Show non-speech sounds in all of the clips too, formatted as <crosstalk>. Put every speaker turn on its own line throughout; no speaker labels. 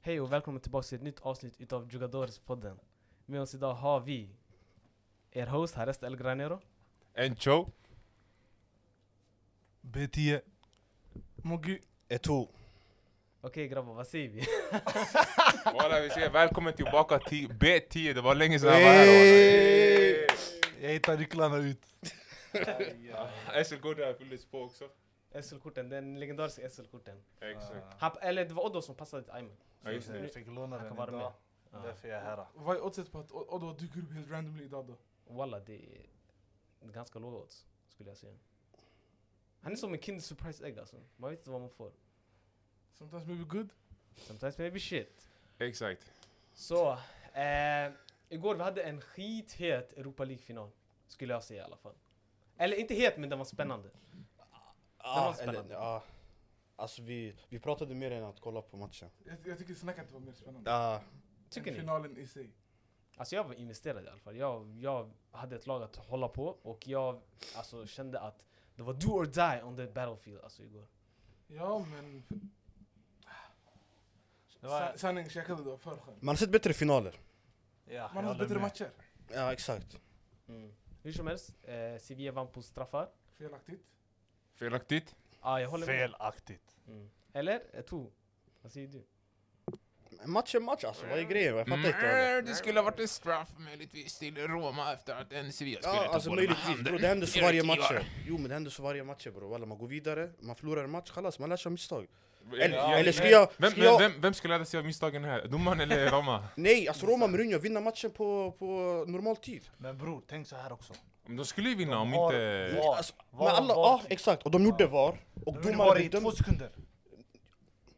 Hej och välkommen tillbaka till ett nytt avsnitt utav Jugadores-podden. Med oss idag har vi er host Harest El Granero.
Encho.
B10 Moggy
Eto.
Okej grabbar, vad säger vi? <laughs>
Walla vi säger välkommen tillbaka till B10, det var länge sedan jag var här
Hey!
Jag hittar nycklarna ut
walla. SL Goda här fylldes på också.
SL-korten, den legendariska SL-korten.
Exakt.
Han- Eller det var Oddo som passade till Ayman.
Ja, just det.
Jag fick låna
Ah. Han kan
den
vara med.
idag, därför jag är här
Vad är oddset på att O- Oddvar dyker upp helt randomly idag då?
Walla, det är ganska låga odds skulle jag säga. Han är som en Kinder Surprise Egg alltså. Man vet inte vad man får.
Sometimes maybe good.
Sometimes maybe shit.
Exakt.
Så, eh, igår vi hade en skithet Europa League-final. Skulle jag säga i alla fall. Eller inte het, men den var spännande. var
Ah, eller,
spännande.
ja. Alltså vi, vi pratade mer än att kolla på matchen.
Jag, jag tycker snacket var mer spännande.
Ah,
Tycker
än
ni?
finalen i sig.
Alltså jag var investerad i alla fall. Jag, jag hade ett lag att hålla på och jag alltså, kände att det var do or die on the battlefield alltså, igår.
Ja men...
Det var,
sa- Sanning, käkade då för skönt.
man har sett bättre finaler.
ja,
Ah,
jag
Man har
håller
bättre
med.
matcher.
Ja, exakt. Mm.
Hur som helst, eh, Sevilla vann på straffar.
Felaktigt.
Felaktigt?
Ah, jag håller med.
Felaktigt
Mm. Eller? Eh, To. Vad säger du?
Match är match alltså, vad är grejen? Jag fattar inte.
Mm.
heller.
Mm. Det skulle ha varit en straff möjligtvis till Roma efter att en Sevilla-spelare
Ja, alltså
bollen med
möjligtvis bro,
handen.
det händer så
Gör
varje
det
match. Jo men det händer så varje match bro. Walla, man går vidare, man förlorar en match, kallas, man lär sig av misstag.
tio.
Eller,
Ja,
eller ska
men-
jag...
Vem,
Ska
men,
jag
vem, vem skulle lära sig av misstagen här? Domaren
<laughs>
eller Roma?
nej, alltså Roma Mourinho vinner matchen på, på normal tid.
Men bror, tänk så här också
De skulle ju vinna om
De har-
inte...
Var-
Alltså,
var-
men alla,
var-
ja exakt, och de gjorde VAR. Och
De var i
domaren
två
dömde
sekunder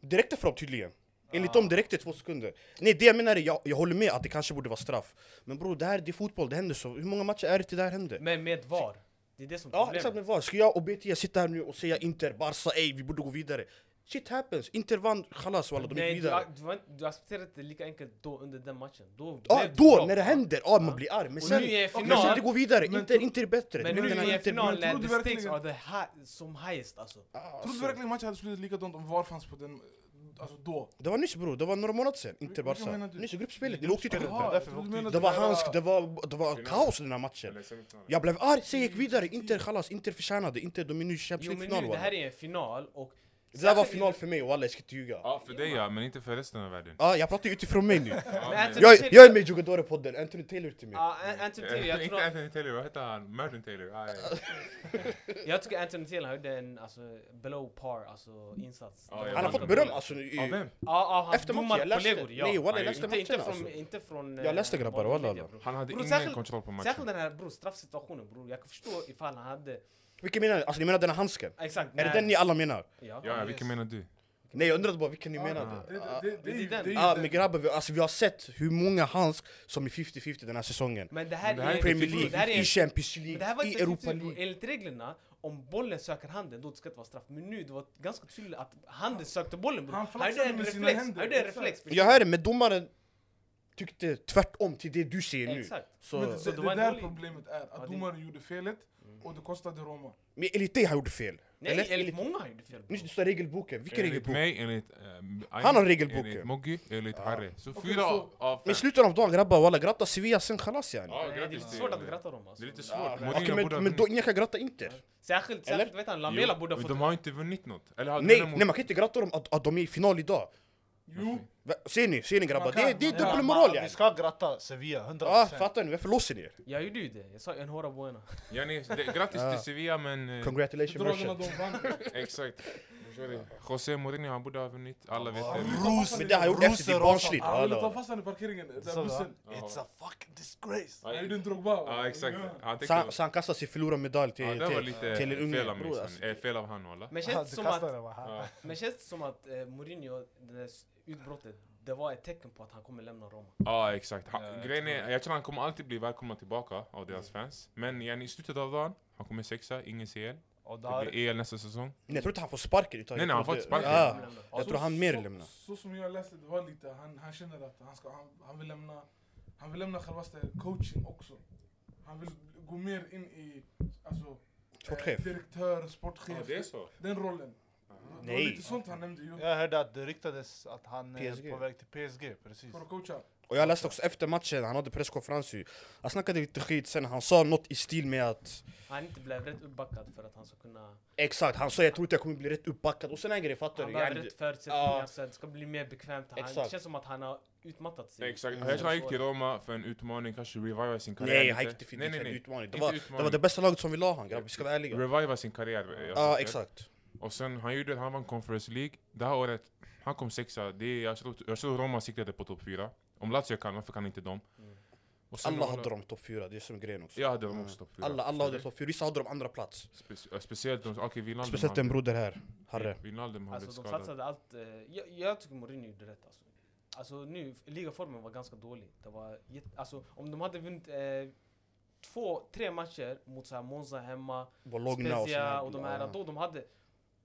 direkt efteråt tydligen. Enligt dem direkt i två sekunder. Nej det jag menar är, jag, jag håller med att det kanske borde vara straff. Men bror det här det är fotboll, det händer så. Hur många matcher är det till det här händer?
Men med VAR. Det är det som är
Ja exakt
problemet.
men vad, ska jag och BT sitta här nu och säga Inter, Barca, ey vi borde gå vidare? Shit happens, Inter vann, chalas walla de gick
Nej, du,
vidare.
du, var inte- du accepterade inte lika enkelt då under den matchen. Då
Ja
blev du
då,
bra.
när det händer, ja man blir arg. Men
Och
sen,
nu är
men sen
final.
det går vidare,
Men
Inter, Inter är bättre.
Men
Du
nu
vet, den
är
här
det
Inter-
final
men tror
när the
du
stakes
verkligen-
are the hi- som highest alltså.
Ja,
Tror du
alltså.
verkligen matchen hade slutat likadant om VAR fanns på den... Alltså då?
Det var nyss bror, det var några månader sen, Inter,
Vilka
Barca.
menar du?
Nyss i gruppspelet, det åkte till
Jaha,
gruppen.
därför
tror du
vi åkte
menar
Det
att
var
här-
handsk, det var, det var
Final.
kaos i den här matchen.
Eller semifinalen.
Jag blev arg, sen gick vidare, Inter chalas, Inter förtjänade, Inter de är nu i
Jo
Champions
men
League-final
nu, det
walla.
här är en final och...
Det där var final för mig walla, jag ska inte ljuga.
Ja, för dig ja, men inte för resten av världen.
Ja, jag pratar ju utifrån
<laughs>
mig nu.
Ja,
Men
men-
Anthony
Jag,
Taylor-
jag är med i Jugadore-podden, Anthony Taylor till mig.
Ja, An- Anthony Taylor, jag tror
Eh, <laughs> Inte Anthony Taylor, vad heter han? Martin Taylor? Ah, ja.
Jag tycker Anthony Taylor gjorde en alltså, below par alltså, insats.
Mm. Ja, jag
Han har
vann
fått
den.
beröm alltså. i-
Av vem?
Ja, ja, hans
Efter matchen, jag läste.
domarkollegor. Ja.
Nej walla,
Nej,
jag läste
inte, inte
matchen
från,
alltså.
inte från... eh,
Jag läste, grabbar,
vanlig
walla,
media,
walla.
bror.
Han hade
Bror,
ingen
särskilt-
kontroll på matchen.
Särskilt den här bror, straffsituationen bror. Jag kan förstå ifall han hade...
Vilken menar ni? Alltså ni menar den här handsken?
Exakt.
Är det den ni alla menar?
Ja.
Ja, ja, vilken menar du?
Nej jag undrade bara vilken ni
Ja,
menade.
det-
Ah,
det- det- det är ju-
Det är den.
det är ju
Ah,
den.
men grabbar, vi, alltså, vi har sett hur många handsk som är 50-50 den här säsongen.
Men det här,
Men det här
är...
är
Premier
bror, det här
League,
är
i Champions
Men det här var
League, i
inte
Europa
tydligt, bror.
League.
Enligt reglerna, om bollen söker handen då ska det inte vara straff. Men nu det var ganska tydligt att handen sökte bollen bror.
Han
Han gjorde
flaxade
en
med sina
reflex.
händer,
Han gjorde en
exakt.
reflex.
Jag hör det, men domaren tyckte tvärtom till det du säger nu.
Exakt.
Så,
Men
men,
så
det,
det
det,
var
det
en
där
dålig-
problemet
Ah,
är,
Ja, det-
att domaren gjorde felet
Hmm.
och det kostade Roma.
enligt dig han gjorde fel.
Nej,
Eller?
enligt,
Enligt-
många har gjorde fel bror.
Nyss du sa regelboken, vilken
Enligt
regelbok?
mig, enligt... ehm,
Han har
Ayn,
regelboken.
Enligt Moggi, enligt Harry. Så
Okej,
fyra
så-
av
Men
fem.
i slutet av dagen grabbar walla, gratta Sevilla sen chalas yani.
Ja,
Nej, det är
grattis
lite
till-
svårt att gratta dem
Det är
alltså.
lite svårt.
Okej
Mourinho borde ha
men, men då
vunnit.
ingen kan gratta Inter.
Särskilt,
Eller?
särskilt vet han, Lamela
Jo,
borde ha
men
fått...
De har inte vunnit något. Eller har
Nej,
de vunnit
nej man kan inte gratta dem att, att de är i final idag.
Jo,
Va- Ser ni? Ser ni grabbar?
Man
Det,
kan-
det är
man kan-
dubbelmoral
Vi
yani.
ska gratta Sevilla, 100%
Ah, fattar ni? Varför låser ni er?
Jag gjorde ju det. Jag sa en hora
<laughs>
buena.
Yani, det- grattis till Sevilla men... eh,
Congratulations
dragarna
brorsan.
de vann.
<laughs>
Exakt. Förstår du? José Mourinho, han borde ha vunnit. Alla vet det. men-
Rus,
Men det han gjorde efter det är barnsligt.
Han ville
walla.
ta fast honom i parkeringen, den där bussen.
It's a fucking disgrace
Han gjorde en
Ja,
Drogba.
Ja, exakt.
Ja.
Han
Så han-
tänkte...
så han kastar sin förlorade medalj till,
Ja, det var
till,
lite
till en unge.
fel av mig.
Bror,
sen.
alltså,
Eh, Fel av han walla.
Men
Ah,
känns
du
det som
kastar
att,
den bara här.
Ja.
men känns det som att eh, Mourinho, det där s- utbrottet, det var ett tecken på att han kommer lämna Roma.
Ja exakt. Han,
Ja, jag
grejen
tror Mm.
är, jag tror han kommer alltid bli välkommen tillbaka av deras fans. Men igen, i slutet av dagen, han kommer sexa, ingen CL.
Och det
Det
här,
blir EL nästa säsong.
Nej, jag tror inte han får sparken. utan
Nej,
jag
nej, han
tror
får
det-
inte
Ja.
sparken.
Jag tror han mer lämnar.
Så, så som jag läste det var lite, han, han känner att han, ska, han, han vill lämna, han vill lämna självaste coaching också. Han vill gå mer in i, alltså, eh,
Sportchef.
direktör, sportchef.
Ja, det är så.
Den rollen. Det var
Nej.
lite sånt han nämnde ju.
Jag hörde att det ryktades att han
PSG.
är på väg till PSG, precis.
För att coacha.
Och jag läste också efter matchen, han hade presskonferens ju. Han snackade lite skit sen, han sa något i stil med att
Han inte blev rätt uppbackad för att han ska kunna...
Exakt, han sa jag tror inte jag kommer bli rätt uppbackad och sen en grej fattar
Han
du?
behöver
Yani-
rätt förutsättningar
Ja.
så att det ska bli mer bekvämt. Han, det
Exakt.
känns som att han har utmattat sig.
Nej, exakt. Jag tror han gick till Roma för en utmaning, kanske reviva sin karriär
Nej,
lite.
han gick definitivt
Nej, nej,
en
nej.
utmaning. Det
Inte
var,
utmaning.
det var det bästa laget som vi la han grabbar, vi ska vara ärliga. Ja,
Reviva sin karriär. eh, jag
ah,
tänker.
exakt.
Och sen, han gjorde han vann Conference League. Det här året, han kom sexa. Det är, jag, tror, jag tror Roma siktade på topp fyra. Om Lazio kan, varför kan inte de?
Mm.
Och sen
Alla hade dem topp fyra, det är som grejen också.
Jag hade dem
Mm.
också topp fyra.
Alla, alla hade topp fyra, vissa hade dem andra plats.
Spe- eh, speciellt de, okej Wijnaldum
Speciellt en
hade-
broder här, Harre.
Wijnaldum har
Alltså
blivit
de
skadad.
satsade allt. eh, Jag, jag tycker Mourinho gjorde rätt alltså. Alltså nu, ligaformen var ganska dålig. Det var jätte, alltså om de hade vunnit eh, två, tre matcher mot så här Monza hemma,
Bologna och
Spezia
såna
och de här,
ja.
då de hade,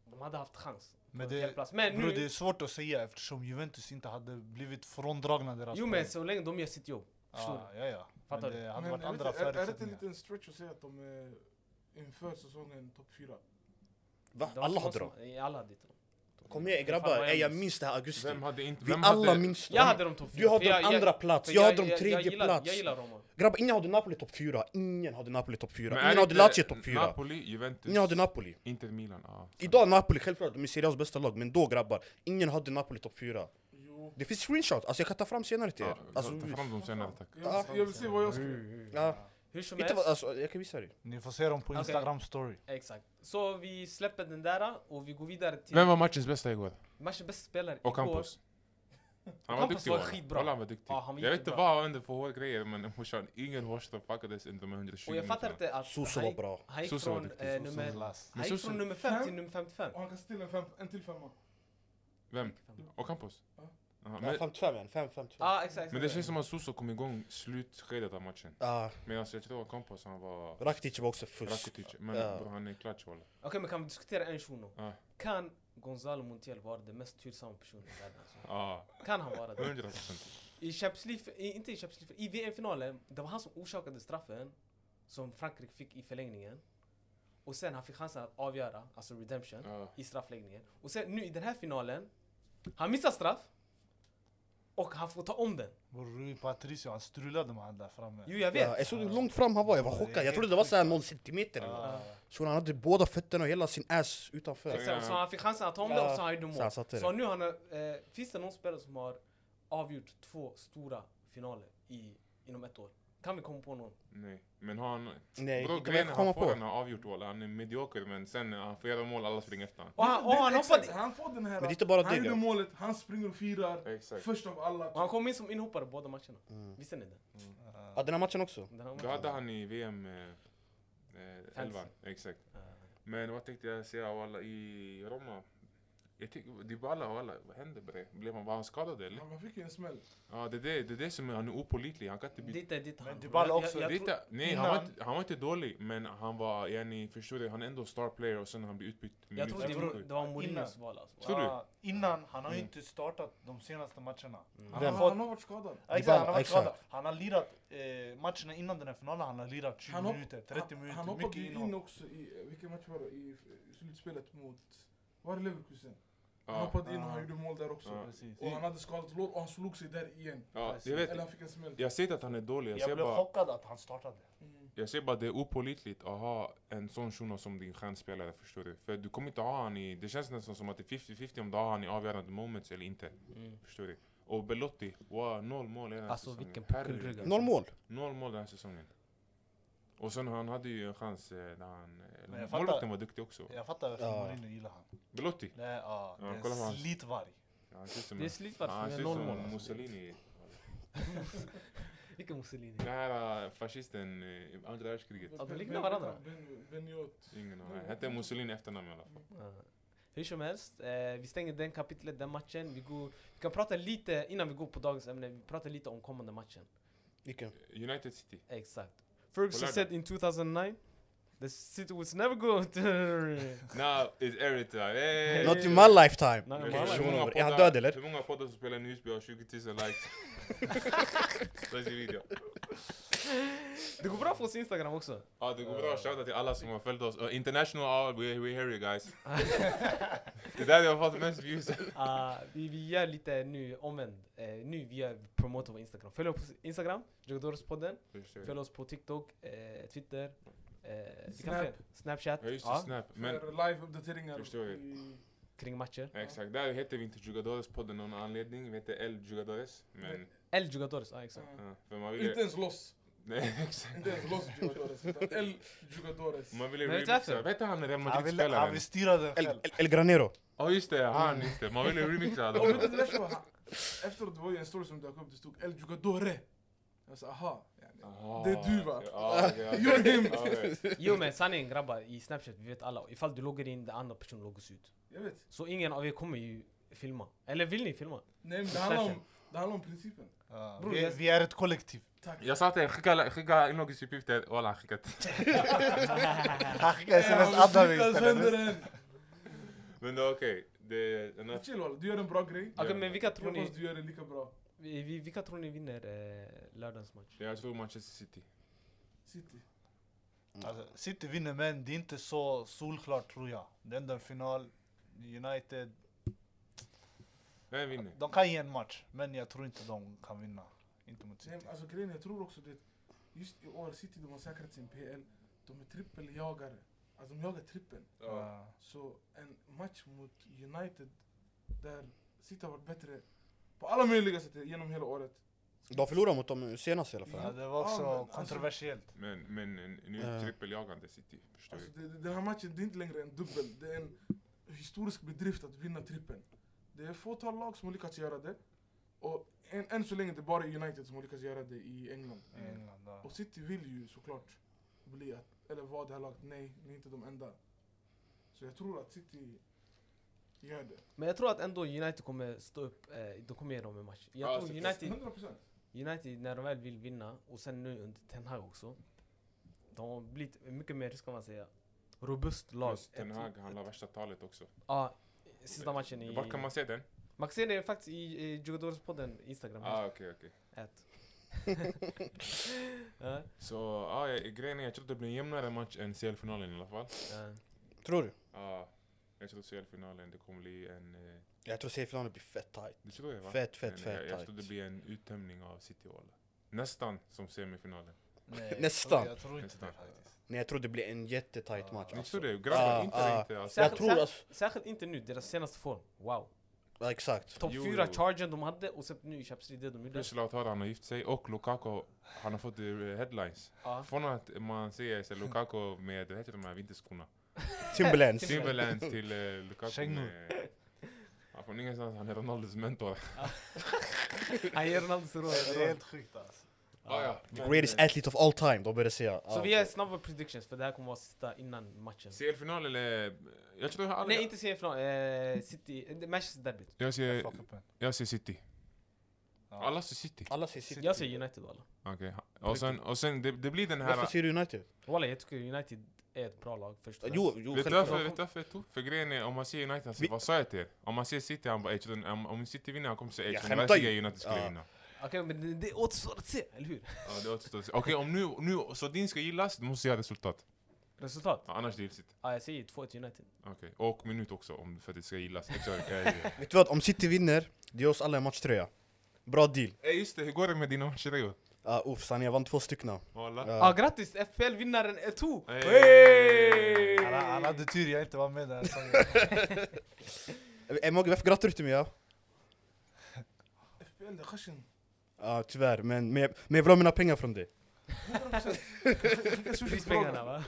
de hade haft chans.
Men
på en fjärde
det,
plats. men
bro, det
nu,
är svårt att säga eftersom Juventus inte hade blivit fråndragna deras
jo men
poäng.
så länge de gör sitt jobb. Förstår
Ah, ja, ja.
Fattar
men
du?
det hade
Men
varit
är det,
andra
inte- är, är det inte en
förutsättningar.
liten stretch att säga att de är inför säsongen topp fyra?
Va?
Det var
Alla
inte
hade
någon
dem.
som- Nej, Alla hade dem.
Kom igen
Fan,
grabbar,
vad jag
Ey, jag
minns.
minns det här augusti.
Vem hade inte...
Vi
Vem
alla
hade,
minns
Jag
dem.
hade dem topp fyra.
Du hade
för jag-
dem andra plats,
för
jag hade dem
jag
tredje
gillar-
plats.
Jag gillar Roma.
Grabbar, ingen hade Napoli topp fyra. Ingen hade Napoli topp
Men
fyra.
är
Ingen
det
hade
inte
Lazio topp fyra.
Napoli, Juventus,
Ingen hade Napoli.
Inter Milan. Ah.
Idag Napoli, självklart, de är Serie A's bästa lag, men då grabbar, ingen hade Napoli topp fyra.
Jo.
Det finns screenshot, alltså jag kan ta fram senare till
Ja,
er. Alltså,
ta fram dem senare tack.
Jag vill, se- jag vill se vad jag skrev.
ja.
Hur som
Inte,
helst.
vad- alltså, jag kan visa dig.
Ni får se dem på
Okej.
Instagram story.
Exakt. Så vi släpper den där och vi går vidare till
Vem var matchens bästa igår?
matchens bästa spelare
Och
igår.
Campos. Han var
Campos
duktig
var
walla.
skitbra.
Walla, han var duktig.
Ja, han var
jag vet inte
jättebra.
vad han hände för hårgrejer men morsan, ingen hårstrå packades inte med 120
Och jag fattar
minuterna.
inte att
Soso var
han,
bra.
han gick
Soso var
från,
duktig,
eh,
Soso
nummer,
Last.
han gick
Soso-
från nummer 5 till
Fem?
nummer 55.
Och han kastar till en, fem, en till femma.
Vem? Och Campos?
Ja.
Jaha,
Men,
Men,
55 igen, 5-5-2.
Ah, exakt.
men det känns som att Soso kom igång slutskedet av matchen.
Ja,
Medan jag tror att Campos han var
Rakitic var också fusk.
Rakitic. Men
Ja.
bror, han är klatsch walla.
Okej men kan vi diskutera en shuno?
Ja.
Kan Gonzalo Montiel vara den mest tursamma personen i världen? Alltså?
Ja,
Kan han vara det?
100 procent.
I Champions League, i- inte i Champions League, i VM-finalen, det var han som orsakade straffen som Frankrike fick i förlängningen. Och sen han fick chansen att avgöra, alltså redemption. i straffläggningen. Och sen nu i den här finalen, han missar straff. Och han får ta om den.
Bror, Rui Patricio, han strulade med han där framme.
Jo jag
Ja,
vet.
jag såg hur långt fram han var, jag var
Ja,
chockad.
det är
Jag trodde det var såhär någon centimeter eller något.
Ah.
Så han hade båda fötterna och hela sin ass utanför.
Exakt, så han fick chansen att ta om den och så han gjorde
Så han
mål.
satte
Så
det.
nu han, har, eh, finns det någon spelare som har avgjort två stora finaler i, inom ett år? Kan vi komma på någon?
Nej, men han...
Nej,
Bror
inte vad
grejen
jag kan
är han
komma
får
på.
den har avgjort walla. Han är medioker men sen när han får göra mål, alla springer efter honom.
Och han, och han
exakt,
hoppade...
han får den här.
Men det är inte bara
han
det,
gjorde
grabbar.
målet, han springer och firar.
Exakt.
Först av
Och
alla.
han kom in som inhoppare båda matcherna.
Mm.
Visste ni det?
Ja, den här matchen också.
Den här
Då
matchen.
hade han i VM... Eh, eh, elvan, exakt.
Eh,
Men vad tänkte jag säga walla, i Roma? Jag tycker, Dybala walla, vad hände bre? Blev han, var han skadad eller?
Ja, Man fick ju en smäll.
Ja det är det, det, är det som är, han är opålitlig, han kan inte byta.
Dit är dit han.
Dybala
Jag- jag-
också,
jag
Det är
tror-
inte- nej, han var,
innan-
inte, han var inte dålig, men han var, yani, förstår du, han är ändå star player och sen han blir utbytt
Jag tror
Jag tror-
det, det var Mourinhos
Innan.
val alltså.
Tror du?
Ah, Innan, han har ju inte startat de senaste matcherna.
Han,
Han har,
Vem?
han
fått,
har varit skadad.
Ja, exakt, han, har
Dybala,
varit
exakt.
skadad. han har lirat eh, matcherna innan den här finalen, han har lirat 20
Han hopp-
minuter, 30
han,
minuter,
han
mycket
hoppade ju in
inhopp.
också i, vilken match var det? I, i slutspelet mot, var det Leverkusen? Han
Ja,
hoppade in och han
Ah.
gjorde mål där också.
Ja.
Precis.
Och han hade skadat lår och han slog sig där igen.
ja, jag, vet,
Eller han fick en smäll.
jag säger inte att han är dålig, jag
Jag
säger
blev
bara,
chockad att han startade.
Mm.
jag säger bara det är opålitligt att ha en sån shuno som din stjärnspelare, förstår du? För du kommer inte ha han i, det känns nästan som att det är 50-50 om du har han i avgörande moments eller inte,
Mm.
förstår du? Och Belotti, wow, noll mål hela den här
Alltså,
säsongen.
vilken puckelrygg,
Herregud.
alltså.
Noll mål.
Noll mål den här säsongen. Och sen han hade ju en chans eh, när han... eh,
Men jag fattar-
Målvakten var duktig också.
Jag fattar varför
Ja.
Mourinho gillar han.
Belotti.
Det är, ah, det
Ja,
är
kolla på
en
han.
slitvarg.
Ja, han ser ut som
Det är
en-
slitvarmt
ja,
som
han ser
är
ut
noll
som
mål alltså.
Mussolini.
Vilken Mussolini?
Den här eh, fascisten eh, i andra världskriget.
Ja, de liknar varandra.
Ben- Beniot.
Ingen aning. Hette Mussolini efternamn i alla fall.
Ja. Hur som helst, eh, vi stänger den kapitlet, den matchen. Vi, går, vi kan prata lite, innan vi går på dagens ämne, vi pratar lite om kommande matchen.
Vilken?
United City.
Exakt. Ferguson
lördag.
said in 2009, the city was never going to...
Now is everything. Hey!
Not in my lifetime.
Nej,
Okej,
man-
hur
Shuno
många
var- Är han
poddar-
död eller?
Hur
<laughs>
många poddar som spelar en USB har 20 000 likes? Slash video.
Det går bra för oss i Instagram också.
Ja, det går bra. Shoutout till alla som har följt oss. Uh, international, we, we hear you guys. det är där jag har fått mest views.
Ah, vi, vi gör lite nu omvänd. Eh, nu vi gör promoter på Instagram. Följ oss på Instagram, Jogadores-podden. Följ oss på TikTok, eh, Twitter. Eh, Snap.
Snap.
Snapchat.
Ja, just det.
ja,
Snap. Men,
För live-uppdateringar
Förstår jag.
i-
kring matcher.
exakt. Där heter vi inte Jugadores-podden av någon anledning. Vi heter El Jugadores. Men,
El Jogadores, ja
<laughs>
exakt.
Ja.
ja, för man vill
Inte
ju...
ens loss.
Nej, exakt.
Inte ens loss Jugadores. utan
<laughs>
El Jugadores.
Man vill ju
Men vet du
remixa.
varför?
Vad heter han Real
Han vill, han
Madrid-spelaren?
vill styra den
El,
själv.
El, El Granero.
Ja, just det. Han, just det. Man vill ju remixa alla.
Och vet du, det värsta var han- Efteråt var det en story som dök upp, det stod El Jugadore. Jag sa aha. yani.
Aha.
Det är du, va?
Ja, ja.
<laughs> You're him.
Ja, ja.
Jo men sanningen grabbar, i Snapchat vi vet alla. Ifall du loggar in, den andra personen loggas ut.
Jag vet.
Så ingen av er kommer ju filma. Eller vill ni filma?
Nej men det handlar om, det handlar om principen.
Ja,
Bror,
vi,
jag-
vi är ett kollektiv.
Tack.
<laughs> Jag sa till er, skicka- skicka inloggningsuppgifter. Walla, han skickade.
Han skickar sms,
Ja,
addar mig
sluta sönder
istället.
den.
Men det är okej. Det är enough.
Chill walla, du gör en bra grej.
Okej men vilka tror
Jag
ni,
hoppas du gör det lika bra.
vi- vi- vilka tror ni vinner eh, lördagens match?
Jag tror Manchester City.
City.
Alltså, City vinner men det är inte så solklart tror jag. Det är ändå en final. United,
Vem vinner?
de kan ge en match men jag tror inte de kan vinna. Inte mot
Nej,
City.
men alltså grejen jag tror också det just i år City de har säkrat sin PL. De är trippeljagare. Alltså de jagar trippel.
Ja.
alltså-
Så en match mot United där City har varit bättre på alla möjliga sätt genom hela året.
De förlorade mot dem senast i alla
Ja,
fall.
det var också
Ja, men alltså-
kontroversiellt.
Men, men nu
Ja.
är trippeljagande City. Förstår
Eh. Alltså
du?
det, det- den här matchen det är inte längre en dubbel. Det är en historisk bedrift att vinna trippen. Det är fåtal lag som har lyckats göra det. Och än, än så länge det är bara United som har lyckats göra det i England.
Mm.
i England, ja.
Och City vill ju såklart bli, att, eller vara det här laget. Nej, ni är inte de enda. Så jag tror att City gör det.
Men jag tror att ändå United kommer stå upp, eh, de kommer ge dem en match. Jag
Ja,
tror
så-
United,
100%.
United, när de väl vill vinna, och sen nu under Ten Hag också. De har blivit mycket mer, ska man säga, robust lag.
Plus Ten
Ett-
Hag, han la värsta talet också.
Ja, sista matchen i...
Var kan man se den?
Man kan se det faktiskt i, i Djurgårdspodden Instagram.
Ah, okej, okej.
Ät. <laughs> ja,
Så ah, ja, grejen är jag tror att det blir en jämnare match än CL-finalen i alla fall.
ja.
Tror du?
Ah, jag tror CL-finalen, det kommer bli en... Eh,
Jag tror semifinalen blir fett tight.
det tror jag va?
Fett, fett,
Men
fett
jag, jag tror det
tight.
blir en uttömning av City Walla. Nästan som semifinalen.
Nej,
Nästan.
Jag tror inte det
Nästan.
faktiskt.
Nej jag tror det blir en jättetight match
Ni
alltså.
tror det? Grabbar,
Ah,
inte
ah.
inte. Alltså.
Jag
Särskilt,
tror alltså,
särskilt inte nu, deras senaste form. Wow.
ja, exakt.
Topp
Jo,
fyra
jo.
chargen de hade och sen nu i Champions League, det de gjorde.
Plus Lautaro, han har gift sig och Lukaku, han har fått eh, headlines.
Ja.
Från att man ser så Lukaku med, vad heter de här vinterskorna?
<laughs>
Timberlands.
Timber-
Timberlands till eh, Lukaku
Schengen.
med... Han från ingenstans, han är Ronaldos mentor.
Han ger Ronaldos råd.
Det är helt sjukt alltså.
Ah, <laughs> ja.
The greatest athlete of all time, de började säga.
Så
Ja.
vi gör snabba predictions för det här kommer vara sista innan matchen.
CL-final eller... eh, Jag tror Alltså, jag har
Nej
aldrig...
inte CFL, eh, City, eh, Manchester derbyt.
Jag ser,
Fuck up en.
jag ser City.
Ja.
Alla ser City.
Alla säger City.
Jag säger United walla.
Okej. Och sen, och sen det, det blir den
Varför
här...
säger du United?
Walla jag tycker United är ett bra lag först och
Jo,
främst.
jo
Vet du
självklart.
varför? Vet du varför jag tror? För grejen är, om man ser United, alltså,
Vi-
vad sa jag till er? Om man ser City, han bara "Ey, Jordan, om, om City vinner, han kommer säga
Jag
Ey, Jordan,
skämtar
jag
ju.
tycker United skulle
Ja.
vinna.
Okej men det, det återstår att se, eller hur?
Ja, det återstår att se. Okej, om nu, nu Sodin ska gillas, då måste jag ha resultat.
Resultat?
Ja, annars gills inte.
Ja jag säger 2-1 United.
Okej. Och minut också, om, för att det ska gillas. Exakt.
<laughs>
Ey,
Vet du vad? Om City vinner, det ger oss alla en matchtröja. Bra deal.
Ey, just det, hur går det med dina matcher?
Uh, uff, sanningen, jag vann två stycken.
Walla.
Ja ah,
Ja.
grattis FPL-vinnaren Eto'o!
Hey!
Han, han hade tur jag inte var med där. sorry.
Eh, Mogge, varför grattar du till mig? Ja?
FPL det
<laughs>
är Khashin.
Ja, tyvärr, men, men, jag- men jag vill ha mina pengar från dig.
100%. Skicka
Precis
sushi
pengarna va?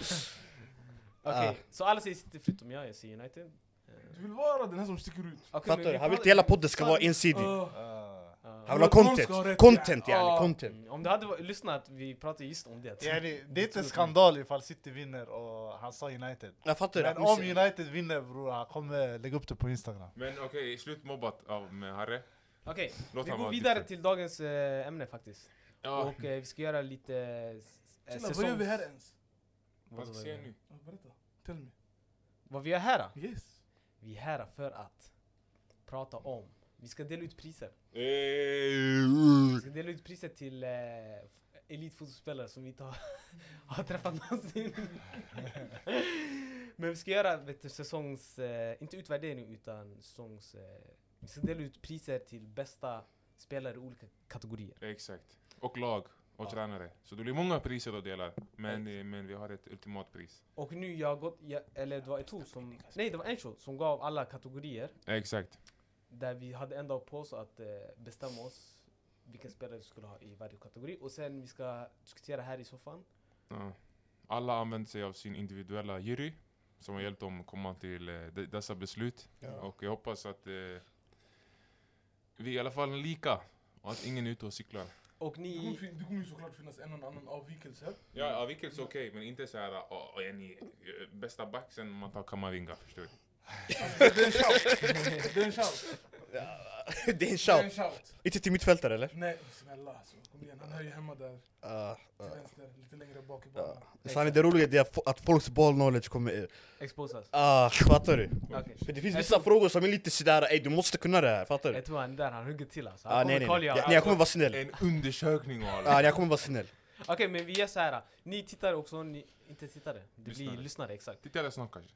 Okej,
Ah.
så alla säger City förutom jag, jag säger United. Eh,
Du vill vara den här som sticker ut.
okej,
Fattar
men
du?
vi
Han vill
pratar-
inte hela podden ska vara ensidig.
Ah.
Ah.
Ja.
Han vill ha content.
Någon ska ha rätt,
Content
ja.
yani,
Ja.
content.
Mm, Om du hade va- lyssnat, vi pratade just om det.
Yani, det är inte en skandal ifall City vinner och han sa United.
Jag fattar.
Men
att
om
miss-
United vinner bror, han kommer lägga upp det på Instagram.
Men okej, slut mobbat av med Harry.
Okej,
Låt
vi
han
går
vara
vidare
tyst.
till dagens eh, ämne faktiskt.
Ja,
Och eh, vi ska göra lite... eh, s- eh,
Chilla, vad gör vi här
säsongs-
ens?
vad ska jag säga nu?
Eh,
Ja, Berätta. Tell me.
Vad vi gör här? då?
Yes.
Vi är här för att prata om... Vi ska dela ut priser.
Ey,
Vi ska dela ut priser till eh, f- elitfotbollsspelare som vi inte har, <laughs> har träffat någonsin. <laughs> Men vi ska göra vet du, säsongs, eh, inte utvärdering utan säsongs, eh, vi ska dela ut priser till bästa spelare i olika kategorier.
Exakt. Och lag och
Ja.
tränare. Så det blir många priser att dela. Men, eh, men vi har ett ultimat pris.
Och nu jag har gått, jag, eller det var Eto'o som, nej det var Encho som gav alla kategorier
Exakt.
Där vi hade en dag på oss att eh, bestämma oss vilken spelare vi skulle ha i varje kategori. Och sen vi ska diskutera här i soffan.
Ja. Alla använt sig av sin individuella jury som har hjälpt dem att komma till eh, de- dessa beslut. Och jag hoppas att eh, vi i alla fall är lika och att ingen är ute och cyklar.
Och
Det kommer,
ni...
fin- det kommer ju såklart finnas en och annan avvikelse.
Ja, ja vilket är okej, men inte så här oh, är ni eh, bästa back sen man tar Kamavinga, förstår du?
Det är en shout. Det är en shout.
<laughs> det är en
Det är en
shout.
shout.
Inte till mittfältare eller?
Nej, snälla alltså. Kom igen, han hör ju hemma där
Uh,
till vänster, lite längre bak i banan.
Sanne, det roliga är att fo- att folks ball knowledge kommer...
Exposas.
Ah, fattar du?
Okej.
För det finns vissa frågor som är lite sådär, ey du måste kunna det här, fattar du?
Jag tror han där, han hugger till alltså. Han
Ah,
kommer
nej, nej, nej.
kolla
Jag,
jag-
nej, jag kommer vara snäll.
En undersökning och
Ah,
allt.
jag kommer vara snäll.
Okej men vi gör så här. Ni tittare också, ni... Inte tittare. Det blir
Lyssnare.
lyssnare, exakt.
Titta eller snart kanske.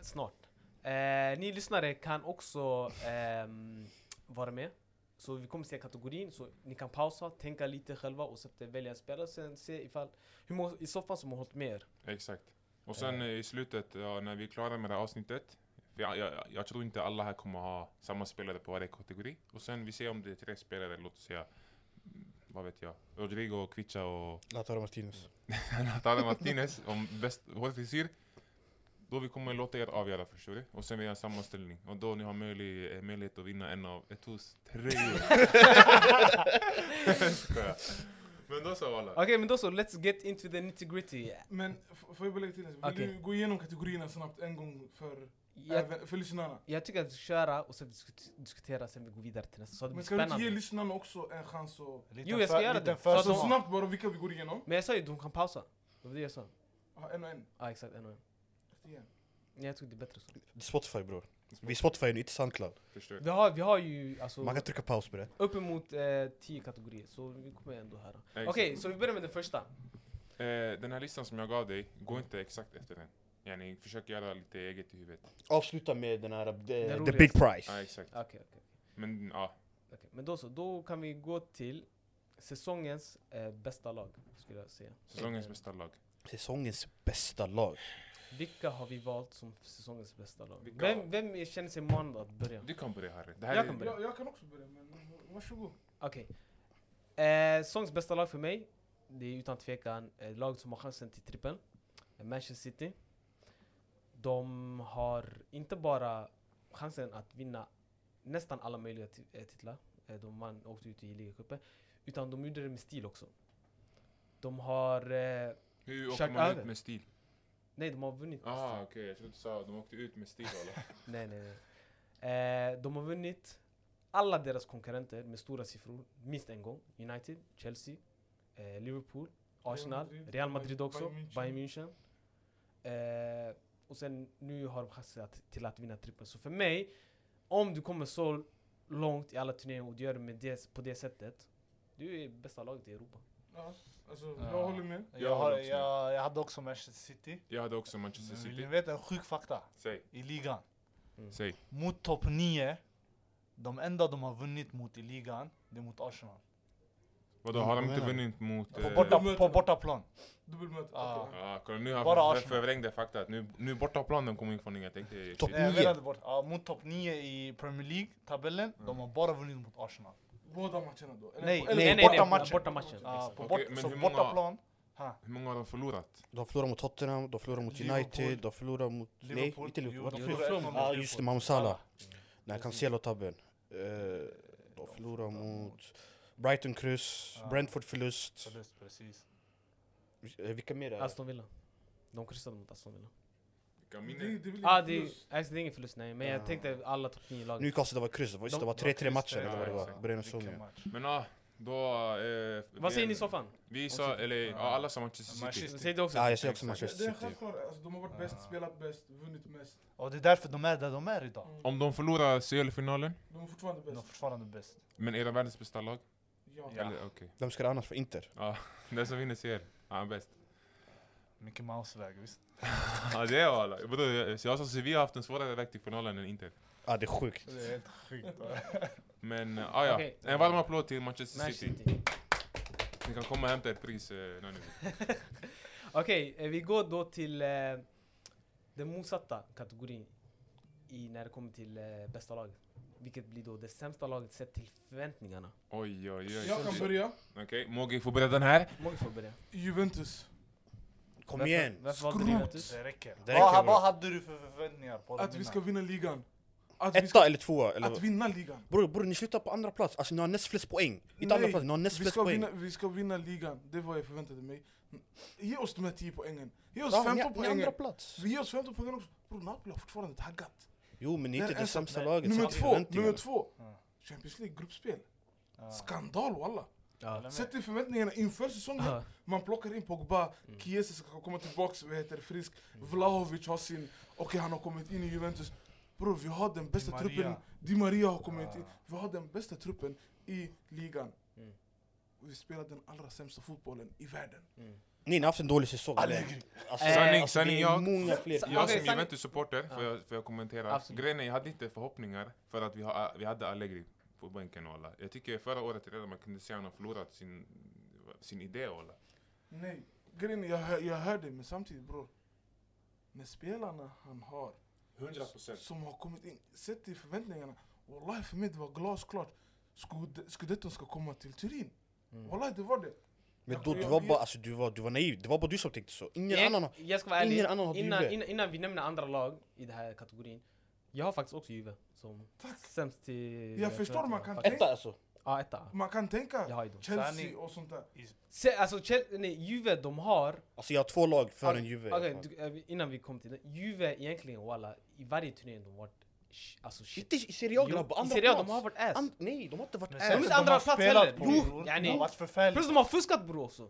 Snart. Eh, ni lyssnare kan också ehm, vara med. Så vi kommer se kategorin, så ni kan pausa, tänka lite själva och sätta- välja en spelare. Sen se ifall... Hur många i soffan som har hållit med
<laughs>
er.
Exakt. Och sen eh, i slutet, ja, när vi är klara med det här avsnittet, för jag, jag, jag tror inte alla här kommer ha samma spelare på varje kategori. Och sen vi ser om det är tre spelare, låt oss säga, mm, vad vet jag, Rodrigo, Kvicha och
Lautaro Martinez.
Natale Martinez, om bäst håller till syr. Då vi kommer låta er avgöra, förstår du? Och sen vi gör en sammanställning. Och då ni har möjlig, eh, möjlighet att vinna en av Etos tröjor. Skojar. Men då så alla.
Okej men då så, let's get into the nitty gritty.
Men f- får jag bara lägga till en sak? Vill
Okej.
du gå igenom kategorierna snabbt en gång för,
Jag,
även- för lyssnarna?
jag tycker att vi ska köra och sen diskut- diskutera, sen vi går vidare till nästa. Så det
Men
blir
ska du inte ge
spännande.
lyssnarna också en chans att...
Jo, jag ska göra det. Så att
Så
de-
Så
snabbt bara vilka vi går igenom.
Men jag sa ju de kan pausa. Det var det jag sa.
Ja, en och en.
Ja exakt, en och en.
Igen.
Nej, Jag tycker det är bättre så.
Det är Spotify bror. Vi är Spotify nu, inte Soundcloud.
Förstår du?
Vi har, vi har ju alltså
Man kan trycka paus bre.
uppemot eh, tio kategorier, så vi kommer ändå höra. Okej, så vi börjar med den första.
Eh, den här listan som jag gav dig, gå inte exakt efter den. Yani, försök göra lite eget i huvudet.
Avsluta med den här... eh, The,
roligaste.
the big
Ja,
prize.
exakt.
Okej, okej.
Men ja,
okej. Men då så, då kan vi gå till säsongens eh, bästa lag, skulle jag säga.
säsongens
Eh,
bästa lag.
Säsongens bästa lag.
Vilka har vi valt som säsongens bästa lag?
Vilka?
Vem, vem känner sig manad att börja?
Du kan börja Harry. Det här
Jag
är,
kan börja.
Jag, jag kan också börja, men varsågod.
Okej. Eh, Songs bästa lag för mig, det är utan tvekan eh, laget som har chansen till trippeln. Eh, Manchester City. De har inte bara chansen att vinna nästan alla möjliga ti- eh, titlar. Eh, de vann, åkte ut i ligacupen. Utan de gjorde det med stil också. De har... Eh,
Hur åker
Kört
man
över.
ut med stil?
nej, de har vunnit. med
Ah, okej. Jag trodde du sa att de åkte ut med stil. Eller?
Nej, nej, nej. Eh, de har vunnit alla deras konkurrenter med stora siffror minst en gång. United, Chelsea, eh, Liverpool, Arsenal, Real Madrid,
Madrid, Bay-
också,
Bayern München.
Bayern München. Eh, och sen nu har de chansen att, till att vinna trippeln. Så för mig, om du kommer så långt i alla turneringar och du gör det med det, på det sättet, du är bästa laget i Europa.
Ja, alltså,
Ja.
jag håller med.
Jag,
Jag håller
har,
också med.
jag, jag hade också Manchester City.
Jag hade också Manchester
Men Vill ni
City.
veta en sjuk fakta?
Säg,
I ligan.
säg.
Mot topp 9, de enda de har vunnit mot i ligan, det är mot Arsenal.
Vadå, har de
Vad
inte
menar du?
vunnit mot...
På,
eh,
borta, på bortaplan. Eh,
Dubbelmöte.
Ah.
okej.
Ja, kolla nu har
Bara
jag
Arsenal.
förvrängt det fakta. att Nu, nu bortaplanen kommer in från ingenting. Det är
Topp
shit.
Nej, jag
Nio.
menade bort, ja, mot topp 9 i Premier League-tabellen,
Mm.
de har bara vunnit mot Arsenal.
Båda matcherna då? Eller-
Nej,
eller-
nej,
borta-
borta liksom.
bortamatchen.
bortamatchen.
Ja, på
Okej,
bort,
men
så
hur många-
bortaplan,
Hur många har de förlorat?
De förlorar mot Tottenham, de förlorar mot United,
Liverpool.
de förlorar mot...
Liverpool.
Nej, inte Liverpool.
Jo,
Vad
de
de
förlorar
förlorar-
ett
mot
Ja,
Liverpool.
just det, Mohamed Salah. Mm. Den här
Precis.
Cancelo-tabben. Eh, de förlorar mot Brighton kryss,
Ja.
Brentford förlust.
förlust, precis.
Eh, Vilka mer är det?
Aston Villa. De kryssade mot Aston Villa.
Vilka
det-
minnen?
det är väl
Ah,
ingen
det, är-
plus.
alltså, det är ingen förlust, nej. Men
Ah.
jag tänkte alla topp nio lag.
Newcastle, det var kryss. Det var- just Det
De-
var
Det var
3-3 matcher
kryss,
eller vad det
ja,
var.
exakt.
Brynäs och
Vilken
Solna.
match.
Men ja, då... Eh,
Vad säger ni i
Ehm,
så?
soffan?
Vi sa, eller ja, alla sa Manchester City.
Manchester-
Säg det också.
Ja, jag ser
Exakt.
också Manchester
Det är en
City.
självklar, alltså, de har varit
Ah.
bäst, spelat bäst, vunnit mest.
Och det är därför de är där de är idag.
Mm.
Om de förlorar CL-finalen,
De är fortfarande
De är
bäst.
fortfarande bäst.
men är de världens bästa lag?
Ja.
Eller okej.
Vem ska det annars vara? Inter?
Ja, den som vinner ser. Han är bäst.
Mickey Mouse-väg, visst?
<laughs> Ja det är alla. Bror, jag- så jag sa Sevilla har haft en svårare väg till finalen än Inter.
Ah, det är sjukt.
Det är helt sjukt. va?
Men eh, ah, ja,
Okej.
en varm applåd till Manchester
Manchester
City.
City.
Ni kan komma och hämta ett pris eh, när ni vill.
Okej, eh, vi går då till eh, den motsatta kategorin i när det kommer till eh, bästa laget. Vilket blir då det sämsta laget sett till förväntningarna.
Oj, oj, oj.
Jag kan börja.
Okej, Mogi får börja den här.
Många får börja.
Juventus.
Kom
Varför-
igen!
Varför valde ni
Skrot.
Juventus?
Det räcker.
Det räcker,
vad,
bro.
vad hade du för förväntningar på dem
Att vi
innan?
ska vinna ligan. Att vi
Etta
ska
eller tvåa? Eller...
att vinna ligan.
Bror, bror ni slutar på andra plats. Alltså ni har näst flest poäng. Inte
Nej,
andra plats, ni har näst
Vi
flest
ska,
poäng.
vinna, vi ska vinna ligan, det var jag förväntade mig. Ge oss de här 10 poängen. Ge oss
Ja, ni,
15
ni har
poängen.
andra plats.
Vi ger oss 15 poängen också. Bror, Napoli har fortfarande taggat.
Jo men ni
Nej,
är inte det
alltså,
sämsta
nej.
laget.
Nummer
sett till
två,
förväntningarna.
nummer två.
Ja.
Champions League gruppspel.
Ja.
Skandal walla.
Ja.
Eller
Sätt dig förväntningarna inför säsongen.
Ja.
Man plockar in Pogba, Chiesa ska komma tillbaks, vad heter det, frisk. Vlahovic har sin, okej han har kommit in i Juventus. Bror vi har den bästa
Maria.
truppen, Di Maria har kommit
Ja.
in. Vi har den bästa truppen i ligan.
Mm.
Och vi spelar den allra sämsta fotbollen i världen.
Ni ni har haft en dålig säsong. eller?
Allegri.
Alltså,
Eh,
Sanning,
alltså, det
sanning,
är
jag-
Många fler.
Sa-
Jag
Okej,
som
Sanni-
Juventus-supporter, får, jag- får jag kommentera?
Absolut.
Grejen är, jag hade inte förhoppningar för att vi, har, vi hade Allegri på bänken och alla. Jag tycker förra året redan man kunde se att han har förlorat sin, sin idé och alla.
Nej, grejen är, jag, hör, jag hör dig men samtidigt bror. Med spelarna han har,
100%.
som har kommit in, sett i förväntningarna. Wallahi för mig det var glasklart. Scud- Scudetton ska komma till Turin. Wallahi det var det.
Men
Jag-
då du
jag-
var
jag-
bara, alltså du var, du var naiv. Det var bara du som tänkte så. Ingen annan har...
jag, jag ska vara ärlig,
ingen annan har
innan,
Juve.
innan, innan vi nämner andra lag i den här kategorin. Jag har faktiskt också Juve som
Tack.
sämst till...
Jag förstår, man kan
faktiskt.
Etta alltså.
Ja, etta.
Man kan tänka
Jag har ju dem.
Chelsea
Sanning.
och sånt där.
Se, alltså, Chel- nej, Juve de har...
Alltså jag har två lag för
Okej,
en Juve. i alla
Okej,
fall.
du- eh, vi- innan vi kom till det. Juve egentligen walla, i varje turnering de varit... sh- Alltså shit.
Inte i Serie A grabbar,
i
andra
Serie A
plats.
de har varit ass.
And- nej, de har inte varit
Äh,
Men
är
ass.
sättet
inte
de
andra
har
plats
spelat
heller.
på,
Jo,
bror,
yani.
Det har varit förfärligt.
Plus de har fuskat bror också.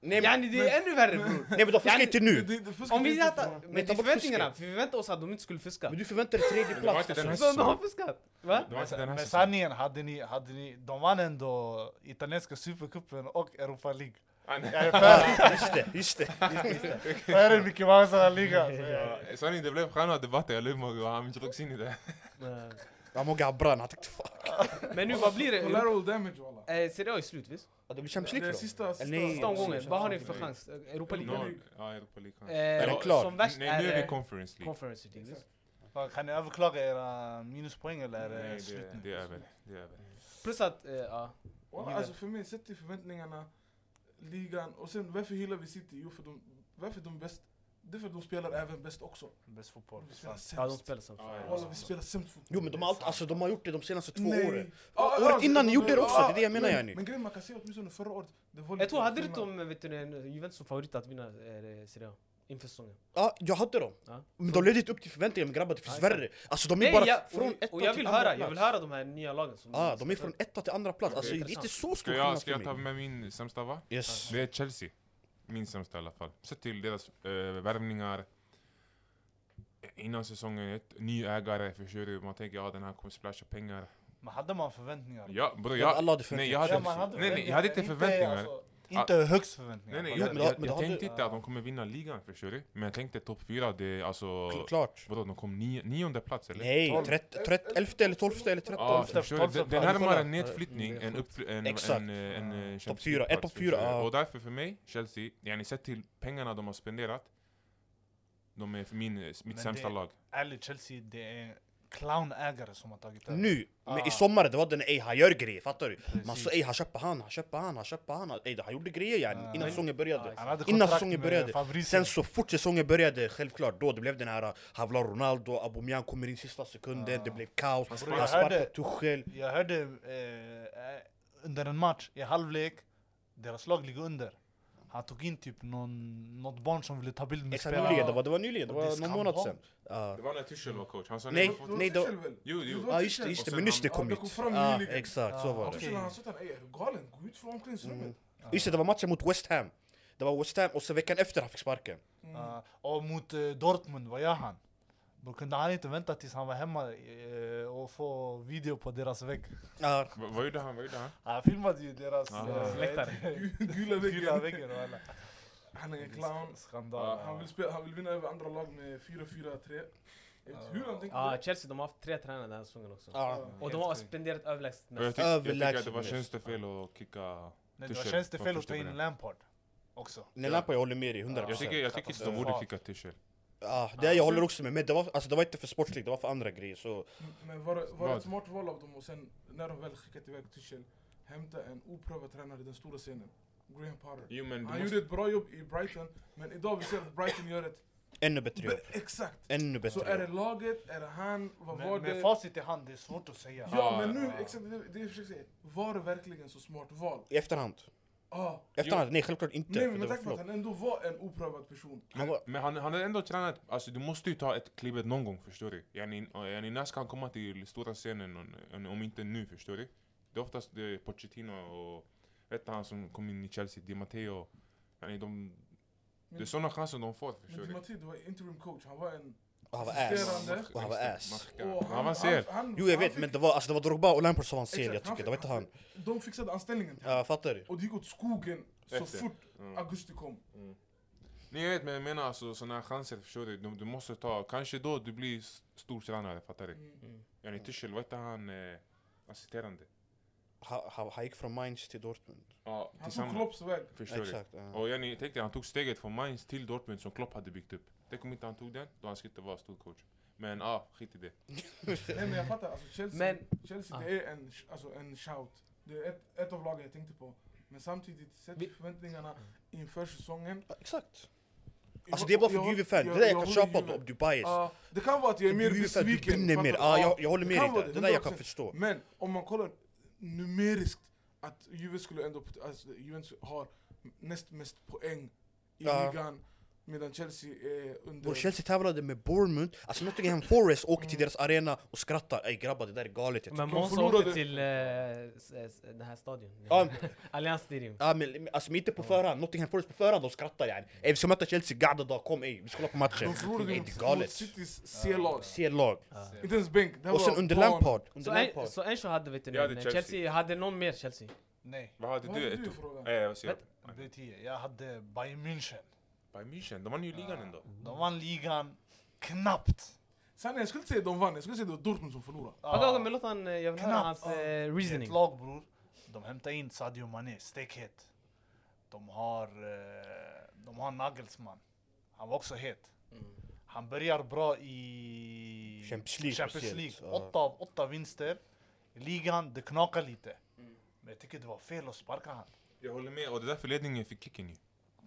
Nej, men,
Yani det är ännu värre
<laughs>
bror.
nej men de fuskar inte
Det-
nu.
det- det fuskar
Om vi
inte
hade
på-
haft...
Men
Men
ta
till
bort
förväntningarna,
fusket.
för vi väntade oss att de inte skulle fuska.
Men du förväntar dig tredje
var
plats.
inte den här
<laughs> Alltså.
Så <laughs> de har
säsongen.
fuskat. Va?
Det var inte den här
Men
säsongen.
sanningen, hade ni, hade ni, de vann ändå italienska supercupen och Europa League.
Ah, nej.
Jag är <laughs> för,
Ah, Just det, just det.
för Mickey Mouse-liga. <laughs>
Ja, Sanning, det blev stjärna debatter, jag ljög Mogi och han drogs in i det.
Men-
Jag mår gabbran, han tänkte fuck.
Men nu vad blir det?
Collateral damage walla.
Eh, Serie A är slut visst?
Ja, Det blir Champions
Det
League
är
för dem.
sista, sista.
nej.
Sista omgången, vad har ni för
Nej.
chans? Eh, Europa League?
Noll. Ja, Europa
Eh,
League. kanske. Eller-
klart.
Som värst
Nej, nu är
är
vi
eh,
Conference League.
Conference League. visst?
Fan, Kan ni överklaga era minuspoäng eller är det
Nej,
slut
det,
nu?
det är över. Det är över.
Plus att, eh, ja.
Walla, Alltså för mig, sett till förväntningarna, ligan och sen varför hyllar vi City? Jo för de, varför de bäst? Det är för de spelar även bäst också.
Bäst fotboll.
Vi spelar
Ja, de
Fan.
sämst.
spelar som fan.
Ja, ja.
Walla vi spelar sämst fotboll.
Jo men de har, allt, alltså, de har gjort det de senaste två
Nej.
åren.
Ja,
Året
ja,
innan ni
de-
gjorde det också,
ja,
det är det jag menar,
men-
yani.
Men grejen man kan se åtminstone förra året, det var
Jag tror, hade du
skillnad.
inte om, vet du, en eh, Juventus som favorit att vinna eh, Serie A? Inför säsongen?
Ja, jag hade dem.
Ja.
Men de levde inte upp till förväntningarna men grabbar, det finns
Nej,
värre. Alltså de är
Nej,
bara
jag,
från
och,
etta
och jag
till
vill
andra
höra,
plats.
jag vill höra de här nya lagen som...
Ah, de är från etta till andra plats, alltså
Okej.
det är inte så
Ska
stor
jag,
skillnad
ska jag ta
för mig.
med min sämsta va?
Yes.
Det är Chelsea. Min sämsta i alla fall. Sett till deras eh, värvningar innan säsongen. Ett, ny ägare, förstår du? Man tänker ja den här kommer splasha pengar.
Men hade man förväntningar?
Ja bror,
Ja,
jag,
alla hade
nej,
förväntningar.
jag hade,
Ja, man hade
nej, nej, jag hade inte förväntningar.
Alltså, inte högst
nej,
förväntningar.
nej,
Man
jag, jag,
Jo, men
hade-
då-
jag,
men då hade-
tänkte inte att de kommer vinna ligan, förstår du? Men jag tänkte topp fyra, det är alltså...
Klart.
Vadå, de kom nio, nionde plats eller?
Nej,
Tolv.
trett- trett- elfte eller tolfte eller
Ja,
trettonde.
Tolfte-
förstår du?
tolfte
Det- Det är
plats.
närmare
Ja,
en nedflyttning
det är
än
sjukt.
uppfly- en,
Exakt.
en, eh, en, eh, Champions
Topp fyra,
League-plats,
ett topp
förstår du?
fyra, ja.
Och därför för mig, Chelsea, yani sett till pengarna de har spenderat, de är för min, eh, mitt
Men
sämsta
det-
lag.
Ärligt, Chelsea, det är clownägare som har tagit över.
Nu, men i
Ah.
sommar det var den ej, han gör grejer, fattar du? Man
Precis.
sa ej, han köper han, han köper han, han köper han, han- ej, han gjorde grejer yani,
Ah.
innan säsongen började.
Ah,
Han hade
Innan
kontrakt
säsongen
med
började.
favoriten.
Sen så fort säsongen började, självklart, då det blev den här han vill ha Ronaldo, Aubameyang kommer in sista sekunden,
Ah.
det blev
Han
kaos, han
sparkade.
sparkade Tuchel.
Jag hörde eh, eh, under en match i halvlek, deras lag ligger under. Han tog in typ någon, något barn som ville ta bild med
Exakt
spelaren.
nyligen, det var, det var nyligen, det
Och det är
var någon månad
skandal.
sedan. Ah. Ja.
Det var när Tuchel var coach, han sa
Nej.
nej.
Det var
Nej, då-
Tuchel väl?
Jo, jo.
var
Ja Ah, just det,
Tuchel.
just det,
Och
men
sen
nyss det
han-
kom
ja,
ut.
det kom fram
Ja,
nyligen.
exakt, så
Ah,
var det.
Och sen när han sa att han "Ey, är du galen, gå ut från
Mm.
omklädningsrummet.
Just det, det var matchen mot West Ham.
Mm.
Det var West Ham och sen veckan efter han fick sparken.
Ja, och mot eh, Dortmund, eh, vad gör han? Då kunde han inte vänta tills han var hemma eh, och få video på deras vägg.
Ja,
Va- Vad gjorde han? Vad gjorde han?
Han filmade ju deras
Aha.
eh, <laughs>
Läktare.
Gula
gula
väggen.
väggen och
<laughs>
alla.
Han är en clown.
Skandal.
Han vill, spela, han vill vinna över andra lag med 4-4-3. Jag vet inte hur han tänkte.
Ja, Chelsea de har haft tre tränare den här säsongen också.
ja.
Och de har spenderat överlägset
Och Jag,
mest.
tyck, jag tycker att det
Överlägset
var
mest.
tjänstefel att kicka...
Nej, det var
Tuchel
tjänstefel
var
att ta
första
in
på
Lampard också.
Nelampa, jag håller med dig 100%.
Jag tycker, jag tycker inte de
Katastrof.
borde kicka Tuchel.
Ja, det jag håller också med. Men det var, alltså, det var inte för sportsligt, det var för andra grejer. Så
Men var, det- var det
Vad?
ett smart val av dem och sen när de väl skickat iväg Tuchel, hämta en oprövad tränare i den stora scenen. Graham Potter.
Jo men
Han
du måste...
gjorde ett bra jobb i Brighton, men idag vi ser att Brighton gör ett...
ännu bättre jobb.
Exakt!
Ännu bättre
Så är det
jobb.
laget, är det han, vad var
Men med
det?
facit i hand, det är svårt att säga.
Ja
Ja,
men nu,
ja.
exakt det, det jag försöker säga. Var det verkligen så smart val?
I efterhand.
Ah,
I Efterhand? Nej, självklart inte.
nej
för
men
det
med
var
tanke på att
flop.
han ändå var en oprövad person.
Han var,
Men han, han har ändå tränat, alltså du måste ju ta ett klivet någon gång förstår du. Yani, yani, när ska han komma till stora scenen om- om- om inte nu förstår du? Det är oftast det är Pochettino och vet du han som kom in i Chelsea, Di Matteo. Yani, de, det är sådana chanser de får förstår
Men Di
du.
Matteo var interim coach, han var en...
och han var ass.
Assisterande.
Och han var ass.
Markad.
och
Han avancerar.
han-
Jo jag
han
vet,
fick-
men det var, alltså, det var Drogba och Lampard som var en sel, jag
exakt,
tycker. Det var inte han.
fick- De fixade anställningen till
Ja, fattar du?
Och det gick åt skogen så
Efter.
fort
Mm.
augusti kom.
Nej jag vet men jag menar alltså sådana chanser förstår du, du, du måste ta, kanske då du blir s- stor tränare fattar du?
Mm.
Yani Tuchel, vad heter han eh, assisterande?
Han, han, han gick från Mainz till Dortmund.
Ja,
Han tog Klopps väg.
Förstår du?
Exakt. <laughs> ja.
Och Jenny, tänk dig han tog steget från Mainz till Dortmund som Klopp hade byggt upp. Tänk om inte han tog den, då han skulle inte vara stor coach. Men ah, skit i det.
Nej men jag fattar, alltså Chelsea,
Men-
Chelsea
Ah.
det är en, sh- alltså, en shout. Det är ett, ett av lagen jag tänkte på. Men samtidigt, sett
Vi-
till förväntningarna inför säsongen.
Ja, Exakt.
Jag-
Alltså det är bara för
jag-
Juve-fan.
jag-
Det där jag
jag
kan
håller
köpa
Juve.
om du är biased.
Ja, det kan vara att jag är mer
Du är fan- du
besviken.
brinner mer.
fattar du?
Ja, jag- jag håller
det
med
kan
dig
vara
där. Det där jag kan
100%.
förstå.
Men om man kollar numeriskt att Juve skulle ändå, alltså, Juventus har näst mest poäng i
Ja.
ligan. Medan Chelsea är under...
Bror Chelsea tävlade med Bournemouth, alltså Nottingham Forest åker till deras arena och skrattar Ey grabbar det där är galet jag
Men
tycker.
Monza
förlorade-
åkte till eh, s- s- den här stadion. <laughs>
Ja, men-
Allianz Stadium.
Ja men men, alltså men inte på förhand, Nottingham Forest på förhand de skrattar yani Ey vi ska möta Chelsea, gada dag kom ey vi ska kolla på matchen
De förlorade
Ey
mot
det är
mot
galet
Citys C-lag.
C-lag
Inte ens bänk. det här
Och sen
var
under
plan.
Lampard,
Så
under
en-
Lampard
Så Enzo hade vet du
Jag hade
nu,
Chelsea.
Chelsea hade någon mer Chelsea.
Nej,
Vad hade
Vad
du?
hade du
Eto?
för fråga?
Eh, vad säger
Vet-
jag?
det är tio. Jag hade Bayern München.
Bayern München, de vann ju ligan ändå.
De vann ligan knappt.
Sanningen, jag skulle inte säga de vann, jag skulle säga det var Dortmund som förlorade.
Okej okej, men låt han, eh, jag vill höra
Knappt.
hans
Ja.
eh,
Det är
reasoning.
ett lag bror. De hämtar in Sadio Mané, stekhet. De har, eh, de har Nagelsmann. Han var också het. Han börjar bra i
Champions League
Champions League.
speciellt, ja.
Åtta av åtta vinster. I ligan, det knakar lite. Men jag tycker det var fel att sparka han.
Jag håller med och det är därför ledningen fick kicken ju.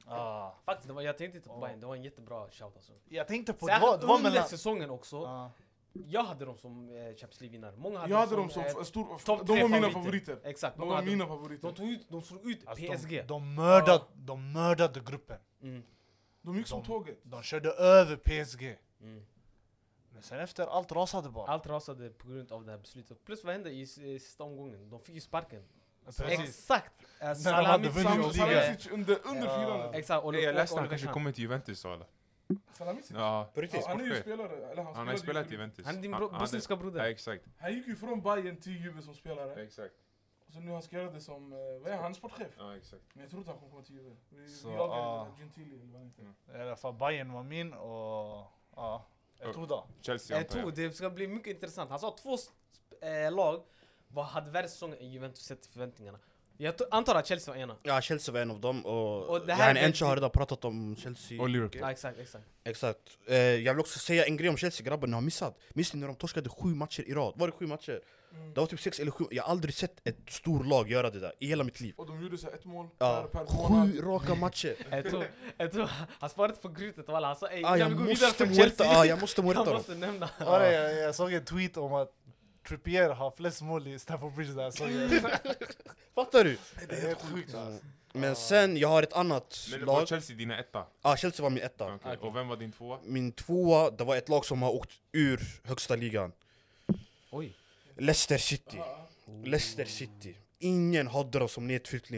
Ah.
Faktiskt, det var, jag tänkte inte på Bayern, det var en jättebra shout alltså.
Jag tänkte på, det var,
Särskilt
det var
under
mellan...
säsongen också.
Ah.
Jag hade dem som eh, Champions League-vinnare. Många hade
Jag hade dem
dem
som
eh,
f- stor...
topp
De
tre
var mina
favoriter.
favoriter.
Exakt,
De
många
var
hade
mina
dem.
favoriter.
De tog ut, de slog ut
Alltså,
PSG.
De, de, mördade,
Ah.
de mördade gruppen.
Mm.
De gick som
de-
tåget.
De körde över PSG.
Mm.
Men sen efter, allt rasade bara.
Allt rasade på grund av det här beslutet. Plus vad hände i, s- i sista omgången? De fick ju sparken.
Precis.
Exakt! Eh,
de hade
Salamic-
vunnit
Salamic-
ligan.
eh,
Salamic under, under
Ja.
firandet.
Exakt, och
Eh, Jag läste
och-
han
och-
kanske
han-
kommer till Juventus och alla.
Salamic?
Ja,
På riktigt?
Ja, han är ju
sportchef.
spelare. Eller han,
Han har
spelade
spelat i
ju-
Juventus.
Han är din bro-
hade-
bosniska
Ja,
broder.
exakt.
Han gick ju från Bayern till Juve som spelare.
Exakt.
Så nu han ska göra det som... eh, Vad är han? Sportchef?
Ja, exakt.
Men jag tror inte han kommer komma till Juve. Vi,
Så,
vi jagade
ah.
den där Gentili eller vad han heter.
I alla fall Bayern var min och... Ja, jag tog det.
Chelsea
Jag
antar
tror
jag.
det ska bli mycket intressant. Han sa två sp- eh, lag vad hade värre säsong än Juventus sett till förväntningarna. Jag to- antar att Chelsea var ena.
Ja Chelsea var en av dem och,
Och
och
det här
yani
är-
Enzo har redan pratat om Chelsea
Och Liverpool.
Ja, exakt, exakt.
Exakt, eh, jag vill också säga en grej om Chelsea grabbar, ni har missat Minns ni när de torskade sju matcher i rad? Var det sju matcher?
Mm.
Det var typ sex eller sju, jag har aldrig sett ett stor lag göra det där i hela mitt liv
Och de gjorde så här ett mål
ja.
per, per månad.
Sju raka matcher!
Jag tror, jag tror han sparade på grytet walla. Han sa ey,
Ah,
jag
jag,
vill gå vidare
måste
från
muerta,
Chelsea.
ah, jag måste
<laughs>
muerta
jag
dem!
måste nämna.
Ja. Jag, jag såg en tweet om att Trippier har flest mål i Stamford Bridge där jag såg det.
Fattar du?
Det är helt sjukt alltså.
Men sen, jag har ett annat
Men var
lag
Chelsea dina etta?
ah, Chelsea var min etta
Okej. Och vem var din tvåa?
Min tvåa, det var ett lag som har åkt ur högsta ligan
Oj.
Leicester City
Ja,
Leicester City ingen hade dem som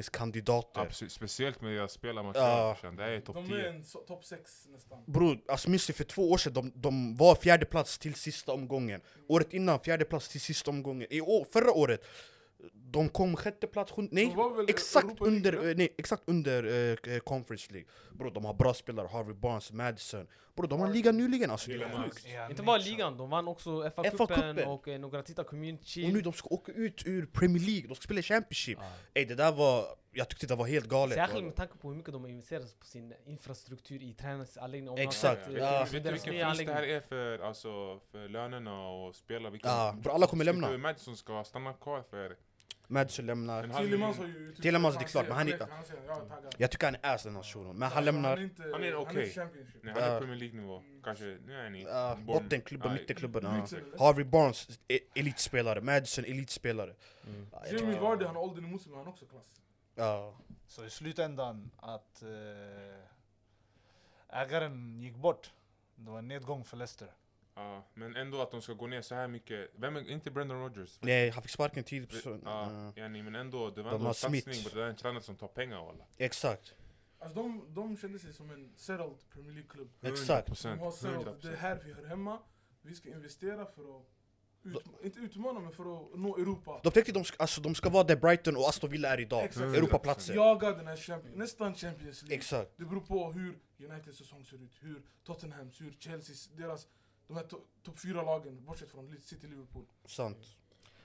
nedflyttningskandidater.
Absolut, speciellt med deras
Ja.
spelarmaterial. brorsan. Det är topp
De är
10.
en so- topp 6 nästan.
Bror, alltså minns ni för två år sedan, de, de var fjärde plats till sista omgången. Året innan, fjärde plats till sista omgången. I år, förra året, de kom sjätte plats, sjunde, nej,
De var väl
exakt
Europa League,
under,
eller?
eh, nej, exakt under eh, eh, Conference League. Bror, de har bra spelare, Harvey Barnes, Madison. Bror, de har en liga nyligen, alltså det är sjukt.
Ja,
Inte bara
Nietzsche.
ligan, de vann också
FA-cupen.
FA-cupen och eh, några tittar Community
Och nu
Shield.
de ska åka ut ur Premier League, de ska spela i Championship. Ey, det där var, jag tyckte det var helt galet.
Särskilt med tanke på hur mycket de har investerat på sin infrastruktur i träningsanläggningen.
Exakt,
Vet
ja.
du-
Ja.
Vet du vilken vinst det här är för, alltså, för lönerna och spelare? Vilken-
Ja, bror, alla kommer
Tycker
lämna.
du Madison ska stanna kvar för
Madison lämnar.
en halv miljon?
Tillemans har ju...
Tillemans, det är klart, men han är-
inte... Han säger jag är taggad.
Jag tycker han är ass den här shunon, men han
Alltså,
lämnar.
Han är inte...
Han är
Han är
okej.
inte Championship.
Nej, han är
Ja.
Premier League-nivå. Kanske, nu är ni...
Ja,
Bournemouth.
eh, bottenklubben,
Nej.
mittenklubben. ja.
Leeds eller?
Harvey Barnes, e- elitspelare. Madison, elitspelare. Ja,
Mm.
jag
Jamie
tycker-
Vardy, han har åldern emot sig men han är också klass.
Ja.
Så i slutändan att eh, ägaren gick bort. Det var en nedgång för Leicester.
Ja, men ändå att de ska gå ner så här mycket. Vem är, inte Brendan Rodgers?
Nej, han fick sparken tidigt på
Ja,
sön-
ja. ni, men ändå, det var
De
ändå
har
en satsning.
Smith.
bror. Det är en tränare som tar pengar walla.
Ja, Exakt.
Alltså de, de kände sig som en settled Premier League-klubb.
Exakt.
100%.
De har settled, det är
100%.
här vi hör hemma. Vi ska investera för att... Utma inte utmana men för att nå Europa.
De tänkte de ska, alltså, de ska vara där Brighton och Aston Villa är idag.
Exakt.
Europaplatser.
Jaga den här champion, nästan Champions League.
Exakt.
Det beror på hur Uniteds säsong ser ut, hur Tottenhams, hur Chelseas, deras... De här to- topp fyra lagen, bortsett från Leeds, City, Liverpool.
Sant.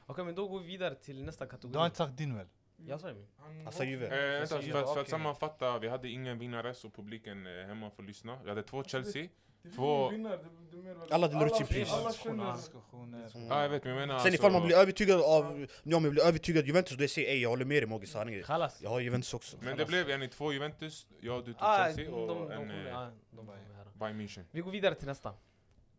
Okej men då går vi vidare till nästa kategori.
Du har inte sagt din väl?
Jag sa ju min.
Han
Alltså, Juve.
Eh, vänta,
Precis,
för, att- för
okej.
att sammanfatta, vi hade ingen vinnare så publiken eh, hemma får lyssna. Vi hade två
Mm.
Chelsea.
Det
Två-
finns ingen vinnare, det- det är mer väl-
Alla delar ut sitt
alla-
pris.
Alla
Diskussioner,
känner...
diskussioner.
Ja, jag vet, men jag menar
Mm.
alltså-
Sen ifall man blir övertygad av, ja, om jag blir övertygad Juventus då jag säger ey jag håller med dig Mogge sanningen.
Kallas.
Jag har Juventus också.
Men det blev en i två Juventus, jag du tog
Ah, de,
Chelsea och
de,
en
kommer,
eh,
ah, de kommer här.
Bayern München.
Vi går vidare till nästa.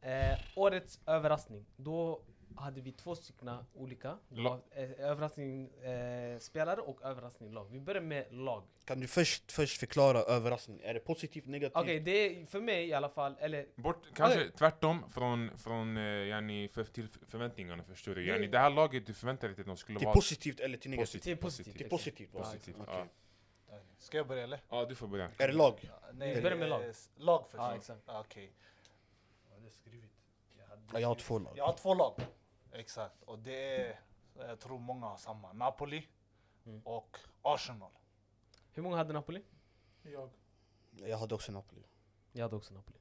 Eh, årets överraskning. Då hade vi två stycken olika. Det
La-
var, eh, överraskning eh, spelare och överraskning lag. Vi börjar med lag.
Kan du först, först förklara överraskning? Är det positivt, negativt?
Okej, det är för mig i alla fall, eller
Bort, kanske tvärtom från, från eh, yani, för, till förväntningarna förstår du. Yani, det här laget, du förväntade dig att de skulle
Till
vara
Typ positivt eller till negativt?
till
positivt.
positivt.
Till
exakt.
positivt va?
Positivt,
Ah,
Okej.
ja.
Ska jag börja eller?
Ja, du får börja.
Är det lag?
Nej,
Vi börjar med lag.
eh, s- Lag först.
Ja, exakt.
Ah, Okej. Vad hade jag skrivit? Jag hade
Ja, jag har
skrivit-
två lag.
Jag har två lag. Exakt. Och det är, jag tror många har samma. Napoli
Mm.
och Arsenal.
Hur många hade Napoli?
Jag.
Jag hade också Napoli.
Jag hade också Napoli.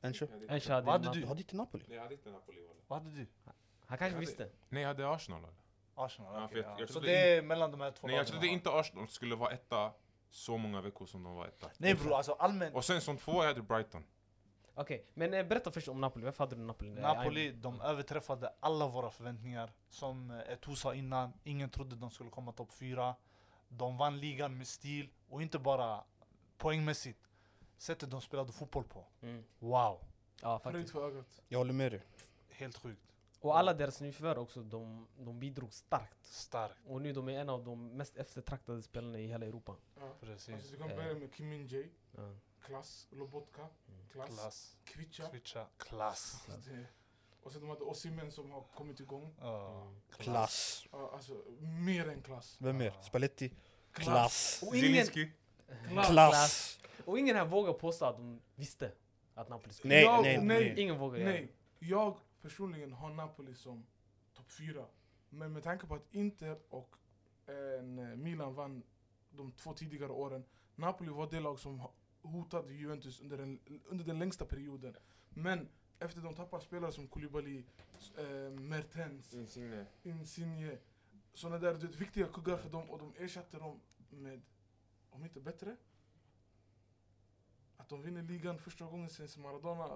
Enche?
En tjej hade
Vad hade
Napoli.
Du hade inte Napoli?
Nej, jag hade inte Napoli. walla.
Vad hade du?
Han kanske
hade-
visste.
Nej, jag hade Arsenal. walla.
Arsenal?
Ja,
Ja,
för jag- jag
Så
trodde
det är mellan de här två
Nej, jag
lagen
trodde
har.
inte Arsenal skulle vara etta så många veckor som de var etta.
Nej bror, alltså allmänt.
Och sen som två, jag hade Brighton.
Okej, men eh, berätta först om Napoli. Varför hade du Napoli? Eh,
Napoli, de överträffade alla våra förväntningar. Som eh, Eto'o sa innan, ingen trodde de skulle komma topp fyra. De vann ligan med stil och inte bara poängmässigt. Sättet de spelade fotboll på.
Mm.
Wow,
Ja,
Fröjd
faktiskt.
för ögat.
Jag håller med dig.
helt sjukt.
Och alla deras nyförvärv också, de, de bidrog starkt.
Starkt.
Och nu de är en av de mest eftertraktade spelarna i hela Europa.
Ja. Alltså,
Precis.
du kan
Eh.
börja med Kim Min Jae,
Ja.
klass. Lobotka, Mm, klass.
Klass.
Kvicha.
Switcha. Klass.
Alltså, det- Och sen de hade Osimhen som har kommit igång.
Ja,
Klass.
Ja, Alltså, mer än klass.
Vem mer? Spalletti?
Klass.
Klass.
Och ingen,
Klass.
Klass.
och ingen här vågar påstå att de visste att Napoli skulle
Nej,
Jag-
nej,
nej.
nej.
Ingen vågar göra
Nej, jag personligen har Napoli som topp fyra. Men med tanke på att Inter och en, eh, Milan vann de två tidigare åren. Napoli var det lag som ho- hotade Juventus under den, under den längsta perioden. Men efter de tappar spelare som Koulibaly, s- eh, Mertens,
Insigne.
Insigne. Såna där du vet, viktiga kuggar för dem och de ersatte dem med, om inte bättre, att de vinner ligan första gången sen Maradona.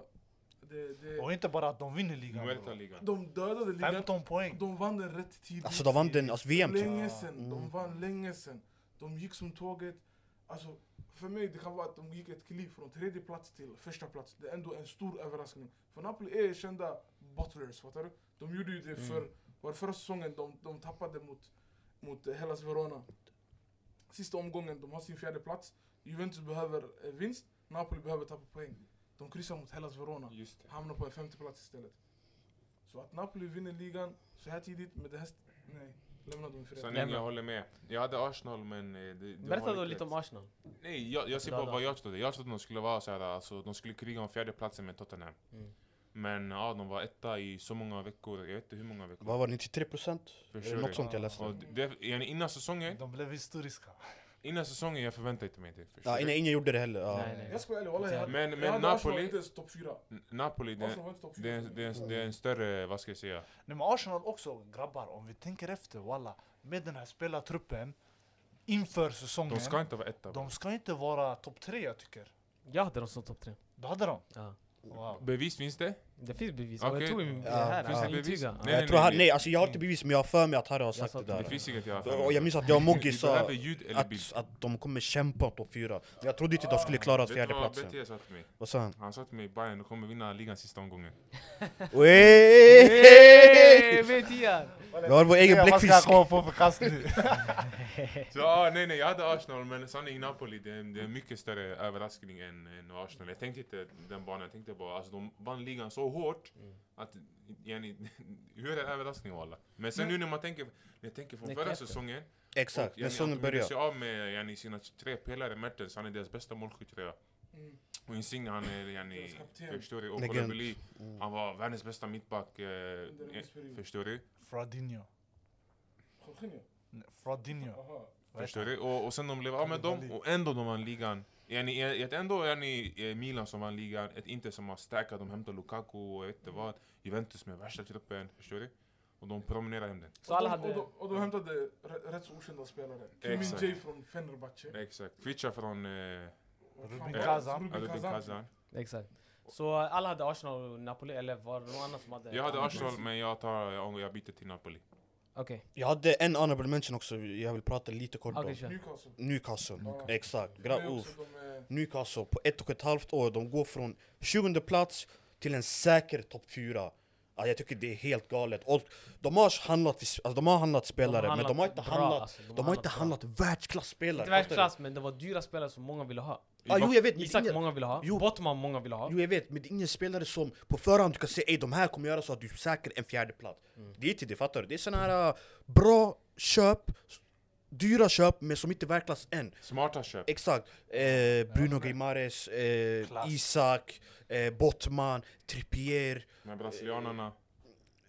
Det, det,
Och inte bara att de vinner ligan.
Muerta
bror.
ligan.
de dödade ligan.
15 poäng.
De vann den rätt tidigt.
Alltså de vann den, alltså VM typ.
länge sen.
Mm.
De vann länge sen. De gick som tåget. Alltså, för mig det kan vara att de gick ett kliv från tredje plats till första plats. Det är ändå en stor överraskning. För Napoli är kända butlers, fattar du? De gjorde ju det för, var det förra säsongen de, de tappade mot, mot eh, Hellas Verona. Sista omgången, de har sin fjärde plats. Juventus behöver eh, vinst, Napoli behöver tappa poäng. De kryssar mot Hellas Verona
Just det.
hamnar på en femte plats istället. Så att Napoli vinner ligan så här tidigt med det här... st- Nej. lämna dem i fred.
Sanning, jag håller med. Jag hade Arsenal men... eh, Det, det
Berätta
har
då
inte
lite om
rätt.
Arsenal.
Nej, jag, jag ser
Ja,
bara
då.
vad jag trodde. Jag trodde de skulle vara såhär, alltså de skulle kriga om fjärdeplatsen med Tottenham.
Mm.
Men ja, de var etta i så många veckor, jag vet inte hur många veckor.
Vad var det, 93%?
Förstår
Eller något
du?
sånt jag läste.
Och det, yani, innan säsongen,
De blev historiska.
innan säsongen jag förväntade inte mig det. förstår
Ja,
du?
ingen, ingen gjorde det heller. Ja.
Nej, nej.
Jag ska vara ärlig, wallahi, jag hade-
Men-
jag
men
hade Arsenal
Napoli-
inte ens topp fyra.
N- Napoli, det,
Arsenal var inte topp
det, är
fyra.
en- det, är en- det är en större, vad ska jag säga?
Nej, men Arsenal också, grabbar, om vi tänker efter, walla. Med den här spelartruppen, inför säsongen,
De ska inte vara etta.
de ska inte vara topp tre, jag tycker.
Jag hade dem som topp tre.
Då hade de.
Ja.
Wow.
Bevis finns det?
Det finns bevis. Och
Okej.
jag tog min- det
Ja.
här.
Finns
jag
det bevis?
intygar.
Nej, Mm.
jag tror han,
nej.
nej alltså jag har inte bevis men jag har för mig att Harry har
Jag
sagt
sa
det
till
Det
dig.
där.
finns inget jag har för mig.
Och jag minns att jag och Moggi
Vi
sa
behöver ljud eller bild.
att, att de kommer kämpa om topp fyra. Men Jag trodde inte de skulle klara
Vet du vad
fjärdeplatsen.
BT sa till mig?
Vad sa
<laughs>
han?
Han sa till mig Bayern de kommer vinna ligan sista omgången.
Hey,
<laughs> Wey!
vet jag.
Vi har vår egen
Vad ska jag
bläckfisk.
komma på för kast nu? <laughs>
Så ja, nej nej, jag hade Arsenal men sanning Napoli, det är, en- det är en mycket större överraskning än, än Arsenal. Jag tänkte inte den banan, jag tänkte bara alltså de vann ligan så hårt
Mm.
att, yani, <laughs> hur är det en överraskning walla? Men
Mm.
sen nu när man tänker, när jag tänker från
Det
förra
kräfter.
säsongen,
Exakt, när
yani,
säsongen
att de gjorde
börjar.
sig av med yani, sina tre pelare, Mertens, han är deras bästa målskytt tror jag.
Mm.
Och Insigne han är yani,
Deras kapten.
förstår du, och
Legend. Mm.
Kolobeli, han var världens bästa mittback, eh,
en viss period.
förstår du?
Frodinho.
Jorginho?
Nej, Frodinho.
Aha.
Vad heter
Förstår du? Och, och sen de blev av med dem och ändå de vann ligan. Yani, ett ändå är ni eh, Milan som vann ligan, ett inte som har stärkat, de hämtade Lukaku och jag vet inte vad. Juventus med värsta truppen, förstår du? Och de promenerar hem den.
Så alla
Och de-
hade...
Och de, och de hämtade re- rätt så okända spelare. Kimin
Exakt.
J från Fenerbahce.
Exakt. Kvicha från eh,
Och
Rubin
fan-
Kazan.
Rubin
Arudin Kazan.
Exakt. Så alla hade Arsenal och Napoli, eller var det någon annan som hade?
Jag hade Arsenal men jag, tar, jag, jag byter till Napoli.
Okej,
Jag hade en honorable mention också, jag vill prata lite kort
okej
om.
kör.
Newcastle.
Newcastle,
Ja.
exakt.
Det är
Gra- uff.
också de, eh,
Newcastle på ett och ett halvt år, de går från 20 plats till en säker topp 4. Ja, jag tycker det är helt galet. Och de har handlat, alltså de har handlat spelare, men de har inte
bra,
handlat,
alltså.
de har inte
bra.
handlat världsklasspelare.
Inte världsklass, men det var dyra spelare som många ville ha.
Ja, jo, jag vet, men det är
Isak
ingen,
många ville ha,
Jo.
Botman många ville ha.
jo, jag vet, men det är ingen spelare som på förhand du kan säga "Ey, de här kommer göra så att du säkrar en fjärde plats. Det är inte det, fattar du? Det är såna här äh, bra köp, s- dyra köp, men som inte är världsklass än.
Smarta köp.
Exakt. Eh, Bruno Guimares, eh,
Klass.
Isak, eh, Botman, Trippier.
Med brasilianarna.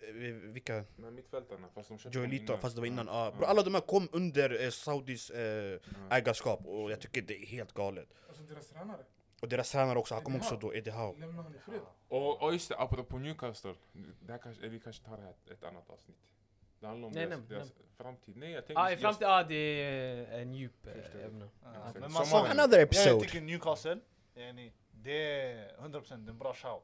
Eh, vilka?
Med mittfältarna. Fast de köpte dem
Joelito,
innan.
fast det var innan.
Ja.
Ah, bro, alla de här kom under eh, Saudis eh, ägarskap och jag tycker det är helt galet.
Alltså deras tränare.
Och deras tränare också, han kom
Eddie
också
Howe.
då, Eddie Howe.
Lämna han i fred.
Och, och just det, apropå Newcastle. Det här kanske, vi kanske tar ett, ett annat avsnitt. Det handlar om
Nej,
deras,
nej,
deras framtid. Nej, jag tänker...
Ja, i
jag-
framtiden, ja det är en djup eh,
Förstår.
ämne.
han?
Exakt.
Men man
Sommaren.
sa
Another
Jag
episode!
tycker Newcastle, yani, det är 100% en bra shout.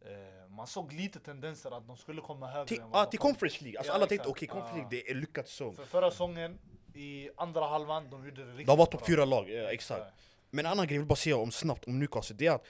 Eh, man såg lite tendenser att de skulle komma högre
Till,
än vad
ah,
de
till
kom.
Conference League, alltså
Ja,
alla tänkte
exakt.
okej, Conference
Ah.
League det är en lyckad säsong.
För förra säsongen, i andra halvan, de gjorde det riktigt
De var topp
bra.
fyra lag, ja, exakt.
Ja.
Men en annan grej jag vill bara säga om snabbt om Newcastle, det är att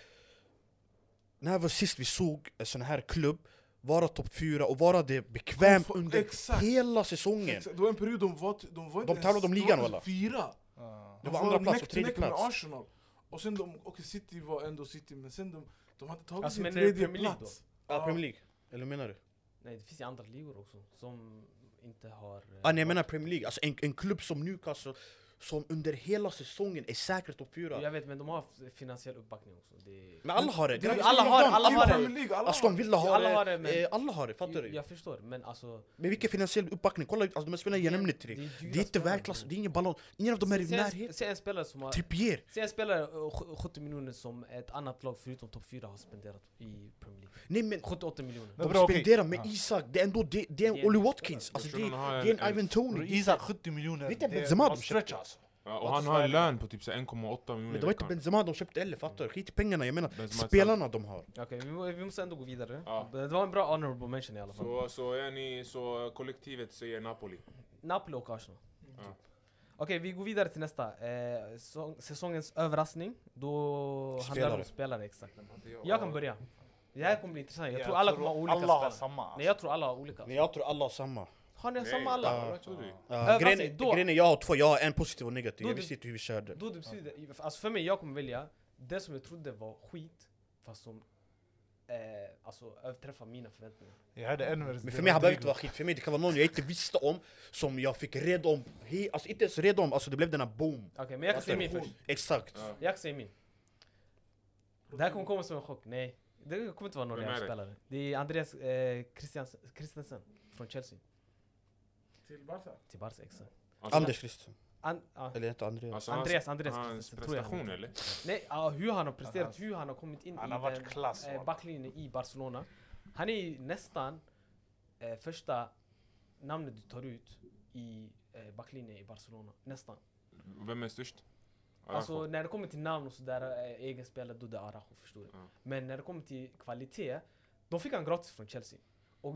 när var sist vi såg en sån här klubb vara topp fyra och vara det bekvämt
Konf-
under
exakt.
hela säsongen?
Exakt, Det var en period de var, de var inte
De tävlade om ligan,
de var
walla.
Fyra.
Ja.
Det var
Alltså,
andra plats och
neck to
tredje
neck med
plats.
Arsenal. Och sen de, okej City var ändå City, men sen de, de hade tagit
Alltså,
sin
men är det
tredje
Premier League
plats.
Ja, Premier League. Eller menar du?
Nej, det finns ju andra ligor också som inte har... eh,
Ah, nej, jag menar Premier League. Alltså en, en klubb som Newcastle som under hela säsongen är säker topp fyra.
Jag vet, men de har f- finansiell uppbackning också. Det är...
Men alla har det.
Det är
Grabbar,
alla har-
de-
alla har det.
Premier League, alla
Typ Aston
har det.
Villa har
Alla
det.
har det, men-
eh, alla har det, fattar du?
Jag förstår, men alltså...
Men vilken finansiell uppbackning? Kolla alltså, de här spelarna jag nämnde till
det
dig.
är dyra
Det är inte
spelare.
världsklass, det är ingen ballong. Ingen av dem är i
Se en-
närheten. Typ-
Se en spelare som har...
Trippier!
Se en spelare eh, sj- 70 miljoner som ett annat lag förutom topp 4 har spenderat i Premier
<laughs>
League.
Nej men
78 miljoner.
Men
de
bra, okej.
spenderar med
Ja.
Isak, det är ändå det, det är
Det
en
är
Olly
en-
Watkins, alltså det,
Personen har
är-
en-
det är en Ivan
Bror,
Tony.
Isak 70 miljoner,
Vet jag,
det-
Benzema
man
de
stretch alltså.
Ja,
Låt
och
oss
han har
vara
en
ärliga.
lön på typ så 1,8 miljoner
Men
i
det var inte
veckan.
Benzema de köpte heller, fattar du? Skit i pengarna, jag menar
Benzema-
spelarna de har.
Okej, vi, må- vi måste ändå gå vidare.
Ja.
Det var en bra honorable mention i alla fall.
Så, så, är ni, så kollektivet säger Napoli.
Napoli och Arsenal.
Mm.
Ja.
Typ. Okej, vi går vidare till nästa. Eh, så, säsongens överraskning. Då handlar det om
Spelare.
spelare, exakt. Jag kan börja. Det här kommer bli intressant. Jag
Jag
tror alla
tror
kommer ha olika
alla har
spelare.
samma,
Nej, jag tror alla har olika.
Men jag tror alla har samma.
Har ni
Nej,
samma alla?
ja, jag tror det.
Uh,
Överraskning,
grejen,
alltså, då-
grejen är jag har två, jag har en positiv och negativ.
Då
Jag
du-
visste inte hur vi körde.
Då typ det betyder, alltså för mig, jag kommer välja det som jag trodde var skit, fast som eh, alltså, överträffa mina förväntningar.
Jag hörde en vers.
Men för mig han behöver inte vara skit, för mig det kan vara någon jag inte visste om Som jag fick red om, He- alltså inte ens red om, alltså det blev den här boom
Okej, men jag kan
Alltså,
säga min
hon-
först.
Exakt
Ja.
Jag kan säga min. Det här kommer komma som en chock. Nej, det kommer inte vara några
Vem är det?
spelare. Det är Andreas eh, Christians- Christensen från Chelsea
Till Barca?
till Barca. Exakt.
Alltså,
Anders Christian,
An- ja.
eller inte Andreas
alltså, hans-
Andreas, Andreas
Hans
Christensen, tror jag han
prestation
heter.
eller?
Nej, ja, hur han har presterat,
Hans-
hur han har kommit in
Han
i
har varit
den,
klass,
eh,
wallah.
backlinjen i Barcelona. Han är ju nästan eh, första namnet du tar ut i eh, backlinjen i Barcelona. Nästan.
Vem är störst?
Alltså
Araujo.
när det kommer till namn och sådär, eh, egen spelare, då det är Araujo förstår du.
Ja.
Men när det kommer till kvalitet, då fick han gratis från Chelsea. Och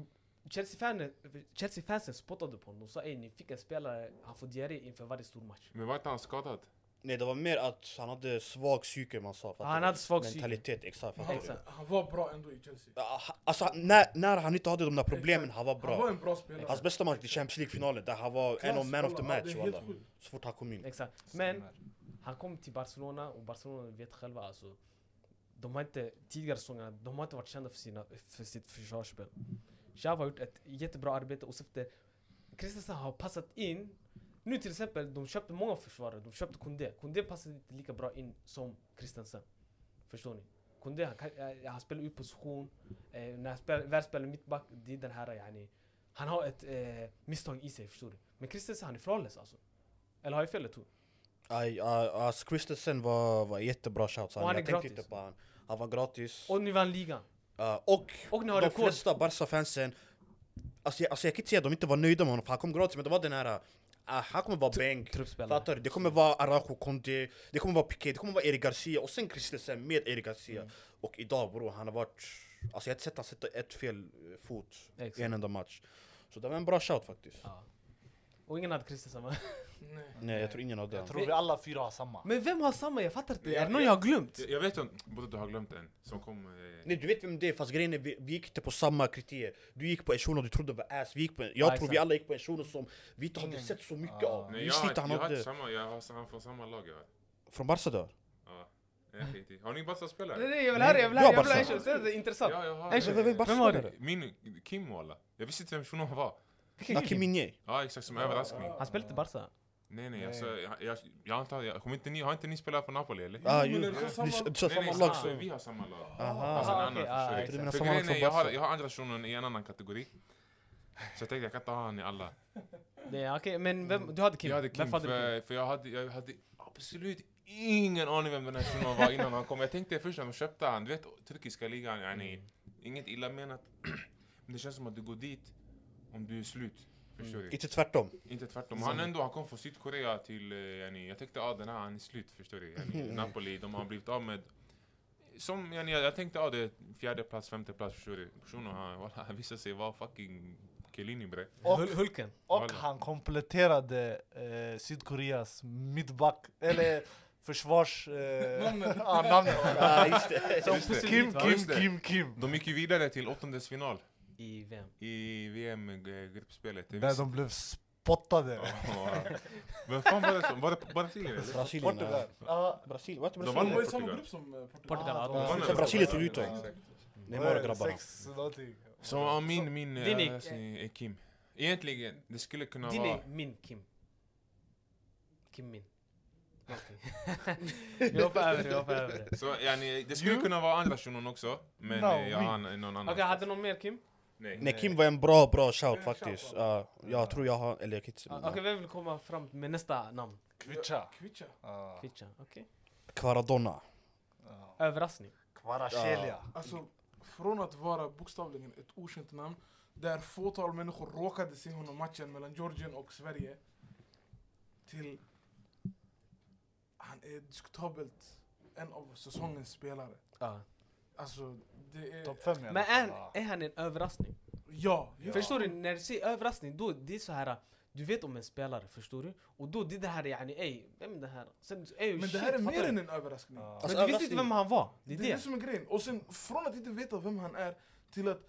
Chelsea-fansen Chelsea spottade på honom och sa ey ni fick en spelare, han får diarré inför varje stor match.
Men var inte han skadad?
Nej det var mer att han hade svag psyke man sa fattar
Ah, Han
du?
hade svag psyke.
Mentalitet, exakt fattar du?
Exakt.
Han var bra ändå i Chelsea.
Ja, ha- Alltså när, när han inte hade de där problemen, han var
Han var
bra
en bra spelare.
Hans bästa match i Champions League-finalen där han var en
Klass,
av man of the
wallah. Ja,
match
det är helt
wallah
sjukt.
Så fort han kom in
Exakt. Men han kom till Barcelona och Barcelona vet själva alltså. De har inte, tidigare säsongerna, de har inte varit kända för, sina, för sitt försvarsspel. Xhava har gjort ett jättebra arbete och efter Christensen har passat in. Nu till exempel, de köpte många försvarare. De köpte Koundé. Koundé passade inte lika bra in som Christensen. Förstår ni? Koundé, han, kan- eh, han spelar ut position. Eh, när han spelar, väl spelar mittback, det är den här yani. Han har ett eh, misstag i sig, förstår du? Men Christensen, han är flawless alltså. Eller har jag fel Tor?
Aj, aj, alltså Christensen var, var jättebra shout, så
Och han
han, jag
är
tänkte
gratis.
inte på han Han var gratis
Och ni vann ligan.
Ja, och,
Och ni har
de
rekord.
flesta Barca-fansen Alltså jag, alltså jag kan inte säga att de inte var nöjda med honom för han kom gratis men det var den här ah, Han kommer vara bänk
Truppspelare.
Fattar du? Det kommer vara Araujo, Conte, det kommer vara Piqué, det kommer vara Erik Garcia och sen Christensen med Erik Garcia
Mm.
Och idag bror, han har varit Alltså jag har inte sett han sätta ett fel eh, fot
Exakt.
i en enda match Så det var en bra shout faktiskt
Ja. Och ingen hade Christensen va?
Nej.
Nej jag tror ingen av dem
Jag tror vi alla fyra har samma.
<laughs> Men vem har samma? Jag fattar inte.
Ja,
är det någon
ja.
jag har glömt?
Jag, jag vet inte, både du har glömt en som kom... Eh,
Nej du vet vem det är fast grejen är vi, vi gick inte på samma kriterier Du gick på en shuno du trodde var ass, vi gick på en, jag
Ja,
tror
exakt.
vi alla gick på en shuno som vi inte hade
Ingen-
sett så mycket
Ah.
nej,
av Vi
jag,
visste
har inte-
inte han
jag har
hade
inte samma, jag har han från samma lag jag har.
Från Barca då?
Ja. Jag skiter i. Har ni Barca-spelare?
Nej, nej, jag vill höra, jag vill höra,
Jag
jag vill
bara
höra.
sa-
Säg det, det är intressant.
Ja, jag har...
Nej,
eh,
så
vem- vem Barca-
Vem var det?
Min Kim walla. Jag visste inte vem shunon var.
Naki Minye
Ja, exakt, som överraskning.
Han spelade inte Barca.
Nej, nej, alltså, jag, jag, jag antar... Jag, kommer inte ni, har inte ni spelat för Napoli eller?
Ah,
men
jo,
det
du
är så samma-
du sa
nej, nej,
samma lag
så-
som...
Vi har samma lag. Alltså
Ah,
en
Aha!
annan,
okej,
förstår
ah,
du?
exakt.
Du menar
För
samma
grejen
lag
är,
som
jag, har,
Barca?
jag har andra shunon i en annan kategori. Så jag tänkte jag kan inte ha han i alla.
Nej, okej, men vem, du hade Kim?
Jag hade Kim,
Varför hade du Kim?
för, för jag, hade, jag hade absolut ingen aning vem den här shunon var innan han kom. Jag tänkte först när de köpte han, du vet turkiska ligan, yani,
Mm.
inget illa menat. <clears throat> Men det känns som att du går dit om du är slut. Förstår du?
Inte tvärtom
Inte tvärtom. Han ändå, han kom från Sydkorea till, eh, yani, jag tänkte ah, den här, han är slut förstår du.
<laughs>
Yani, Napoli, de har blivit av med som yani, jag, jag tänkte, ah, det är fjärde plats, femte plats, förstår du. Shunon, <laughs> han, walla, han visade sig vara fucking Chiellini bre.
Och,
Hul- Hulken.
och han kompletterade eh, Sydkoreas mittback, eller försvars... Eh,
Namnet.
<laughs> ja, namnet.
ah, just det.
Så
Just det.
Kim,
Va?
Just
Kim,
det.
Kim, Kim.
De gick ju vidare till åttondelsfinal
I vem?
i eh, VM-gruppspelet.
Där de blev spottade.
<laughs> Vem fan var det som, var det Brasilien eller?
Brasilien
Portugal.
ja.
Ja,
Brasilien, vad heter
De
De
vann
Brasilien?
var
mot Portugal.
i samma grupp som eh, Portugal.
Portugal.
Ah,
hade-
Vann
Så Brasilien tog
eller?
ut dem.
Exakt.
Neymar och grabbarna
Sex någonting.
Så ja, min, min,
Din
eh,
är-
alltså, är Kim. Egentligen, det skulle kunna
Din
vara...
är min Kim. Kim min. <laughs> Okej. Vi hoppar över det, vi hoppar över det.
Så yani, det skulle
You?
kunna vara andra shunon också, men
No,
eh, jag
we-
har an- någon annan.
Okej, hade någon mer Kim?
Nej.
Nej Kim var en bra bra shout faktiskt
shout,
Ja, Jag tror jag har, eller jag kan inte
Ah, Okej,
säga
vem vill komma fram med nästa namn?
Kvicha.
Kvicha.
Ja.
Kvicha, okej.
Kvaradonna
Ah.
Ja.
Överraskning.
Kvarashelia.
Alltså, från att vara bokstavligen ett okänt namn där fåtal människor råkade se honom matchen mellan Georgien och Sverige till han är diskutabelt en av säsongens spelare.
Ja.
Alltså, det är...
Topp fem i alla
Men är,
fall.
är han en överraskning?
Ja!
Ja.
Förstår du? När du säger överraskning, då det är så här du vet om en spelare, förstår du? Och då det är det här yani, ey, vem är det här? Sen, ey,
Men det
shit,
här är
fattar
mer
du?
än en överraskning.
Ja.
Men
Alltså,
du visste inte
överraskning-
vem han var, det är
Det är det
det.
som är grejen. Och sen från att inte veta vem han är till att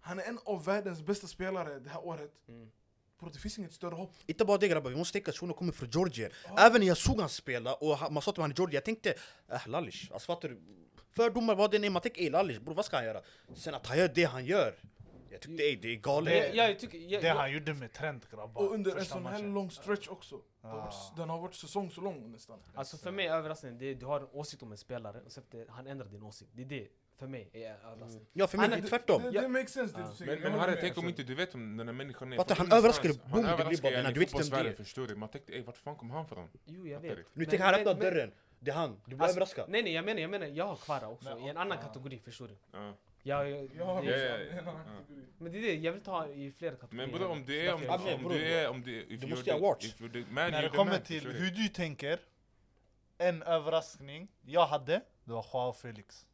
han är en av världens bästa spelare det här året.
Mm.
Bro, det finns inget större hopp.
Inte bara det grabbar, vi måste tänka att shunon kommer från
Ah.
Georgien Även när jag såg han spela och ha- man sa att han är Georgien, jag tänkte eh, lallish, "Äh, alltså fattar du? fördomar, vad det än är. Man tänker ey Lalish bror vad ska han göra? Sen att han gör det han gör. Jag tyckte ey det är galet.
Jag, jag tycker... Jag,
Det
jag,
han gjorde med Trent grabbar.
Och under en
första
sån här
matchen.
lång stretch också. Det har
Ah.
varit, den har varit säsong så lång nästan.
alltså för mig är överraskningen det är du har en åsikt om en spelare och sen efter han ändrar din åsikt. Det är det, för mig, är överraskningen.
Ja för mig
Han-
är det tvärtom.
Det, det makes sense det du säger.
Men, men
Jag håller
Harry,
med.
tänk om inte du vet om den här människan är...
Fattar,
För
han överraskar
ingenstans.
boom, det blir
överraskar
bara den
en
här,
i
du vet inte vem
fotbollsvärlden,
det är.
förstår du? Man tänkte ey vart fan kom han från?
Jo, jag
Fattar
vet.
du?
Nu
Men-
tänker han
men-
öppna
men-
dörren. Det är han. Du blir
Alltså,
överraskad.
Nej nej jag menar, jag menar, jag har Kvara också
Men,
i en annan
ah.
kategori förstår du.
Ja.
Jag, jag,
Ja,
det,
ja, ja.
det är en annan kategori.
Men det är det, jag vill ta i flera kategorier.
Men bror om du är... Om,
Därför-
Ja, men
om du är... Om du, if
Du
you're
måste
the-
göra watch.
if you're the man,
När det
you're the
kommer
man,
till
förstår du?
hur du tänker, en överraskning jag hade, det var Joao Felix.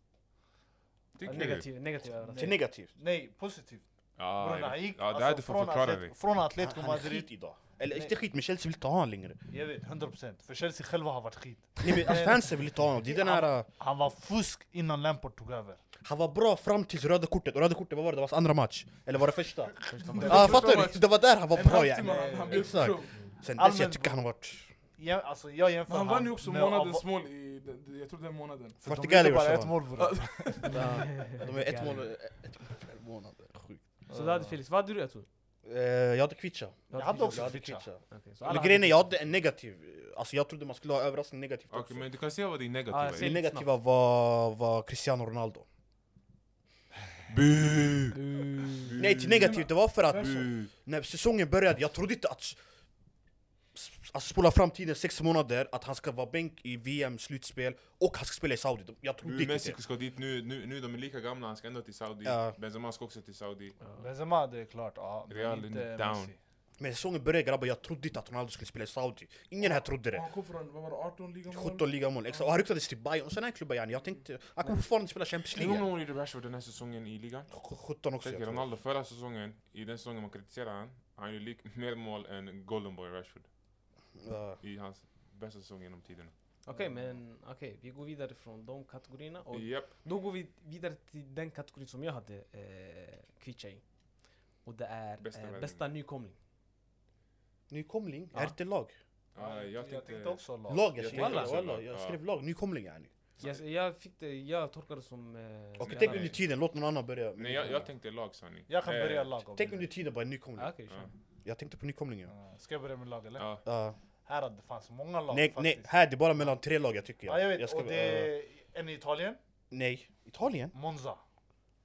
Tycker du?
Negativ, negativ
Det är
överraskning.
negativt.
Nej, positivt.
Ja,
Bror,
jag
han
vet.
gick
ja, det
alltså,
här du får
från,
förklara
Atlet-
dig.
från
Han,
Atletico
han är
Madrid.
skit idag. Eller inte skit men Chelsea vill inte ha honom längre.
Jag vet, 100%. För Chelsea själva har varit skit.
<laughs>
Nej, men,
Eh,
alltså, fansen vill inte ha honom. Det är den här... äh,
Han var fusk innan Lampard tog över.
Han var bra fram tills röda kortet. Och röda kortet, vad var det? Det var hans andra match. Eller var det första?
Det
Ja
var
ah, fattar
första
du? Det var där han var
matchen. En halvtimme
bra ja.
han- han blev
Exakt.
pro.
Sen
Allmänt
dess jag tycker han har varit...
Ja, alltså, jag jämför
Men han vann ju också
med
månadens
Ava-
mål i, den- den- jag tror den månaden.
För de
Portugal
gjorde
i
bara
år,
ett
så.
mål bror.
<laughs>
De är ett mål... Ett mål per månad. Sjukt.
Så du hade Felix, vad hade du jag tror?
Eh, Jag hade Kvicha.
Jag
Jag hade också
Jag hade
Kvicha.
Kvicha.
Okej, så alla
Men
hade-
grejen är, jag hade en negativ. Alltså jag trodde man skulle ha överraskning negativt också.
Okej, men du kan se vad din
Ja,
negativa
jag ser-
Min
är.
negativa var, var Cristiano Ronaldo.
Bu!
Du-
Nej, till negativt, alltså. det var för att
Mm.
Bu!
när säsongen började, jag trodde inte att s- s- alltså, spola framtiden sex månader, att han ska vara bänk i VM-slutspel och han ska spela i Saudi. Jag trodde
Nu
inte
Messi
det.
ska dit, nu, nu, nu de är lika gamla, han ska ändå till Saudi.
Ja.
Benzema ska också till Saudi.
Benzema, det är klart. Ja, men
Real
inte
är down.
Messi.
Men säsongen började grabbar, jag trodde inte att Ronaldo skulle spela i Saudi. Ingen här trodde
Och
det.
han kom från, vad var det, 18 ligamål?
17 ligamål, exakt. Och han ryktades till Bayern och sen är han i klubbar yani. Jag tänkte, han kommer fortfarande spela Champions
Hur många
League.
mål gjorde Rashford den här säsongen i ligan?
17 också.
Tänk
jag
er,
tror.
Ronaldo förra säsongen, i den säsongen man kritiserar han, han gjorde lik- mer mål än Golden Boy Rashford
Ja.
i hans bästa säsong genom tiden.
Okej men okej, vi går vidare från de kategorierna och
Japp,
då går vi vidare till den kategorin som jag hade eh, Kvicha i. Och det är
Bästa
bästa, eh,
värvning.
bästa nykomling.
Nykomling?
Ja.
Är det lag?
ja, jag tänkte...
också lag.
jag
Lag jag
tänkte
skrev,
också
walla,
lag,
jag
ja.
skrev lag, nykomling yani.
Jag, jag, fick det, jag tolkar det som... Eh,
Okej, tänk
spelare.
under tiden, låt någon annan börja.
Nej, jag, jag tänkte lag sa ni.
Jag kan
Eh,
börja lag. om
Tänk
du
under
vill.
tiden bara en
Ah,
nykomling.
Okej,
Ja.
kör.
Jag tänkte på nykomlingen. Ja.
Ja, Ska jag börja med lag eller?
Ja.
Ja.
Här hade det fanns många lag
nej,
faktiskt.
nej, här det är bara mellan tre lag jag tycker.
Ja, jag vet,
ska-
och det
eh,
är en i Italien,
nej, Italien?
Monza.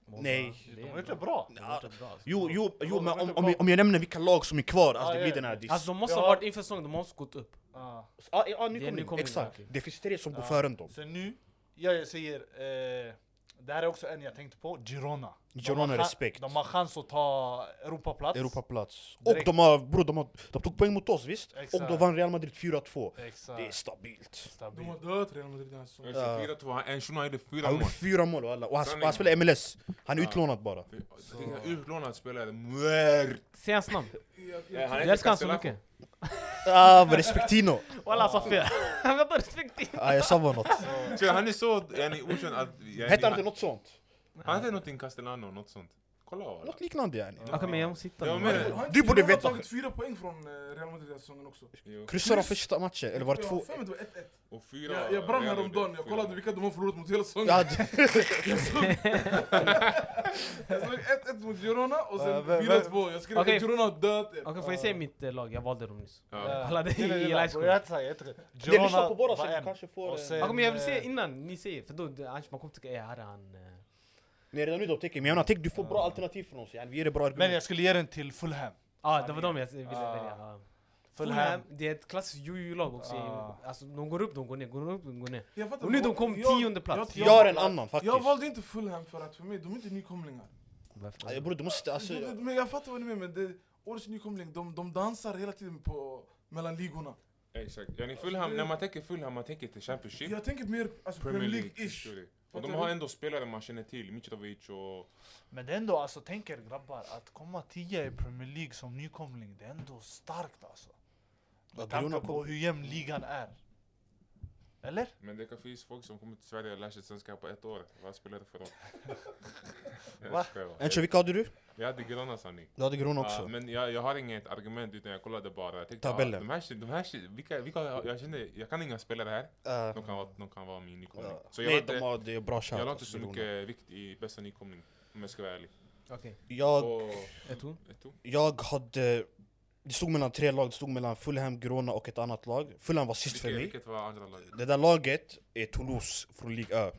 Monza.
Nej.
Det
De
är
var inte
bra.
bra.
De har varit bra, alltså.
Jo, jo,
de
jo men
var
om,
inte
om,
bra.
jag, om jag nämner vilka lag som är kvar, alltså
Ja,
det
jag
blir
vet.
den här diss.
Alltså de måste
Ja.
ha varit inför säsongen, de måste gått upp.
Ja.
ja, ja,
Det är
nykomling.
nykomling,
Exakt.
okej.
Det finns tre som går
Ja.
före dem.
Så nu, ja, jag säger, eh, det här är också en jag tänkte på, Girona. De
Girona,
har chan-
respekt.
De har chans att ta Europaplats.
Europaplats. Och
Direkt.
de har, bro, de, har, de tog poäng mot oss visst? Och
Exakt.
de vann Real Madrid 4-2.
Exakt.
Det är stabilt.
De
stabilt.
har dödat Real Madrid den här säsongen.
Alltså, fyra, två, han- en shuno gjorde fyra
Han
mål.
gjorde fyra mål och alla. Och han,
Sanning.
han spelar MLS. Han är utlånad bara.
Jag tänkte, Utlånad spelare, mört!
Säg hans namn.
Jag, jag,
Eh, han
Jag
heter
älskar han så
Castellaffo.
mycket.
Ah, men Respectino!
Walla sa <laughs> fel. Vänta respektive.
Ah, jag sa
<laughs>
bara något.
Så han är så yani, okänd att... yani,
Hette han inte något sånt?
Han hette någonting Castellano, något sånt. Kolla walla.
Något liknande yani.
Okej men jag måste hitta
Ja,
den.
men-
Har inte
Du borde
Girona
veta.
tagit fyra poäng från eh, Real Madrid den här säsongen också.
Jo.
Kryssar de första matchen, eller var det
Jag
två?
har för mig det var 1-1.
Och fyra...
Jag, jag brann
Real
häromdagen,
gjorde
jag
fyra
kollade
mål.
vilka de har förlorat mot hela säsongen.
Ja,
<laughs>
Jag såg 1-1 mot Girona och
Ja,
sen
vem-
4-2. Jag skrev
Okej.
att Girona har dödat er.
Okej får jag säga mitt eh, lag? Jag valde dem nyss.
Ja.
Alla, det är
Nej, nej, nej,
i
nej,
live school.
Jag hette så här, jag hette-
Nej, lyssna
Girona
på båda så
var
du
en.
kanske får...
Och
eh,
sen-
Okej men jag vill
eh,
säga innan ni säger, för då det- annars man kommer tycka eh här är han... eh,
Nej redan nu då, tänker men jag menar, tänk du får bra alternativ från oss yani, vi ger dig bra
Men jag
argument.
skulle ge den till Fulham.
Ja det var dem jag ville
Ah.
välja. ja.
Fulham.
Fulham, det är ett klassiskt jojo-lag också.
Ah.
Alltså de går upp, de går ner, går upp, de går ner.
Jag fattar,
Och nu
men
de kom
jag-
tionde plats.
Jag har en annan faktiskt.
Jag valde inte Fulham för att för mig, de är inte nykomlingar.
Ja, Bror du måste alltså...
Du- du- Men jag fattar vad ni menar, men det, årets nykomling, de, de dansar hela tiden på, mellan ligorna.
Exakt. Yani Fulham, när man tänker Fulham, man tänker till Championship.
Jag tänker mer alltså,
Premier League-ish.
League-ish.
Och de
Fattar
har
du?
ändå spelare man känner till, Mitrovic och...
Men det är ändå, alltså tänk er grabbar, att komma 10 i Premier League som nykomling, det är ändå starkt alltså.
Ja,
Med tanke på
Girona kom-
hur jämn ligan är. Eller?
Men det kan finnas folk som kommer till Sverige och lär sig svenska på ett år. Vad spelar det för <laughs> roll? Jag
Va?
skojar bara.
Enche, vilka hade du?
Jag hade gröna sanning.
Du hade grön
Ja,
också.
men jag, jag har inget argument utan jag kollade bara. Jag tänkte,
Tabellen.
ah, de här, shit- de här, shit- vilka, vilka, jag kände, jag kan inga spelare här.
Eh,
De kan vara, de kan vara min nykomling.
ja.
Så jag
Nej,
la
de
inte,
har det är bra
jag
shout.
la inte så
alltså, Luna.
mycket vikt i bästa nykomling. Om jag ska vara ärlig.
Okej,
Jag,
Och,
ett ton.
ett ord.
jag hade... Det stod mellan tre lag, det stod mellan Fulham, Grona och ett annat lag. Fulham var sist för
Vilket-
mig.
Vilket var andra laget?
Det där laget är Toulouse från Ligue Ö.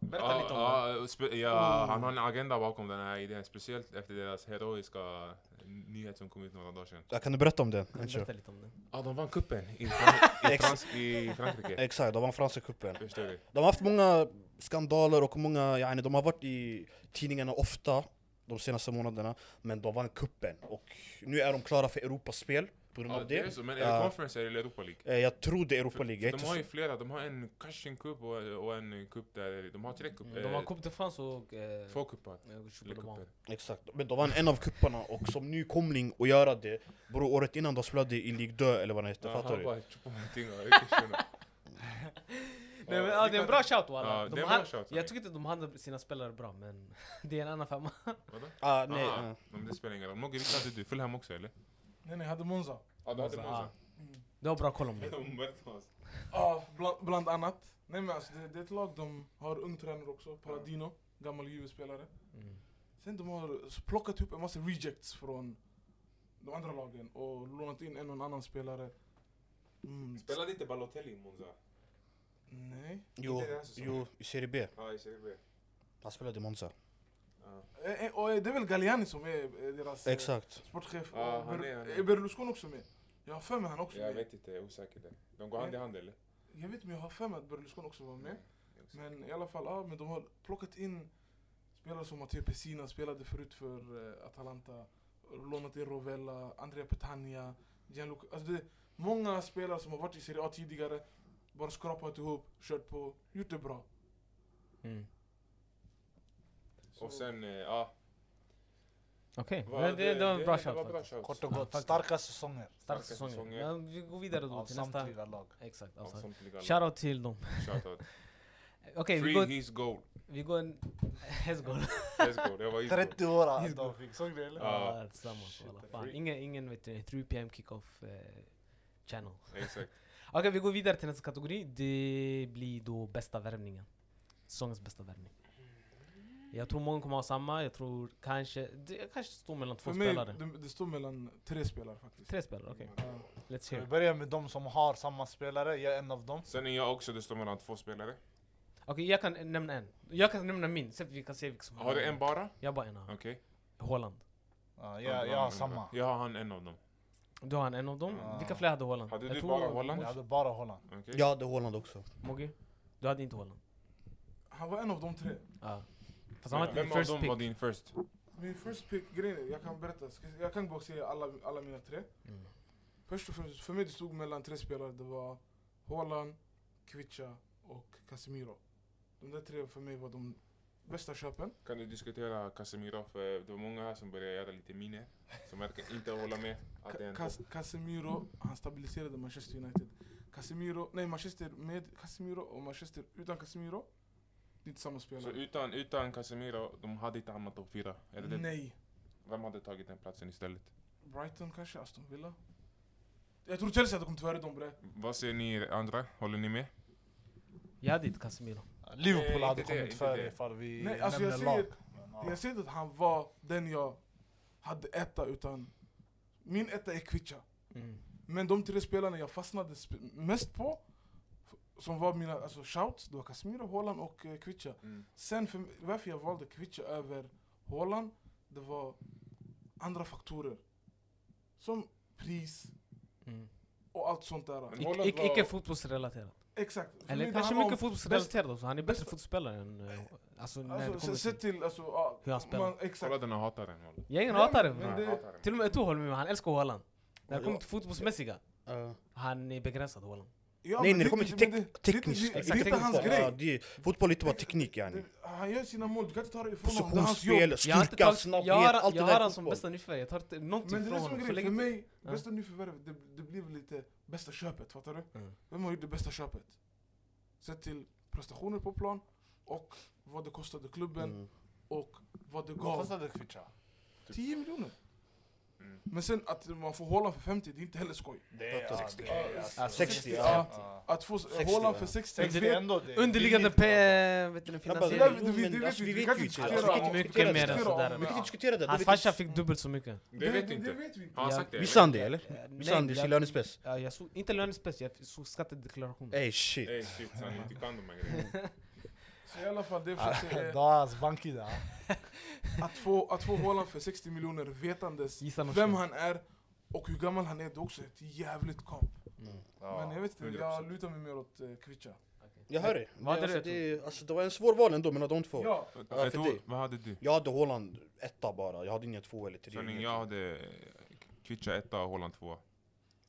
Berätta
Ja,
lite om
ja, spe-
Mm.
ja, Han har en agenda bakom den här idén, speciellt efter deras heroiska nyhet som kom ut några dagar sedan.
Ja, Kan du berätta om det? Enche?
Berätta lite om den.
Ja, de vann kuppen <laughs> i, Fran- i,
Ex-
Frans- i Frankrike.
Exakt, de vann franska cupen.
Förstår du?
De har haft många skandaler och många, yani, de har varit i tidningarna ofta de senaste månaderna Men de vann kuppen och nu är de klara för Europaspel på grund
Ja,
av
det är
det
så, men är
Ja.
det conference eller Europa League?
Eh, Jag tror det är Europa
För-
League,
för
jag är
de
inte
har
så-
ju flera, de har en Cashin Cup och, och en cup där, de har tre cup,
Mm, De har
eh,
Coupe de France och... eh,
två cuppar.
eh, Coupe
Eller
de Monde.
cuper.
exakt Men de vann en av kupparna och som nykomling att göra det Bror året innan de spelade i Ligue 2 eller vad den hette,
Ja,
fattar
han
du?
bara tjoppar med ting och <laughs> jag kan känna.
Nej, men, ja, det är en bra shout
Ja,
walla.
det är
De
en bra
hade-
shout,
Jag
Sami.
tycker inte de hade sina spelare bra men <laughs> det är en annan femma.
Vadå?
Ah, nej,
Ah,
eh.
men det spelar ingen roll. Mogge, vilka hade du? Fulham också eller? Alltså,
Nej nej, jag hade Monza.
Ja, du hade
Ja.
Monza.
Alltså, ah. Du har bra koll om
Mm. <laughs>
det.
alltså.
Ja, bland, bland annat. Nej men alltså det, det är ett lag, de har ung tränare också, Paradino, gammal Juve-spelare.
Mm.
Sen de har s- plockat upp en massa rejects från de andra lagen och lånat in en och annan spelare. Mm.
Spelade inte Balotelli i Monza?
Nej.
Jo,
Inte den här säsongen.
jo, i Serie B,
Ja, i Serie B.
han spelade i Monza
Eh, eh, Och eh, det är väl Galliani som är eh, deras eh,
Exakt
sportchef.
Ja,
Och
han
Ber-
är- han är-
är Berlusconi också med? Jag har för mig han också
Jag
med.
vet inte, jag är osäker där. De går hand i hand eller?
Jag vet men jag har för mig att Berlusconi också var med.
exakt.
Men i alla fall, ja, men de har plockat in spelare som Matteo Pessina spelade förut för eh, Atalanta. Lånat in Rovella, Andrea Petagna, Gianluca. Alltså det är många spelare som har varit i Serie A tidigare. Bara skrapat ihop, kört på, gjort det bra.
Mm.
Och sen, eh, ja.
Okej,
vad-
men det, det var en bra
det var
shout.
bra
faktiskt.
shout.
Kort och
Ja,
gott,
faktiskt.
starka säsonger
Starka
Starka
säsonger.
säsonger.
Men vi går vidare då
av
till nästa.
samtliga lag.
Exakt.
Av
Alltså.
samtliga lag.
Shoutout till dem.
Shoutout.
<laughs> Okej, vi
Free
går...
his goal.
Vi går en... <laughs> Hästgård.
Let's go, det var his goal.
30 år
His
att de fick, såg du eller?
Ja.
<laughs> Ja, tillsammans
shit,
walla.
det är
Fan,
free.
Ingen, ingen vet ni, 3 pm kickoff eh, channel.
Exakt.
Okej, vi går vidare till nästa kategori. Det blir då bästa värvningen. Säsongens bästa värvning. Jag tror många kommer ha samma. Jag tror kanske... Det jag kanske står mellan två
För mig,
spelare.
det, det står mellan tre spelare faktiskt.
Tre spelare, okej.
Ja.
Let's
Ska
hear.
vi
it.
börjar med de som har samma spelare, jag är en av dem.
Sen är jag också, det står mellan två spelare.
Okej, jag kan eh, nämna en. Jag kan nämna min, sen vi kan se vilka som
Har du en bara?
Jag har bara en. ja.
Okej.
Haaland.
Ja, jag, jag har samma.
Jag har han en av dem.
Du har en, en av dem.
Ja.
Vilka fler hade Haaland?
Hade
Jag
du
tror-
bara Haaland?
Jag hade bara Holland.
Okej.
Jag hade Haaland också Eh,
Mogge? Du hade inte Haaland?
Han var en av de tre.
Ja. Fast han var inte
Vem
din
av
first
dem
pick.
var din first?
Min first pick, grejen är, jag kan berätta. Ska- Jag kan bara säga alla, alla mina tre.
Mm.
Först och främst, för mig det stod mellan tre spelare. Det var Haaland, Kvicha och Casemiro. De där tre för mig var de bästa köpen.
Kan du diskutera Casemiro? För det var många här som började göra lite miner. Som verkar inte hålla med att det är
Ka-
en
Cas-
topp.
Casemiro, han stabiliserade Manchester United. Casemiro, nej Manchester med Casemiro och Manchester utan Casemiro. Det är inte samma
Så
spelare.
utan, utan Casemiro, de hade inte hamnat topp fyra. Är det det?
Nej.
Vem hade tagit den platsen istället?
Brighton kanske, Aston Villa. Jag tror Chelsea hade kommit före dem bre.
Vad säger ni andra? Håller ni med?
Jag hade inte Casemiro.
Liverpool
Nej,
hade
inte det,
kommit
inte
före
det.
ifall vi
Nej, alltså jag
nämner lag.
säger-
Men,
Jag säger inte att han var den jag hade etta utan min etta är Kvicha.
Mm.
Men de tre spelarna jag fastnade sp- mest på, f- som var mina alltså, shouts, det var Casemiro, Haaland och eh, Kvicha. Sen för, varför jag valde Kvicha över Haaland, det var andra faktorer. Som pris
Mm.
och allt sånt där.
Men
Ic-
Haaland
ic-
var-
icke fotbollsrelaterat.
Exakt. För mig
Eller
det
kanske
handlar
mycket
om
fotbollsrelaterat också. Han är bättre
bästa-
fotbollsspelare än... eh, Alltså, när det
Alltså, se-
kommer
sett
till...
till alltså, ja,
Hur han spelar.
man- exakt.
Kolla den här hataren. Walla.
Jag är ingen
Nej,
hatare.
men-
bror.
det-
hataren.
Till och med Eto'o håller med mig. Han älskar Haaland. När det
Ja.
kommer till fotbollsmässiga,
Eh,
han är begränsad Haaland.
Ja,
Nej
men
när det
det-
kommer
det-
till
men
tek-
det-
tekniskt,
det- det-
exakt,
Det är inte hans
tekniskt.
ja,
grej.
det, fotboll är inte bara teknik yani
Det- Han gör sina mål, du kan inte ta det ifrån honom. Det är hans jobb.
Positionsspel,
Jag har inte
styrka,
tagit- jag har,
snabbhet, allt det
jag
där
har
är
han som
fotboll.
bästa nyförvärv. Jag tar inte någonting
Men det
typ
är
från
som
honom.
är
Så
grejen, för
länge inte-
mig, bästa nyförvärvet, det, det blir väl lite bästa köpet, fattar du?
Mm.
Vem har gjort det bästa köpet? Sett till prestationer på plan och vad det kostade klubben
Mm.
och vad det
Vad
gav.
kostade Kvicha?
10 miljoner.
Mm.
Men sen att man får Haaland för 50, det är inte heller skoj.
Det är
Fattar.
ja, det är- alltså,
Ja, 60,
ja.
Ja.
Att få 60,
60,
Haaland
ja.
för 60,
Men
vi
det är
vet-
ändå det.
Underliggande
Billigt, ja.
pe- vet du, den
Grabbar,
det där-
finansiering.
vi- vi-
men
vi-
alltså,
vi
vi
kan
vet ju inte.
diskutera
Alltså, vi kan
om-
diskutera
Mycket mer
det.
än sådär.
Vi kan diskutera det. det.
Hans
vet
farsa
inte.
fick dubbelt så mycket.
Det vet
det-
inte.
Det vet vi inte.
Har han
Ja.
sagt det?
Visste han det eller?
Eh,
Visste han det i sin
jag-
lönespecs?
Ja, jag såg, inte lönespecs, jag såg skattedeklarationen.
Ey shit.
Ey shit, han inte kan de här grejerna.
Så I alla fall, det för att säga är
Das, Banki där.
att få, att få Haaland för 60 miljoner vetandes
Gissa något
vem
fel.
han är och hur gammal han är, det är också ett jävligt kap. Men jag vet inte, jag
100%.
lutar mig mer åt eh, Kvicha.
Jag hör dig.
Vad
det,
hade
alltså,
du,
det, alltså, det var en svår val ändå mellan de två.
Ja,
Ja,
Jag
för
tror-
dig.
Vad hade du?
Jag hade Haaland etta bara, jag hade inga två eller tre.
Sanning,
inget.
jag hade eh, Kvicha etta och Holland tvåa.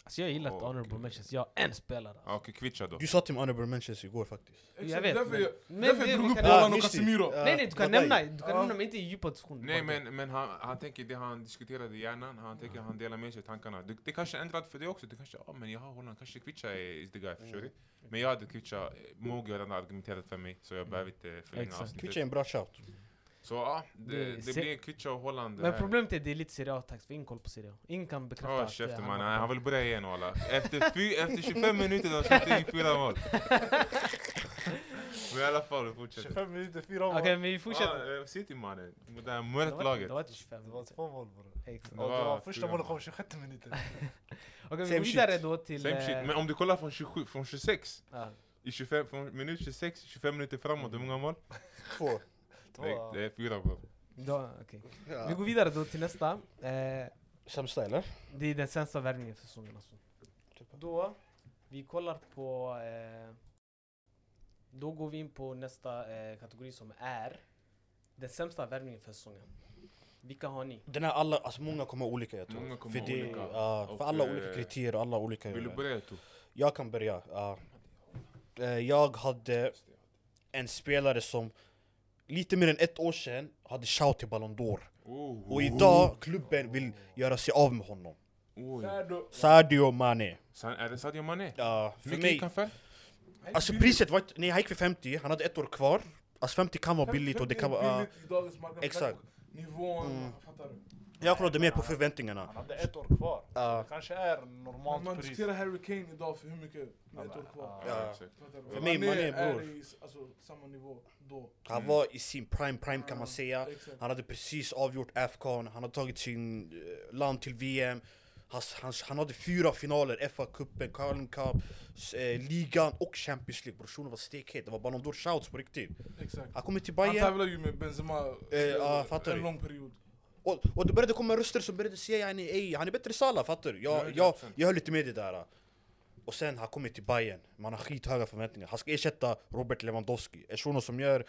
Alltså jag gillar att
Okej.
honorable mentions, jag har en spelare.
Ja, Okej, Ah, Kvicha då.
Du sa till mig honorable mentions igår faktiskt.
Jag
exakt,
vet,
därför
men-
jag,
men
därför
det-
jag drog
vi
upp
kan-
Haaland och
Ah, just det.
Casemiro.
Ja,
nej nej, du kan
Bagai.
nämna, du kan
Ja.
nämna men inte i djupa diskussion.
Nej
Bara det.
men, men han, han tänker det han diskuterade i hjärnan, han tänker han delar med sig av tankarna. Det, det kanske är ändrat för dig också, du kanske, ja men jag har Holland, kanske Kvicha är is the guy,
Mm.
förstår du? Men jag hade Kvicha, Mogi har redan argumenterat för mig så jag behöver inte
Mm.
förlänga
Exakt.
Twitch är
avsnittet.
en bra shout.
Så ja, det,
Det-
det
se-
blir Kvicha och Holland. eh,
Men problemet är att det är lite Serie A-tax, vi har ingen koll på Serie A. Ingen kan bekräfta
Ja,
att, eh,
käften
han
mannen,
var-
han vill börja igen walla. Efter, fy, efter 25 minuter då släppte jag in fyra
<laughs>
mål. Men i alla fall, vi fortsätter.
25 minuter, 4 mål.
Okej men vi fortsätter.
Ah, eh, City mannen, mot det här
Det var-
mörkt
Det
laget.
var inte 25
Det var
minuter.
två mål bror.
Exakt.
Det
Och det
var
var första
fyra
målet
mål.
kom 26 minuter.
Okej vi
Same
går vidare
shit.
då till...
Same
eh,
shit, men om du kollar från, 27, från 26
ja.
i 25, från minut 26, 25 minuter framåt, hur många mål?
Två.
Det, det är fyra bro.
Då, okej. Vi
Ja.
går vidare då till nästa. Eh,
Sämsta eller?
det är den sämsta värvningen för säsongen alltså.
Typ.
Då, vi kollar på... Eh, då går vi in på nästa eh, kategori som är den sämsta värvningen för säsongen. Vilka har ni?
Den här alla, alltså många kommer ha olika jag tror.
Många kommer
för
ha
det,
olika.
ja,
Och,
för alla
eh,
olika kriterier och alla olika.
Vill du börja Tor?
Jag kan börja. ja. Eh, Jag hade en spelare som lite mer än ett år sedan hade shout till Ballon d'Or.
Oh,
Och idag, klubben vill göra sig av med honom.
Oj.
Sado.
Sadio Mane.
San, är det Sadio Mané?
Ja, för
Mycket
mig,
gick han för?
alltså priset var inte- nej han gick för 50, han hade ett år kvar. Alltså 50 kan vara billigt och det kan vara... ja.
Billigt i dagens marknad.
Exakt.
Nivån,
Mm.
fattar du?
jag kollade mer på förväntningarna.
Han hade ett år kvar.
Ja.
Det kanske är
Man,
normalt
man
pris.
diskuterar Harry Kane idag för hur mycket med ett år kvar.
Ja.
exakt.
Fattar du?
För mig,
Mané
Mané,
är
bror.
i s- alltså, samma nivå då.
Han var i sin prime prime kan man säga.
Exakt.
Han hade precis avgjort Afghan, han hade tagit sin eh, land till VM. Han, han, han hade fyra finaler, FA-cupen, Carling Cup, s- eh, ligan och Champions League. Bror shunon var stekhet, det var Ballon d'Or shouts på riktigt.
Exakt.
Han kommer till
Han
Bayern
tävlar ju med Benzema
Eh, ja,
eh,
fattar
en
du?
lång period.
Och, och det började komma röster som började säga yani, ey, han är bättre än Salah, fattar du? Jag, jag, jag höll lite med det där. Och sen han kommer till Bayern, man har skithöga förväntningar. Han ska ersätta Robert Lewandowski, en shuno som gör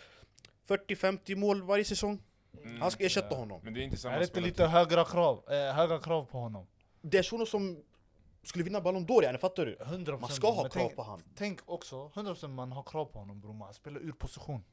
40-50 mål varje säsong. Han ska ersätta honom.
Men det är inte
Är
samma
det inte
spelare.
lite högre krav, eh, höga krav på honom?
Det är shuno som skulle vinna Ballon d'Or yani, fattar du?
100%
Man ska ha
men
krav
tänk,
på han.
Tänk också, 100% man har krav på honom bror, men han spelar ur position.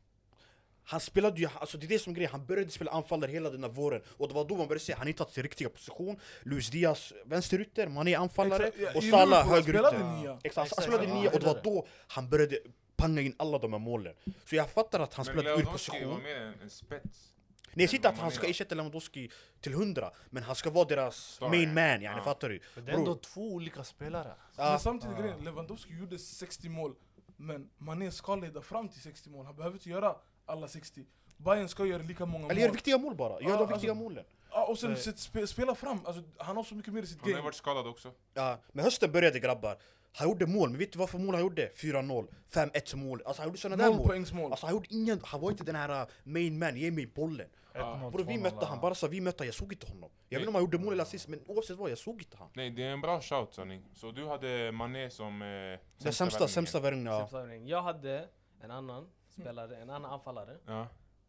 Han spelade ju, alltså det är det som är grejen, han började spela anfallare hela den här våren. Och det var då man började se, han har inte tagit sin riktiga position. Luis Diaz vänsterytter, man är anfallare.
Exakt, ja, i
Och
Liverpool,
Salah
han
högerytter.
spelade nia.
Exakt, han
Exakt,
spelade
ja.
nia och det var då han började panga in alla de här målen. Så jag fattar att han spelade ur
Men Lewandowski var
position.
mer en, en spets.
Nej, jag säger inte att
Vad
han
man
ska
gör.
ersätta Lewandowski till 100, men han ska vara deras
Star, ja.
main man, yani,
Ja.
fattar du?
För det är ändå
Bror,
två olika spelare.
Men
Ja.
samtidigt grejen, Lewandowski gjorde 60 mål. Men Mané ska leda fram till 60 mål. Han behöver inte göra alla 60. Bayern ska göra lika många
Eller gör
mål.
viktiga mål bara,
Ja,
gör de viktiga
alltså-
målen.
Ja, och sen sitt spe, spela fram. Alltså, han har så mycket mer i sitt
Han har ju
game.
varit skadad också.
Ja, men hösten började grabbar. Han gjorde mål, men vet du vad för mål han gjorde? 4-0, 5-1 mål. Alltså han gjorde såna där
Noll
mål.
poängsmål.
Alltså han gjorde ingen, han var inte den här uh, main man, ge mig bollen. Bror vi mötte han, bara så vi mötte han, jag såg inte honom. Jag vet inte om han gjorde mål eller assist, men oavsett vad, jag såg inte han.
Nej, det är en bra shout sanning. Så du hade Mané som eh,
Den sämsta,
värvningen.
sämsta värvningen, ja.
Sämsta värvningen. Jag hade en annan spelare, en annan anfallare
Ja.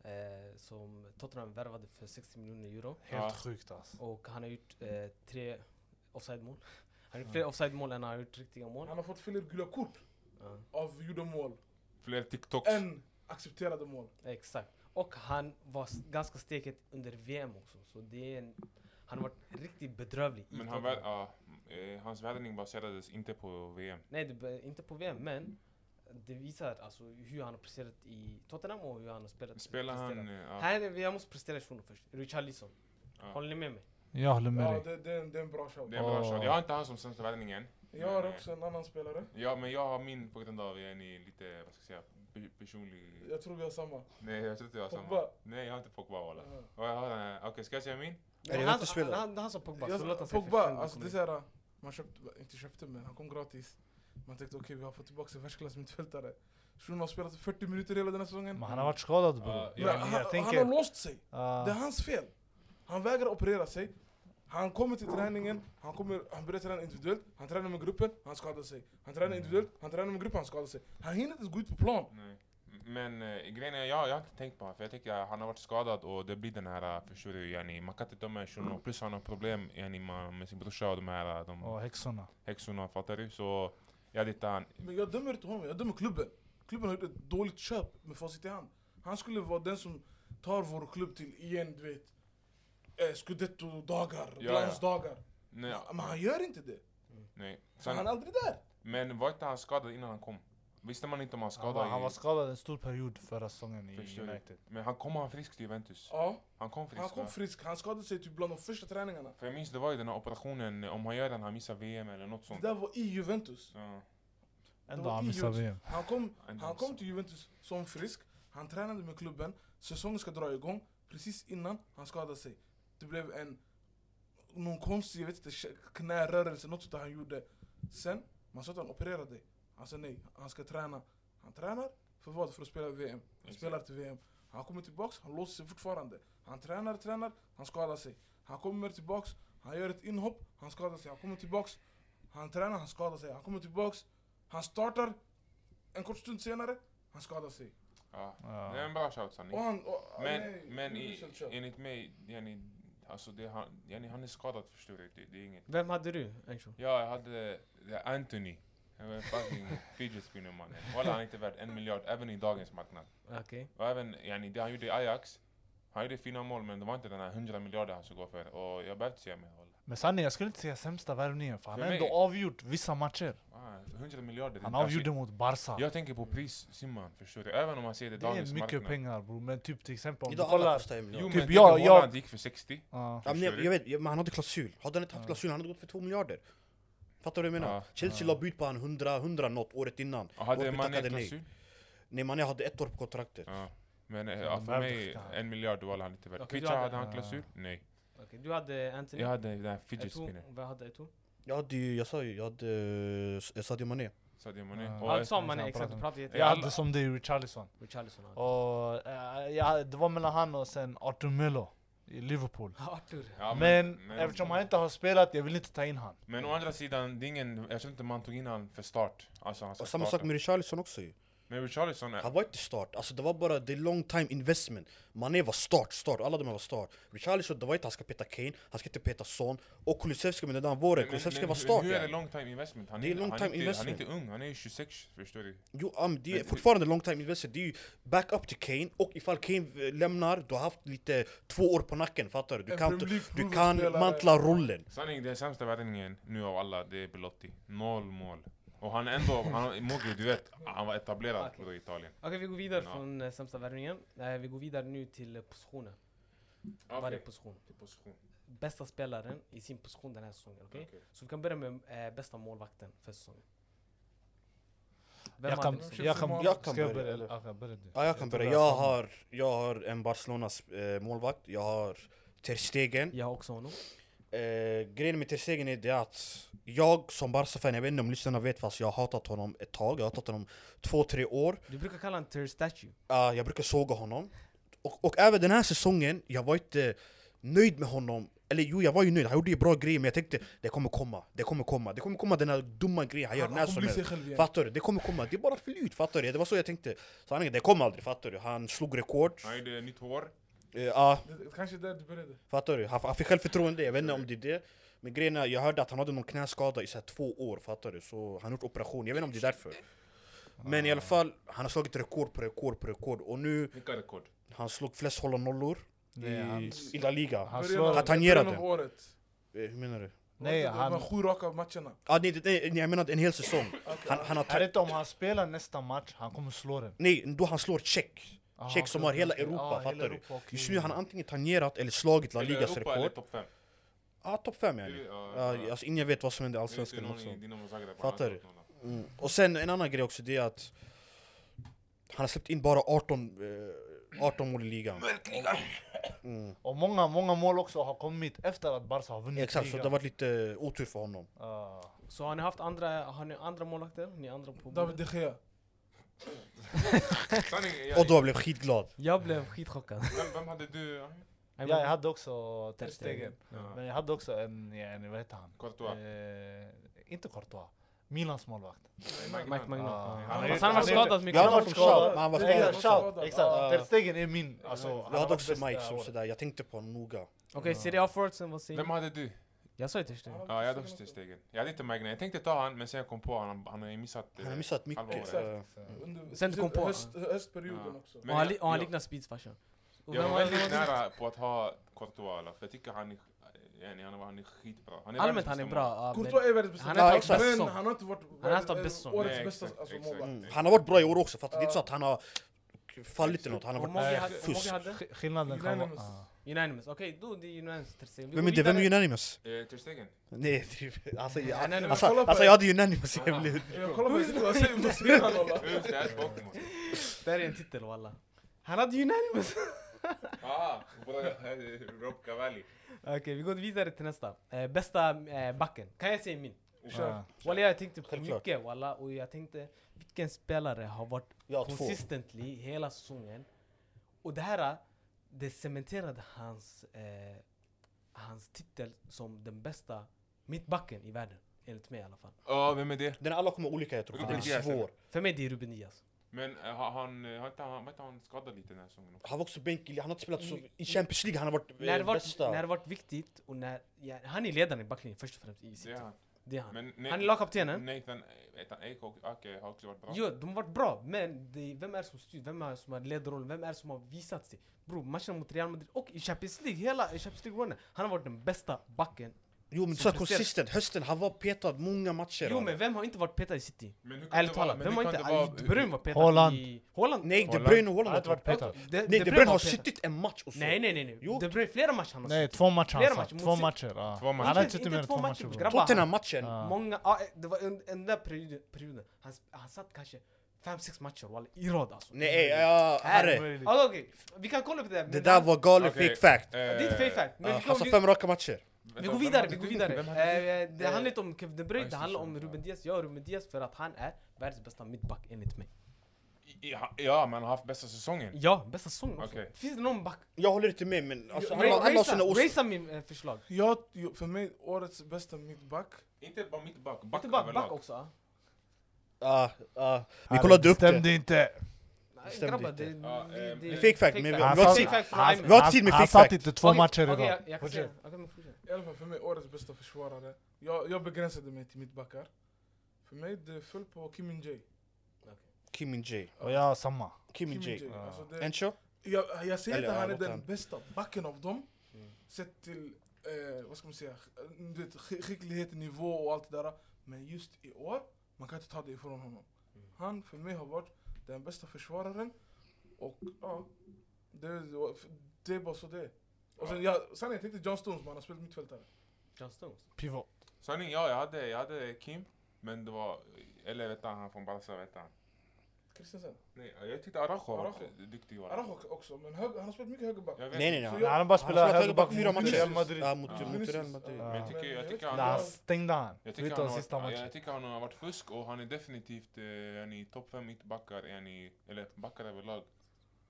eh, som Tottenham värvade för 60 miljoner euro.
Helt
Ja.
sjukt alltså.
Och han har gjort eh, tre offside-mål. Han har gjort fler offside-mål än han har gjort riktiga mål.
Han har fått fler gula kort
Ja.
av gjorda mål
Fler TikToks.
än accepterade mål.
Exakt. Och han var s- ganska steket under VM också. Så det är en, han har varit riktigt bedrövlig i
Men han
Tottenham.
vär, ja, eh, hans värvning baserades inte på VM.
Nej, det, be- inte på VM, men det visar alltså hur han har presterat i Tottenham och hur han har spelat.
Spelar han...
presterat.
eh, Ja,
Här, är vi- jag måste prestera shunon först. Richarlison.
Ja.
Håller ni med mig?
Jag håller med
Ja,
dig.
det, det, är en- det är en bra shout.
det är en bra
Åh.
shot. Jag har inte han som sämsta värvningen.
Jag har också en annan spelare.
Ja, men jag har min på grund av en i lite, vad ska jag säga, pe- personlig...
Jag tror vi har samma. Eh,
Nej, jag tror inte jag har samma.
Pogba.
Nej, jag har inte Pogba walla.
Ja.
Och jag har den här- Okej, ska jag säga min?
Är det
han,
inte
han,
spelare?
han, han sa Pogba, så låt
Jag,
han säga
Pogba,
först, sen vi
alltså det
kommer
är
in.
såhär, man köpte, inte köpte men han kom gratis. Man tänkte okej vi har fått tillbaka en världsklassmittfältare. Shunon har spelat 40 minuter hela den här säsongen.
Men han har varit skadad bror.
Ja,
Men
ja,
han,
jag tänker-
han har låst sig.
Ah,
Det är hans fel. Han vägrar operera sig. Han kommer till träningen, han, kommer, han börjar träna individuellt, han tränar med gruppen, han skadar sig. Han
Mm.
tränar individuellt, han tränar med gruppen, han skadar sig. Han hinner inte ens gå ut på plan.
Nej. Men eh, grejen är, jag, jag har inte tänkt på honom för jag tycker att han har varit skadad och det blir den här, eh, förstår du, yani, man kan inte döma en shuno. Plus han har problem yani, ma- med sin brorsa och de här eh, de
och häxorna.
häxorna, fattar du? Så jag dittar han.
Men jag dömer inte honom, jag dömer klubben. Klubben har gjort ett dåligt köp med facit i hand. Han skulle vara den som tar vår klubb till igen, du vet. Eh, Scudetto-dagar,
ja.
glansdagar.
Nej,
Men han gör inte det.
nej.
han är
Sen,
aldrig där.
men var inte han skadad innan han kom? Visste man inte om han
Han
skadad?
var, han
i-
var skadad en stor period förra säsongen i
Förstår du?
United.
Men han kom han frisk till Juventus?
Ja,
Han kom frisk
han kom
va?
frisk. Han skadade sig typ bland de första träningarna.
För jag minns det var ju den här operationen, eh, om han gör den han missar VM eller något
Det
sånt.
där var i Juventus.
Ja.
Ändå
Det var
han
i
missar
Juventus.
VM.
Han kom,
Ändå
han
så.
kom till Juventus som frisk, han tränade med klubben, säsongen ska dra igång, precis innan han skadade sig. Det blev en, någon konstig, jag vet inte, kä- knärörelse, något sånt där han gjorde. Sen, man sa att han opererade. Han sa nej, han ska träna. Han tränar, för vad? För att spela VM. Han
Exakt.
spelar till VM. Han kommer tillbaks, han låser sig fortfarande. Han tränar, tränar, han skadar sig. Han kommer tillbaks, han gör ett inhopp, han skadar sig. Han kommer tillbaks, han tränar, han skadar sig. Han kommer tillbaks, han startar, en kort stund senare, han skadar sig.
Ja.
Ja.
Det är en bra shout Sanni.
Och han... Och,
Men, men i,
uselt kör.
enligt mig, yani, alltså det, han, yani, han är skadad förstår du, det, det är inget.
Vem hade du, Encho?
Ja, jag hade det, är Anthony. Han var en fucking fidget spinner mannen. Walla han är inte värd en miljard, även i dagens marknad.
Okej.
Och även yani, det han gjorde i Ajax, han gjorde fina mål men det var inte den här 100 miljarder han skulle gå för. Och jag behövde säga mer walla.
Men sanningen, jag skulle inte säga sämsta värvningen för han
För
har ändå
mig-
avgjort vissa matcher.
Ah, för 100 miljarder.
Han
det är inte-
avgjorde mot Barca.
Jag tänker på prissimman förstår du, även om man ser det,
Det
dagens
är
marknad.
mycket pengar bror, men typ till exempel om du
Idag alla
kollar...
kostar en
Jo
miljard.
men
Typ
typ jag,
jag- jag-
Haaland gick för 60.
Ja.
Ja, men jag, jag vet, jag- men han hade klausul. Hade han inte haft klausul, han hade gått för 2 miljarder. Fattar du vad jag menar?
Ja.
Chelsea la bud på han 100, 100 något året innan.
Och hade
Volpe
Mané
tackade nej.
klausul?
Nej, Mané hade ett år på kontraktet.
Ja. Men eh,
Ja,
ja,
de
för
värvde
mig,
fick han.
en miljard var han inte värd.
Okej, du
Kvicha,
hade-
hade han
Ja.
klausul? Nej.
Okej, Du hade Anthony,
Jag hade den där fidget
Eto'o.
spinner.
Vad hade Eto'o?
Jag hade ju, jag sa ju, jag hade eh, Sadio Mané.
Sadio Mané.
Ja.
Och
Ja,
en-
du sa
Anthony
Mané,
som
exakt. Du
pratade.
pratade
Ja,
Jag
jättemycket.
alla-
hade som det i Richarlison.
Richarlison. ja.
Och, eh, ja, det var mellan han och sen Arthur Melo i Liverpool.
Arthur.
Ja,
Men eftersom han inte har spelat, jag vill inte ta in han.
Men å andra sidan, det är ingen, jag tror inte man tog in han för start. Alltså han ska
Och samma sak
starta.
med Richarlison också ju.
Men Richarlison är...
Han var inte start, alltså det var bara the long time investment Mané var start, start, alla de här var start Richarlison, det var inte han ska peta Kane, han ska inte peta Son Och Kulusevski med den där våren, Kulusevski var start
hur är det
yani.
long time investment? Han
Det är long
han
time
inte,
investment.
Han är inte ung, han är ju 26 förstår du.
Jo, ja, men det är
Men-
fortfarande long time investment, det är ju backup till Kane Och ifall Kane eh, lämnar, du har haft lite två år på nacken, fattar du? Du
En
kan,
Premier League
du kan
spelare.
mantla rollen
Sanning, den sämsta värvningen nu av alla, det är Belotti. Noll mål. Och han ändå, han, Mogi du vet, han var etablerad
Okej.
i Italien.
Okej, vi går vidare
Ja.
från eh, sämsta värvningen. Eh, Vi går vidare nu till eh, positionen. Varje position.
position.
Bästa spelaren i sin position den här säsongen. Okej?
Okej.
Så vi kan börja med eh, bästa målvakten för säsongen. Vem
Jag kan,
hade du?
jag kan,
Jag kan
ska jag
börja,
börja
eller?
eller? Ja, jag börjar du.
Ja, jag kan
tror
börja,
det är
jag
samma.
har, jag har en Barcelonas eh, målvakt, jag har Ter Stegen
Jag har också honom.
Eh, grejen med Ter Stegen är det att jag som Barca-fan, jag vet inte om lyssnarna vet fast jag har hatat honom ett tag, jag har hatat honom två, tre år.
Du brukar kalla honom Ter Statue.
Ah, jag brukar såga honom. Och, och även den här säsongen, jag var inte nöjd med honom. Eller jo, jag var ju nöjd, han gjorde ju bra grejer men jag tänkte det kommer komma, det kommer komma, det kommer komma den här dumma grejen han gör
Han- han
när
kommer
som
bli
helst.
sig själv igen.
Fattar du? Det kommer komma, det är bara flyt, fattar du? Det var så jag tänkte. Sanningen, det kom aldrig, fattar du? Han slog rekord.
Han gjorde nytt hår.
Eh, ah,
Det, det kanske är där du började.
Fattar du? Han, han fick självförtroende, jag vet inte om det är det. Men grejen är, jag hörde att han hade någon knäskada i så här två år, fattar du? Så han har gjort operation, jag vet inte om det är därför. Men i
Ah.
alla fall, han har slagit rekord på rekord på rekord och nu,
Vilka rekord?
han slog flest hålla nollor
Nej,
i,
han-
i La Liga.
Han
Början
slår-
av-
Att han ger
början av
det.
året.
Eh, Hur menar du?
Nej,
han... De
han,
här sju raka matcherna.
Ah, nej, det- nej, nej, jag menar en hel
<laughs>
säsong. Han, han har
är det
tre...
inte om han spelar nästa match, han kommer slå den.
Nej, då han slår check.
Ah,
Check
okej,
som har
okej,
hela
okej.
Europa,
Ah, hela
fattar du?
Europa, okej.
Just nu har han antingen tangerat eller slagit La
Eller
Ligas
Europa eller
rekord.
topp 5?
Ja, ah, topp fem yani.
Eller, ja,
Ja,
ja.
alltså ingen vet vad som händer i Allsvenskan också. Fattar
Fattar
du? Mm. Och sen en annan grej också, det är att han har släppt in bara 18, eh, 18 mål i ligan. Mm.
Och många, många mål också har kommit efter att Barca har vunnit
Exakt, så det har varit lite otur för honom.
Ah.
Så har ni haft andra, har ni andra målvakter? Ni andra på
David
bordet?
de Gea.
Sanning,
Och
jag,
då blev jag skitglad.
Jag blev
<laughs>
skitchockad.
vem, vem hade du? ja?
Jag
Ja,
blev-
jag hade också Ter
Ter Stegen.
Stegen. Men jag hade också en, yani, vad heter han?
Courtois?
Eh, inte Courtois. Milans målvakt.
Mike Magnon.
Ah.
ja.
Han
Fast
är-
han var
han är-
skadad mycket.
Ja,
Han har varit skadad.
Men han var
Nej,
skadad.
exakt,
skadad.
Exakt,
Ah.
Ter Stegen är min. Alltså, han
Jag
har varit
hade också
bästa
Mike som
året.
sådär, jag tänkte på honom noga.
Okej, Serie A forwardsen, vad säger
Vem
ni?
hade du?
Jag sa ju till Stegen.
Oh, Ja, jag hade också stegen. Jag hade inte Magna. Jag tänkte ta han, men sen jag kom på han, han har ju missat.
Han har
eh,
missat mycket.
Exakt.
eh,
Under
Sen kom på-
höst, höstperioden
Ja.
också.
Men
Och han, li-
jag-
och han
jag-
liknar Speeds farsa. Och vem
Jag var
var-
väldigt
vem var-
nära på att ha Courtois, alla, för jag tycker han är, yani, han är, han är skitbra. Han är
Allmänt
världens
han är
bästa
bra.
mål.
ja, men-
Courtois är världens bästa
Han
har
målvakt,
tagit bäst
men
säsong.
han har inte varit
Han har tagit bäst
världens-
säsong.
årets
Nej,
bästa
exakt,
alltså,
exakt.
målvakt.
Mm. Han har varit bra i år också, fattar du? Det är inte så att han har fallit i något, han har
Hur
varit eh,
många
Nej,
hade- hur många
fusk.
hade?
Sk- Skillnaden kan vara...
Unanimous.
ah.
Unanimous. Okej, då det är unanimous. Ter Stegen. Vi
Vem
går
är det? Vem är
vidare.
Unanimous?
Eh, Ter Stegen?
Nej, det- alltså, jag,
nej, men
alltså,
kolla på-
alltså jag hade Unanimous i hemlighet.
Jag kollar på det, vad säger- vad säger han alla?
Just det, jag är bakom oss.
Det här är en titel walla. Han hade unanimous.
Ah, bra, eh, Rob Cavalli.
Okej, vi går vidare till nästa. Eh, bästa eh, backen. Kan jag säga min?
Kör.
Ah.
Walla jag tänkte på
Självklart.
mycket walla och jag tänkte vilken spelare har varit
Jag har två.
consistently hela säsongen. Och det här, det cementerade hans, eh, hans titel som den bästa mittbacken i världen. Enligt mig i alla fall.
Ja, vem är det?
Den alla kommer olika jag tror, för den
Ruben
är
Diaz,
svår.
För mig det är Ruben Diaz.
Men eh, har han, eh, har inte han, var inte han skadad lite den här säsongen? också?
Han var också bänk, han har inte spelat så... I Champions League, han har varit
När det,
eh,
varit,
bästa.
när det varit viktigt och när... Ja, han är ledaren i backlinjen först och främst i
Det
City.
är han.
Det är han.
Men Mm,
Han är
Na-
lagkaptenen.
Nathan eh, Nathan Ake och Ake har också varit bra.
Jo, de har varit bra, men det, vem är det som styr? Vem är det som har ledarrollen? Vem är det som har visat sig? Bro, matchen mot Real Madrid och i Champions League, hela i Champions League-runnen. Han har varit den bästa backen.
Jo men
som
så
presterat.
konsistent, hösten, han var petad många matcher.
Jo,
han.
men vem har inte varit petad i City?
Men hur kan
Ärligt
det vara-
talat,
men
vem har
hur
inte...
kan det vara-
Var, De Bruyne var petad
Holland.
i... Holland?
Nej, De
Holland.
Bruyne och
Han har
Holland
inte varit petad.
De,
Nej, De Bruyne
var
har
petad.
suttit en match och så.
Nej, nej, nej. nej.
Jo.
De Bruyne, flera matcher han har
Nej,
suttit.
två matcher
Flera
han satt.
matcher mot
Två
City.
matcher. ah.
Två matcher.
Han
Inte-
har inte suttit
inte
mer än
två
två
matcher,
matcher.
bror.
bror.
Grabbar,
Tottenham-matchen.
Ah.
Många, ja, eh, det var un- den där perioden, perioden han, s- han satt kanske fem sex matcher walla, i rad alltså.
Nej, eh, ja, herre.
Omöjligt.
Alltså, okej, vi kan kolla på det. men
Det där var galen
Okej,
fake fact.
eh,
Det är inte fake fact, men
Ah,
vi,
Han
kan,
sa
vi,
fem raka matcher.
vi går
vem
vidare,
hade
vi går
du?
vidare.
Vem hade du?
Eh, eh, det
Eh,
handlar inte om Kevin De Bruyne,
ja,
det
just
handlar
det,
om
så, ja.
Ruben Diaz. Jag och Ruben Diaz för att han är världens bästa mittback enligt mig.
Ja, Ja, men han har haft bästa säsongen.
Ja, bästa säsongen också.
Okej.
Finns det någon back?
Jag håller inte med men alltså,
Jo,
han har- han har
Racea-
sina åsikter.
Racea min eh, förslag.
Jag, jag- för mig, årets bästa mittback.
Inte bara mittback, back
Inte bara back
överlag.
också. ah.
Ah, ah. Vi
Herre,
kollade upp det.
bestämde inte.
Nej,
Bestämde
grabbar,
inte.
det,
Ja,
det,
ehm,
det,
Fake fact, men vi-
Han
vi har
sa-
tid-
fake fact från
han-
Ayman.
vi har tid med
Han
fake
satt
fact.
inte två
Okej,
matcher i
okej,
rad.
jag- jag kan säga-
Fortsätt.
jag kan fortsätta.
I alla fall för mig, årets bästa försvarare. Jag, jag begränsade mig till mittbackar. För mig, det föll på Kim min Jae.
Kim min J.
Och jag samma.
Kim min
Kim
J.
Min Jae. Alltså det,
Encho?
jag, jag säger
Eller,
inte
ja,
han är
låt
den
han.
bästa backen av dem. Sett till, eh, vad ska man säga, sk- du vet, skick- skicklighet, nivå och allt det där. Men just i år, man kan inte ta det ifrån honom. Han för mig har varit den bästa försvararen. Och ja, det, det är bara så det är. Och sen, jag, sen jag tänkte John Stones, men han har spelat mittfältare.
John Stones.
Pivot.
Sanning, ja, jag hade, jag hade Kim, men det var... Eller vet du, han från Barca, vet du.
Christensen.
Nej, jag tyckte Araujo var
Araujo.
duktig. var han.
Araujo också, men hög, han har spelat mycket högerback.
Jag vet.
Nej nej nej.
Så
Han
jag-
har
Han har bara
spelat
spelat
högerback
högerback
fyra
mot Real
matcher.
Madrid.
Ja, mot
Ja.
mot Real Madrid.
Ja.
Men jag tycker, jag tycker han...
Nej, han
har-
stängde han.
Jag tycker, han
Förutom
har,
sista
varit- ja,
matchen.
jag tycker han har varit fusk och han är definitivt eh, yani, topp fem mittbackar, yani, eller backar överlag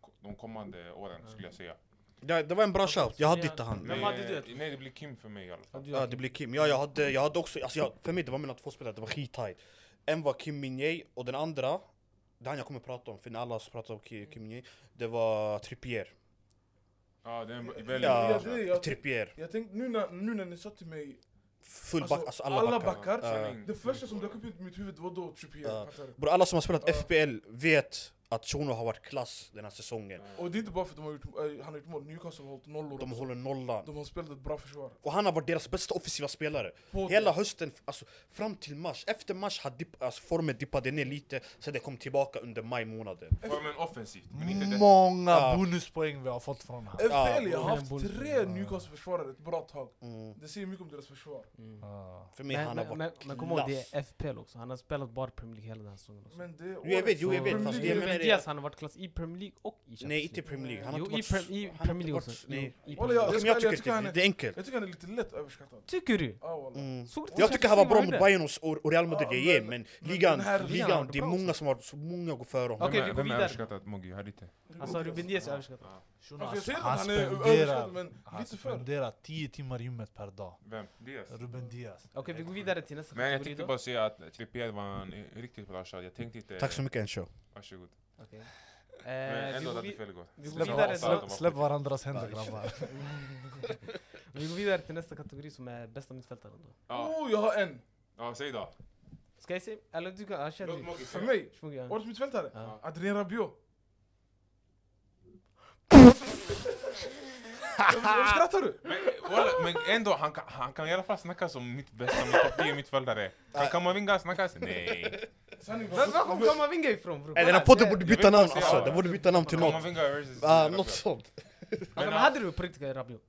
ko- de kommande åren skulle jag säga.
Ja, Det var en bra shout, jag hade inte han.
Vem
Men,
hade du?
eh, Nej, det blir Kim för mig i alla fall.
Ja det blir Kim, ja jag hade, jag hade också, alltså jag, för mig det var mina två spelare, det var skittajt En var Kim Min-Jae och den andra, det han jag kommer prata om, för när alla pratar om Ki- Kim Min-Jae Det var Trippier
Ja, det är en
Ja,
väldigt
Ja,
bra
jag- det- jag-
Trippier,
Jag tänkte nu när, nu när ni sa till mig,
full
Alltså,
back, alltså alla,
alla
backar,
backar.
Ja.
Sanning.
det första som dök upp i mitt huvud var då Trippier.
Mm. Ja.
fattar du?
Bro, alla som har spelat
Ja.
FPL vet att Shuno har varit klass den här säsongen.
Och det är inte bara för att de har gjort, eh, han har gjort mål, Newcastle har hållit nollor
De
också.
håller nollan.
De har spelat ett bra försvar.
Och han har varit deras bästa offensiva spelare.
På-
Hela hösten, alltså, fram till mars. Efter mars har dipp, alltså, formen dippade ner lite, sen det kom tillbaka under maj månaden.
Formen offensivt, men inte det.
Många
Ja.
bonuspoäng vi har fått från honom.
FPL, jag har
Ja.
haft tre Newcastle-försvarare ett bra tag.
Mm.
Det säger mycket om deras försvar.
Mm. Ja.
För mig han har varit
men, men kom ihåg,
klass.
det är FPL också. Han har spelat bara Premier League hela den här säsongen. Också.
Men det är
Jo, jag vet, jo, jag
Så-
vet,
Premier
fast det
League-
jag menar
Men
det-
Diaz, han har varit klass i Premier League och i Champions
Nej, inte i Premier League. Han har
Jo,
inte
i,
varit...
Prem- i
han har
Premier
inte
League
varit-
också.
Nej.
Jo, i
Walla,
Premier
jag-
League.
Men jag
jag
tycker
tycker han
inte,
är-
det är enkelt.
Jag tycker han är lite lätt överskattad.
Tycker du?
Ja, walla.
Mm.
Såg du
Jag tycker han var bra
Champions
mot
League
Bayern och- och och Real Madrid,
Ja,
jag ger,
men-
men
men
ligan,
den här-
ligan har
ligan,
varit
det är
bra
många
också.
som har, så många går före honom.
Okej,
Vem
vi
är-
går
Vem är
vidare.
överskattad? Moggi, jag hörde inte.
Alltså Ruben Diaz är överskattad.
Shuno,
Alltså, jag säger
han,
inte att han är
spenderar,
överskattad, men
han
lite för.
spenderar 10 timmar i gymmet per dag.
Vem? Diaz?
Ruben Diaz.
Okej, vi går vidare till nästa
Men jag
kategori
tänkte
då.
bara säga att Trippier var en riktigt bra shot. Jag tänkte inte...
Tack så mycket Encho.
Varsågod.
Okej. Eh,
Men
vi
ändå
går
att
vi-
det fel igår.
vi går
Släpp
vidare
av,
så-
de var
Släpp,
skit.
släpp varandras händer grabbar.
Vi går vidare till nästa kategori som är bästa mittfältaren då.
Ja,
Oh, jag har en!
ja, säg då.
Ska jag säga? Eller du kan... Jag känner
Låt
dig.
Moggi
För
säga.
mig,
Shmugi, ja.
årets mittfältare,
Ja.
Adrien Rabiot. Varför skrattar du?
Men, walla, men ändå, han kan, han kan i alla fall snacka som mitt bästa, mitt topp 10 mittfältare. Kan Kamavinga snacka? Nej.
Sanning,
Var var kom
varför-
Kamavinga ifrån bror?
Eller den här
Kolla,
podden
det-
borde
jag
byta
vill bara
namn
säga,
alltså,
ja.
den borde byta namn till något.
Kamavinga versus...
Ah,
Rabiot.
Något sånt.
Alltså, men
han-
hade du på riktigt Rabiot?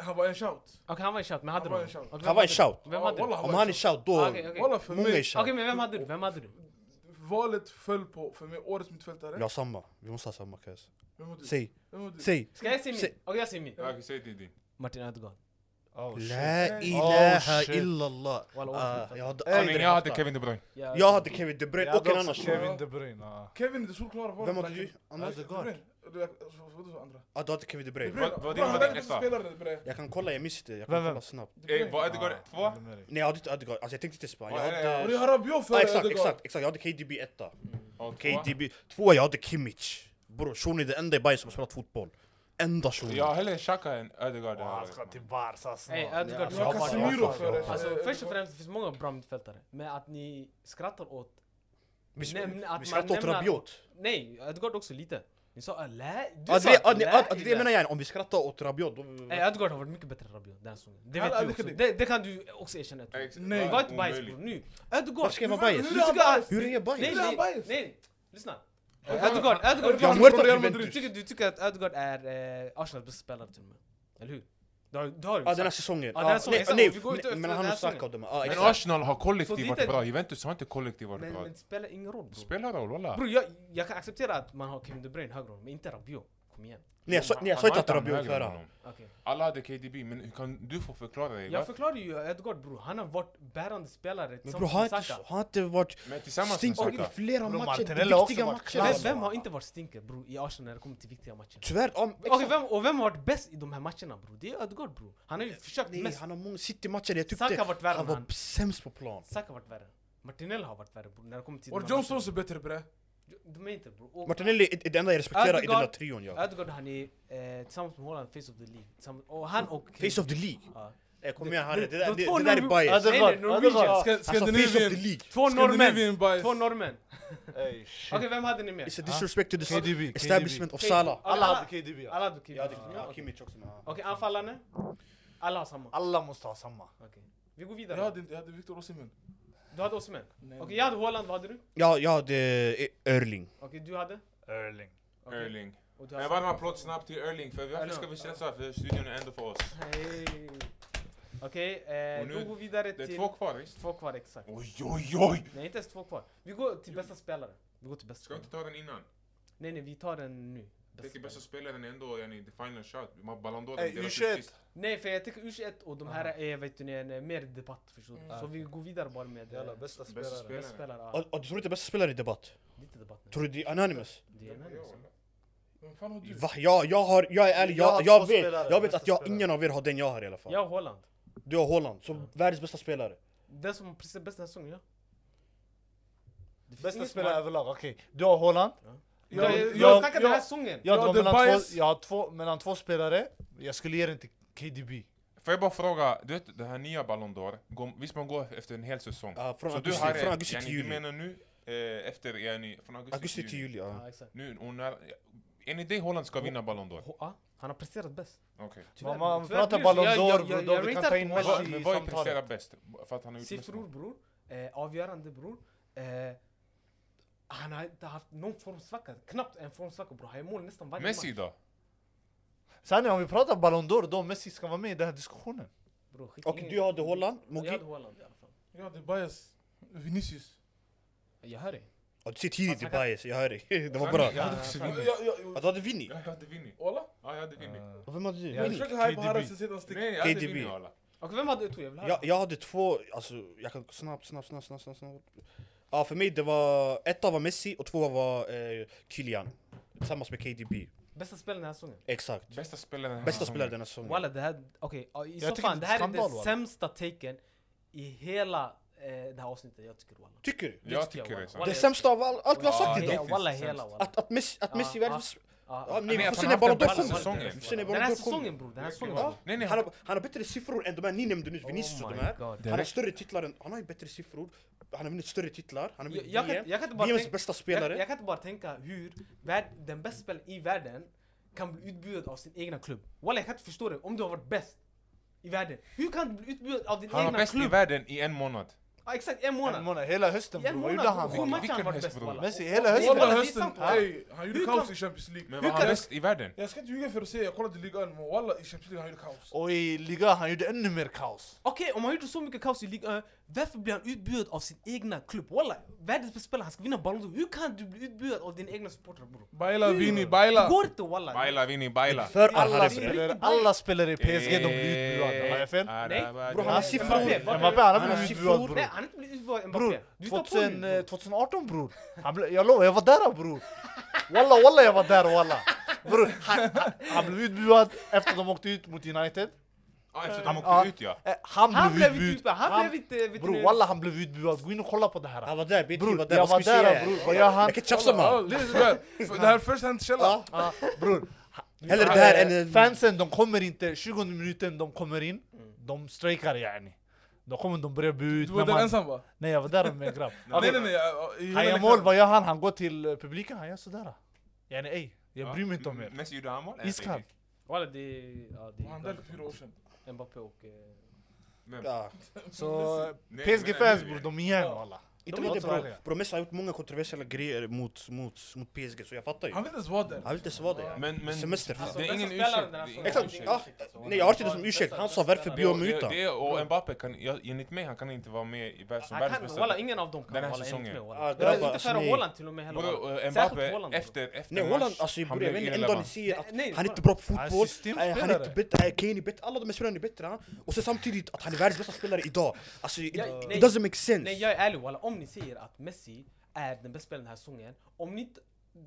Han var en shout.
Okej, han var en shout, men hade
Han
du
var en
honom?
shout.
Och vem
Han var en
hade du?
shout.
Vem hade du?
Walla,
Okej,
han
Om
var
han är
en
shout då,
Okej, okej.
Walla, för
många
mig-
är shout.
men vem hade du? Vem hade du?
Valet föll på, för mig, årets mittfältare.
Jag har samma, vi måste ha samma Kaz.
Vem var du?
Säg,
Vem var du?
säg.
Ska jag säga min?
Se-
Okej, jag säger min.
Ja, Okej, säg din. din.
Martin Ödegaard.
Oh, shit.
La
shit.
ilaha
Oh, shit.
illallah.
Walla,
Ah,
årets
jag hade
Ey,
Men
aldrig
jag
haft
hade
det.
Kevin De Bruyne.
Jag-
Jag hade Kevin De Bruyne
Jag
och en
hade
annan
också
shit.
Kevin De Bruyne. ja.
Kevin, det solklara valet.
Vem hade du? Anders?
Ödegaard.
Vadå andra?
Ja du hade Kevin De Bruyne.
Vad- vad är din
Han är
värdering
den bästa
nästa?
spelaren, bre.
Jag kan kolla, jag missade det. Jag
Vem,
kan
vem?
kolla snabbt.
De
Eh,
Bruyne.
Var Ödegaard
Ja,
Ah.
två?
Håller med dig.
Nej jag hade inte Ödegaard, alltså jag tänkte inte Spanien. Jag
Ja, ja, ja.
Och
hade...
det har Rabiot före
Ah, exakt,
Ödegaard.
exakt, exakt. Jag hade KDB etta.
Ja, tvåa.
KDB... Tvåa, jag hade Kimmich. Bror, Shuni är den enda i Bayern som har spelat fotboll. Enda Shuni.
Jag har hellre Xhaka än Ödegaard.
Och
Ah,
Han ska till Barca
Ey,
snart.
Ödegaard.
alltså,
jag
Du har
hoppas-
bara-
Casemiro
hoppas-
före.
hoppas-
Alltså
eh,
först och främst, det finns många bra mittfältare. Men att ni skrattar åt
Vi,
Nämn att
vi skrattar
man
åt
nämner att-
Rabiot.
Nej, Ödegård också lite. Ni sa lä. Du
Ja,
sa
det, ja, det,
lä
ja, det
innan.
menar jag, om vi skrattar åt Rabiot då...
Nej, Ödegård har varit mycket bättre än Rabiot den här säsongen. Det
Ja,
vet
ja,
du
det
också.
kan det.
Det, det kan du också erkänna efteråt.
Nej.
Var inte bajs bror, nu. Ödegård!
Varför ska jag
du-
vara bajs?
du tycker att-
Hur är jag
Nej,
bajs?
Hur är
nej,
han
nej,
bajs?
nej, lyssna. Ödegård, Ödegård!
Jag
du-
har muertat
Real
Du
Juventus.
tycker, du tycker att Ödegård är eh, Arsenals bästa spelare till och med? Eller hur? Det har du har ju
Ja den här
sagt.
säsongen.
Ja, den här säsongen,
nej,
exakt.
nej,
Och vi går ut
nej,
efter
men
den
han
här
har starka
säsongen.
av dem. Ja,
Men
exakt.
Arsenal har
Så
kollektivt
det
varit
är inte-
bra. Juventus har inte kollektivt varit
Men,
bra.
men det spelar ingen roll
Det
bror.
spelar roll, walla.
Bror jag, jag kan acceptera att man har Kevin De Bruyne högre upp, men inte Rabiot. Kom igen.
Nej jag sa- nej, jag
Han
sa
var
inte att
han
Rabiot är
högre än
före
honom.
Okej.
Alla hade KDB, men hur kan du få förklara dig?
Jag
Varför-
förklarar ju Ödegård bror, han har varit bärande spelare
Men bror
tillsammans
har
med
inte,
Saka.
har inte varit
Men tillsammans med
stinkig i
Saka.
flera
Bror, Martinelli har
matcher,
också
viktiga
varit
Vem,
klass.
matcher.
vem har inte varit stinker bror i Arsenal när det kommer till viktiga matcher?
Tyvärr, ja, men
Okej,
exakt.
vem, och vem har varit bäst i de här matcherna bror? Det är Ödegaard bror. Han har ju försökt
Nej
mest.
han har många City-matcher, jag tyckte
Saka har varit värre
han
än
var
han.
sämst på plan.
Saka har varit värre. Martinelli har varit värre bror när det kommer till
Och
de här
John Stones är bättre bre.
matcherna. De är inte bror. Och
Martinelli är är det enda jag respekterar i den där
Ödegaard-
trion jag.
Ödegaard han är eh, tillsammans med Haaland face of the League. Tillsammans- Och han och...
Face of the League.
Ja.
Eh, kom igen Harry,
De-
det där,
de
det,
två
det där är
Norr-
bias.
Nej, nej,
Ödegaard,
Norwegian.
Ödegaard.
Ska-
Alltså face of the
Scandinavian.
League.
Två norrmän.
Scandinavian bias.
Två norrmän.
Ey,
Okej,
shit.
vem hade ni med?
It's a disrespect to the
KDB,
establishment of
KDB.
Salah.
Alla hade KDB. ja.
Alla hade Kim.
Jag hade
Ja,
ja,
okej.
Kimmich också men... ja.
Okej, anfallarna. Alla har samma.
Alla måste ha samma.
Okej. Vi går
Jag
vidare.
hade inte, jag hade Victor Osimhen.
Du hade Osimhen?
Nej,
Okej,
nej.
jag hade Haaland, vad hade du?
Ja, jag hade eh, Erling.
Okej, du hade?
Erling.
Okej.
Erling.
Och du
Men
hade?
varm applåd snabbt till Erling, för varför ska vi stressa? För studion är ändå för oss.
Hej. Okej, eh,
Och nu-
då går vi vidare
Det är
till...
två kvar, visst?
två kvar, exakt.
Oj, oj, oj!
Nej, inte ens två kvar. Vi går till bästa spelare. Vi går till bästa
Ska vi
spelare.
inte ta den innan?
Nej, nej, vi tar den nu.
Jag tänker bästa
spelare.
spelaren är ändå, yani, the final shot. Man- Ballon d'Or,
Ey,
den delas ut
U21.
sist.
Nej, för jag tycker U21 och de här är vet du, en eh, mer debatt, förstår du.
Mm.
Så vi går vidare bara med... eh,
Jalla, bästa
Bästa
spelare.
Bästa
spelaren.
spelare, ja.
Och, och du tror inte bästa spelare i debatt?
Lite debatt nu.
Tror du det är anonymous?
Det är en liksom.
Vem fan har du?
Va? Jag, jag, har, jag är ärlig,
Jag
jag,
har
jag,
två
vet,
spelare,
jag vet
bästa
att jag,
spelare.
ingen av er har den jag har i alla fall.
Jag och Haaland.
Du har Holland, som världens bästa spelare.
Den som precis är bäst den här säsongen, ja. Det finns
Bästa
ingen som
spelare
har-
överlag. Okej, du har Haaland.
Jag, jag, jag,
jag-
snackar den här
jag-
säsongen!
Jag,
Ja,
drar
the
mellan
bias-
två, jag har två, mellan två spelare. Jag skulle ge den till KDB.
Får jag bara fråga, du vet den här nya Ballon d'Or, går- visst man går efter en hel säsong?
Ja, från
så du
augusti-
har
från augusti
yani,
till
Du
juni.
menar nu, eh, efter yani, från augusti,
Augusti till juli, ja.
Ja, exakt.
Nu, och när, enligt dig Holland ska vinna Ballon d'Or?
Ho- ja, han har presterat bäst.
Okej.
Tyvärr-
man
tyvärr
pratar
blir-
Ballon
jag- jag-
d'Or
jag-
bror, då
jag
vi kan
ratear
ta
inte
in
Messi.
Messi
Men
i
vad är presterar
samtalet.
bäst? För att han har gjort mest
Siffror
mål?
bror. Eh, avgörande bror. Eh, han har inte haft någon formsvacka. Knappt en formsvacka bror. Han gör mål nästan varje
Messi
match.
då?
Sen om vi pratar Ballon d'Or, då Messi ska vara med i den här diskussionen.
Bror, skit
Och
ner.
du hade Holland,
Jag
Mogi.
hade Holland i alla fall.
Ja, det är bias. Vinicius.
Jag hör dig.
Ja, du ser tidigt i bias, jag hör dig. <laughs> Det var bra.
Jag hade också
Ja,
Vinny.
ja, ja.
Ja, du hade Vinny.
Jag hade Vinny.
Walla?
Ja, jag hade Vinny.
Och Vem hade du?
Ja.
Jag
Vinny?
försöker hypa
KDB.
Harris sedan stick.
Nej, jag hade
KDB.
Vinny alla.
Ah. Och vem hade Utu? Jag vill höra.
Jag, jag hade två, alltså jag kan snabbt, snabbt, snabbt, snabbt, snabbt, snabbt. Ja för mig det var, etta var Messi och tvåa var eh, Kylian. Tillsammans med KDB.
Bästa spelaren den här säsongen.
Exakt.
Bästa spelaren den här
Bästa
Mm.
säsongen.
spelare den här säsongen.
Walla det här, okej. ja, I så
tycker
fall, det
det är
här är det
skandal, walla.
sämsta taken i hela eh, det här avsnittet jag tycker walla.
Tycker du?
Det
Jag
tycker jag,
tycker det. är
walla.
sant.
Walla,
Det sämsta av all, allt vi har sagt
Ja,
idag.
helt-
Walla
sämst.
hela walla.
Att, att Messi, att
Ja,
Messi
ja.
världens...
Ja,
Ja,
Nej,
ni får
att
se
han
när
har
Ballon
haft
d'Or
en
bra
kommer.
säsong.
Vi får se när
Den
Ballon
här
d'Or kommer.
säsongen bror, den här säsongen.
Ja,
Nej, nej,
han, har, han har bättre siffror än de här ni nämnde nyss,
Oh
Vinicius och
my
de här.
God.
Han har större titlar än, han har ju bättre siffror. Han har vunnit större titlar, han har
Jag,
vunnit
jag, kan,
VM.
jag, kan inte bara
VMs
tänka,
bästa
jag,
spelare.
jag kan inte bara tänka hur värld, den bästa spelaren i världen kan bli utbjuden av sin egna klubb. Walla jag kan inte förstå det, om du har varit bäst i världen. Hur kan du bli utbjuden av din
Han var
egna
bäst i
klubb?
världen i en månad.
Ja, exakt, en
En
månad.
månad, hela hösten
I en
bror, vad
månad,
gjorde han?
bror. Sju
bror?
matcher har
Vilken
varit
häst,
bäst
bror.
walla.
Messi, hela
Walla,
hösten.
det är
Walla
sant,
hösten,
walla.
ey, han gjorde
Hur
kaos
kan-
i Champions League.
Men var
Hur
han
kan-
bäst i världen?
Jag ska inte ljuga för att säga, jag kollade ligan, men walla i Champions League han gjorde kaos.
Och i ligan, han gjorde ännu mer kaos.
Okej, om han gjorde så mycket kaos i ligan, eh, varför blir han utbjuden av sin egna klubb? Walla, världens bästa spelare, han ska vinna Ballon d'Or. Hur kan du bli utbjuden av dina egna supportrar bror?
Baila Vini,
Det
baila!
går inte walla!
Baila, Vinny, baila.
För alla
Alla
det är
spelare.
spelare,
riktigt bra.
alla spelare i PSG, de blir utbuade.
Eh,
Har jag fel?
Ah,
Nej.
Bro, han har
har
siffror.
Mbappé,
Mbappé, han har
Han har
blivit
siffror.
utbuad bror.
Nej, han har inte blivit utbjuden av
Bror,
Mbappé. Du hittar på nu,
2000, eh,
bror.
2018 bror. Han blev, jag lovar, jag var där bror. Walla walla jag var där walla. Bror, han, han- han blev utbuad efter de åkte ut mot United.
Ja, efter
Han-
de
ja.
åkte ut ja.
Eh, Han
Han
blev
blev
utbuad.
inte han blev inte
Bror walla han blev utbuad. Gå in och kolla på det här.
Han var där, BT
Bror,
var där.
jag
Vad ska
var
vi säga?
där bror. Vad gör han?
Jag kan tjafsa med
Ja,
honom.
det är sådär. För Det här är first hand källa.
Ja.
Ah, Bror,
Hellre det här
Eh,
än...
Fansen de kommer inte, 20 minuten de kommer in, de strejkar yani. De kommer, de börjar bua ut.
Du var
när
där
man-
ensam va?
Nej jag var där med
<laughs>
en grabb.
Nej nej nej. jag- i
Han
hela
gör mål,
ligan.
vad gör han? Han går till eh, publiken, han gör sådär. Yani ey, jag
Ja.
bryr mig inte om er.
Messi gjorde han mål? Nej,
Iskall.
Walla det är... Ja, det
Han där för fyra år sedan.
är Mbappé och... eh,
Vem?
Ja.
Så eh,
Nej,
PSG-fans
men-
bror, de är järn walla.
Inte
De
med det
låter
bro.
ärliga.
Bro, Messi har gjort många kontroversiella grejer mot, mot, mot PSG, så jag fattar ju.
Han
Han
vet inte ens vad det
vill inte ens vara det.
Men, men,
Semester för
Alltså,
fan.
Det
bästa
är ingen
spelaren
ursäkt.
den här
Det är
säsongen.
ingen
Exakt,
ursäkt.
ja. Nej jag har inte det som ursäkt, han sa varför bjuder mig
Det-
utan?
Det och Mbappé kan, jag- enligt mig, han kan inte vara med i världs- som
Han
världens
kan, walla
bästa.
ingen av dem kan
Den här
walla, enligt
säsongen.
mig, walla.
Ja,
Det är
grabbar,
Inte
alltså,
före
nej.
Holland till och med heller.
Bro,
walla.
eh,
Särskilt
Mbappé,
Holland, bror.
efter, efter
Nej Holland,
match,
alltså
han
bror
blev
jag vet inte, en dag
irrelevant.
ni ser att
Nej, nej,
han är
bara-
inte bra på
Han är
fotboll,
systemspelare.
eh, han är inte bättre, eh, Kane är bättre, alla de här spelarna är bättre än han. Och sen samtidigt att han är världens bästa spelare idag. Alltså it,
Jag- nej.
it doesn't make sense.
Nej jag är ärlig walla, om ni säger att Messi är den bästa spelaren den här säsongen, om ni inte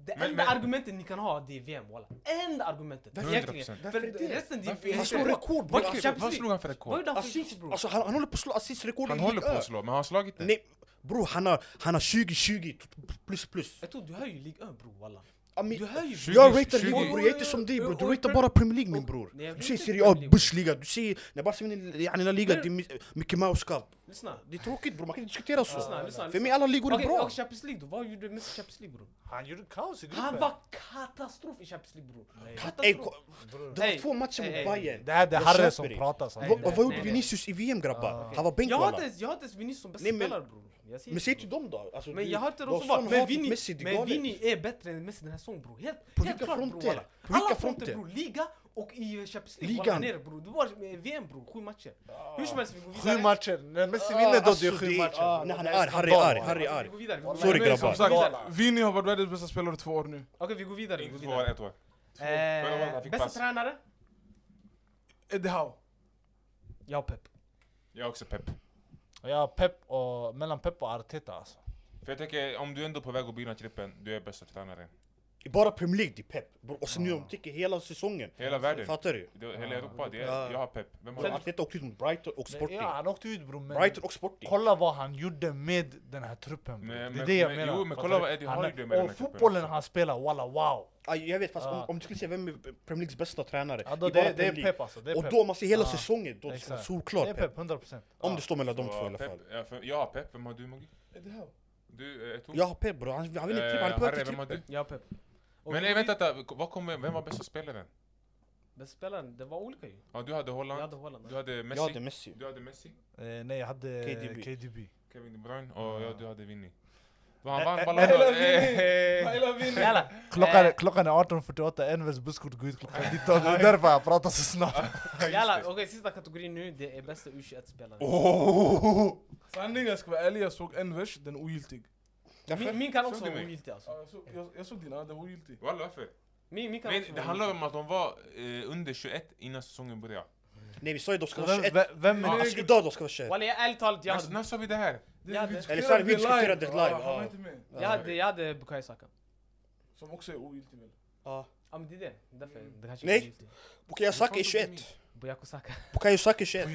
det
Men-
enda
men-
argumentet ni kan ha det är VM walla. Enda argumentet!
100%.
Egentligen. För
Varför det?
resten det
Varför
är...
han slår rekord bror!
Vad-
Okej,
Champions
Vad
League.
slog han för
Vad
rekord?
gjorde han för
Assist,
Egypt bror?
alltså han, han håller på att slå assistrekord
Han
i
håller på
إيه؟
Liga.
att slå, men har han slagit det?
Nej bror han har, han har 20-20 plus plus.
Jag tror du hör ju Ligue 1 bror walla.
Ja, men-
Du hör ju...
20,
Jag ratear
20.
ligor bror, jag är inte som dig bror,
Och-
du
och-
ratear bara Premier League min bror
Nej, jag
Du
vet
ser
inte
Serie A,
Premier League.
Bushliga, du ser när Barcelona yani La Liga, det är mi- mycket mauskap
Lyssna.
Det är tråkigt bror, man kan inte diskutera
Lyssna,
så
lyssna.
För mig
lyssna.
alla ligor är
Okej,
bra
och Champions League då? Vad gjorde Messi i Champions League bror?
Han gjorde kaos i
Han
gruppen.
var katastrof i Champions League bror.
Ey,
Katastrof.
ko- Det var
Ey,
två matcher
ey,
mot
ey.
Bayern
Det här det är
Jag
Harre
köper
som
det.
pratar.
Nej,
Vad-
nej,
Vad gjorde
nej, nej.
Vinicius i VM grabbar?
okej.
Han var bänk
Jag har
walla
inte ens- jag har inte ens Vinicius som bästa
Nej, men-
spelare bror. Jag säger
Men
inte.
säg till dem då alltså,
Men
det-
jag har inte
det var
dem som var...
sån
Men
hat mot
Vinny,
Messi, det är
men
galet.
Vinny är bättre än Messi den här säsongen bror. Helt,
På
helt
vilka
klart
fronter?
bror. walla.
På vilka
Alla fronter
fronter?
bror. Liga och i eh, Champions League. walla,
Ligan.
nere, bror. Det var eh, VM bror. Sju matcher. Hur som helst vi går vidare.
Sju matcher, när Messi
Ah,
vinner då det
alltså,
är sju
det- ah,
matcher.
nej, han är
Det
arg, Harry är
skandal,
arg,
walla.
Harry är
Vi
arg
går vidare. vi går
Sorry,
vidare.
Nej,
grabbar.
Som
Vidare.
sagt, Vini har varit världens bästa spelare i två år nu.
Okej vi går vidare. Vi går
Inte två år,
vidare.
ett år. Förra året han
Eh,
fick
Bästa
pass.
tränare?
Eddie Howe.
Jag och Pep.
Jag är också pepp.
Ja, Pep och, mellan Pep och Arteta alltså.
För jag tänker, om du ändå är på väg att bli den här trippen, du är bästa tränaren.
Bara Premier League, det är pepp bror. Och sen nu de tycker hela säsongen
Ah. Hela världen.
Fattar du?
Det, hela Europa, det
Ja.
är, jag har pepp. Vem har
Bror,
pepp?
Arteta åkte ut mot Brighton och Sporting
Ja, han åkte ut bror men...
Brighton och Sporting
Kolla vad han gjorde med den här truppen. bror.
Men-
det är
men-
det jag
men-
menar.
jo, men
Fattar
kolla
du?
vad Eddie
Han
Howe
är-
gjorde med den
Och
här truppen
fotbollen
också.
han spelar, walla wow.
Ja, jag vet, fast
Ja.
om, om du skulle säga vem är Premier Leagues bästa tränare?
Ja, då,
i
det,
bara
det är
Premier League.
Pep alltså. Det är
Och
Pep.
då, om man ser hela
Ja,
säsongen, då är det
exakt.
solklart
det är
Pep.
Pep, 100%.
Om
Ja.
det står mellan de två i alla
Pep-
fall.
ja, för- Jag har pepp, vem har du Mogi?
Eddie Howe.
Du, eh, Tor?
Jag har Pep bror, han, han vill inte
Eh,
klippa, han är på väg
Harry,
till
vem har du?
klippet.
Jag har pepp. Och
Men
vi-
nej, vänta, vänta. Vad kommer, vem var bästa spelaren?
Bästa spelaren, det var olika ju.
Ja, du hade
Jag
Holland,
hade Holland.
du hade Messi,
Ja det är Messi.
du hade Messi,
Eh, nej, jag hade KDB.
KDB.
KDB.
Kevin De Bruyne
Ah.
och ja, du hade Vinny. Då han
Eh,
vann
eh,
Ballon d'Or. Eh, eh.
Jalla.
Klockan, är-
Eh.
klockan är 18.48, Envers busskort går ut klockan <laughs> 19. Det är därför jag pratar så snabbt.
Jalla, okej sista kategorin nu, det är bästa U21-spelaren.
Oh!
Sanningen jag ska vara ärlig, jag såg Envers, den är ogiltig.
Min, min kan
Såg
också
du
vara
mig?
ogiltig alltså.
Ja, jag, såg, jag, jag såg din, ja, den var ogiltig.
Walla, varför?
Min, min kan också
Men det
vara
handlar
ogiltig.
om att de var eh, under 21 innan säsongen började.
Nej vi sa ju de ska vara
Vem,
21.
vem, vem,
Men Alltså idag de ska vara 21.
Walla, jag- ärligt talat, jag
När,
hade,
när sa vi det här?
Det,
Ja,
vi
det-
Eller sorry,
live.
vi diskuterade det live,
Ja, han var
ja.
inte med.
jag hade, jag hade Bukayo Saka.
Som också är ogiltig väl?
Ja.
Ja men det är det, därför det kanske
Nej.
är ogiltig.
Bukayo Saka är
Vi pratar om
21.
Bukayo Saka.
Bukayo Saka är 21.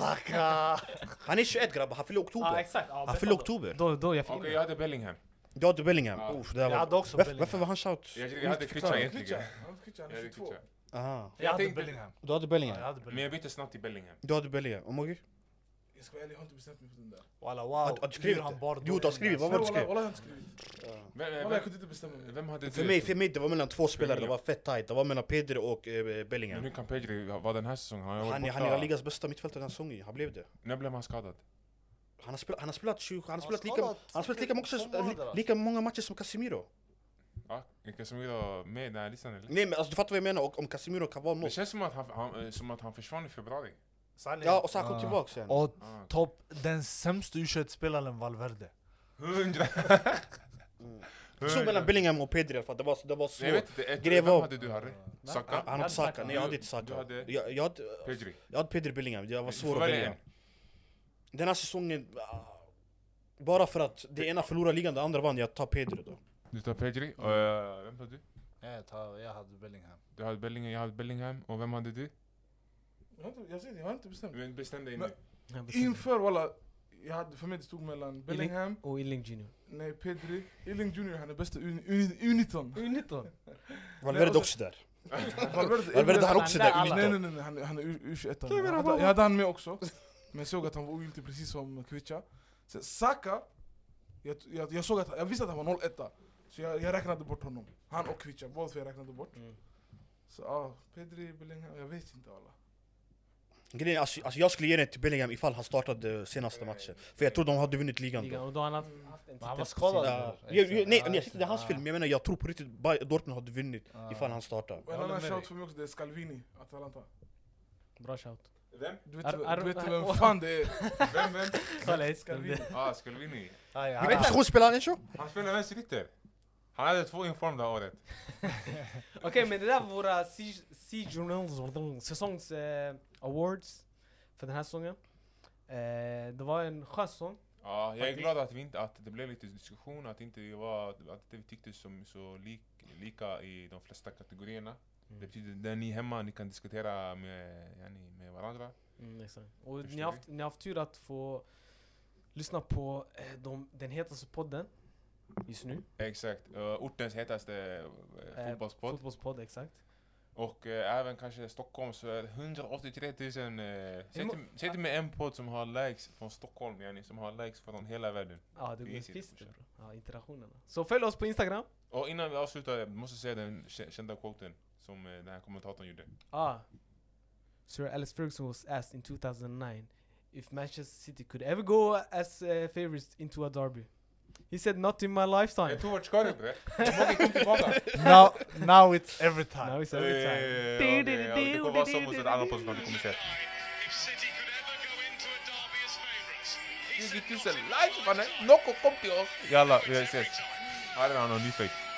Yakusaka!
Han är 21 grabbar, han fyller i
Ja
oktober.
exakt. Ja,
Han
bästa
fyller i
då.
oktober.
Då, då jag fick
Okej,
in
jag
det.
hade Bellingham.
Ja du Bellingham.
Ja.
Uff, det där
Jag hade
var...
också
Varför,
Bellingham.
varför var han shout?
Jag, jag hade Kritcha
förklara.
egentligen.
Han fick han
Jag
är
hade
22.
Kritcha.
Aha.
Jag hade
tänkte-
Bellingham.
Du
Ja,
hade
jag
Bellingham?
hade
Men jag
Bellingham.
bytte snabbt till Bellingham.
Du hade Bellingham. Och Mogge?
Jag ska vara ärlig, jag har inte bestämt mig för den där.
Walla wow.
Har du skrivit
Hur han
det?
bar
Jo, du har skrivit.
Nej,
Vad var det
wallah,
du skrev?
wallah, jag har inte skrivit.
Vem,
Wallah,
vem,
jag kunde inte bestämma mig.
vem hade
För
du?
mig, för mig det var mellan två spelare, det
Bellingham.
var fett tajt. Det var mellan Pedri och eh,
Men
Bellingham.
nu kan Pedri vara den här säsongen. Han, har varit
Han, är-
borta.
han är La Ligas bästa mittfältare den här säsongen, han blev det.
När blev han skadad?
Han har spelat, han har spelat, 20, han har
har
spelat, lika, han
skadat
har spelat lika,
två månader,
många,
alltså.
lika många matcher som Casemiro.
Ja, är Casemiro med i den här listan eller?
Nej men alltså, du fattar vad jag menar, och, om Casemiro kan vara
Det
mål.
känns som att han, han, eh, som att han försvann i februari.
Ja, och sen kom
Ah.
tillbaka sen.
Och
Ah.
topp, den sämsta U21-spelaren Valverde.
<laughs> Hundra!
Det stod mellan Bellingham och Pedri i alla fall, det var, det var
Nej, Jag vet
svårt.
inte, ett,
Grev
vem
av.
hade du Harry?
Han
Saka?
han
hade
hade Saka,
Saka.
nej jag hade inte
Du
Saka.
hade-
Jag, jag, hade,
Pedri?
jag hade Pedri Bellingham, jag var
Du får
svår att
välja
välja.
en.
Den här säsongen, ah, bara för att det ena förlorade ligan, det andra vann, jag tar Pedri då.
Du tar Pedri, och eh, vem tar du?
Jag, tar, jag hade Bellingham.
Du hade Bellingham, jag hade Bellingham, Oh, och vem hade du?
Jag har inte- Jag säger det, jag har inte bestämt mig.
Men bestäm dig
Men-
nu.
Jag bestämde.
Inför wallah, jag hade, för mig det stod mellan Bellingham,
Och Illing Junior.
nej Pedri, Illing Junior, han är bästa uni- uni-
<laughs>
uniton.
U19.
Valverde
så-
också där.
Valverde är
Valverde
bäst.
han också
där
där,
alla.
Nej
uniton.
nej nej, nej, han, han är U- U21. Jag hade, jag hade han med också. Men jag såg att han var ogiltig precis som Kvicha. Sen Saka, jag, jag, jag, såg att, jag visste att han var 01 Så jag, jag räknade bort honom. Han och Kvicha, båda jag räknade bort.
Mm.
Så ja, Pedri, Bellingham, jag vet inte alla.
Grejen, är, alltså, alltså jag skulle ge den till Bellingham ifall han startade senaste matchen. För jag tror de hade vunnit ligan
Ligan.
då.
Och då har han haft- haft en
Men han var
titel.
skadad.
Ja.
bror.
Jag, jag, nej,
Ja,
nej, jag sitter, det är hans
ah.
fel, men jag menar jag tror på riktigt Bay- Dortmund hade vunnit
Ah.
ifall han startade.
Och en
håller
annan
med
shout
dig.
för mig också, det är Scalvini, Atalanta.
Bra shout.
Vem?
Du vet,
Ar- Ar-
du vet
Ar-
vem fan det är?
Vem, vem?
Kolla, jag
Scalvini.
stämde.
Ah, skulle vi nu?
Ja, ja,
Vilken
han-
position spelar han Encho?
Han spelar vänsterytter. Han hade två inform det här året.
Okej men det där var våra Sea- Sea Journals säsongs eh, awards för den här säsongen. Eh, det var en skön säsong.
Ja, jag är
Faktiskt.
glad att, vi inte, att det blev lite diskussion, att inte vi var, att det vi tyckte som så lik, lika i de flesta kategorierna.
Mm.
Det betyder, där ni är hemma, ni kan diskutera med, yani, med varandra.
Mm, exakt. Och ni
Förstår
har, haft, ni har haft tur att få lyssna på eh, de, den hetaste podden just nu.
Exakt, eh, ortens hetaste uh,
Eh,
fotbollspodd.
Fotbollspodd, exakt.
Och eh, även kanske Stockholms eh, 183 000. eh, säg till- Säg till mig en podd som har likes från Stockholm, yani, som har likes från hela världen.
Ja, det
Det är
går
easy,
finns det
brorsan.
bro. Ja, interaktionerna. Så följ oss på Instagram.
Och innan vi avslutar, jag måste säga den kä- kända quoten som eh, den här kommentatorn gjorde.
Ah. Sir Alex Ferguson was asked in 2009 if Manchester City could ever go as uh, favorites into a derby. He said not in my lifetime.
Jag tror vart ska du bre? Mogge
<laughs>
kom tillbaka!
Now, now it's every
Now
time.
it's every time.
Eh, okej, ja, Det kommer vara så mot ett annat podd som du kommer se.
If City could ever go into a derby as favourites,
20 000 likes mannen! Nocco kom till oss! Jalla, vi ses! Ja, det var någon ny fake.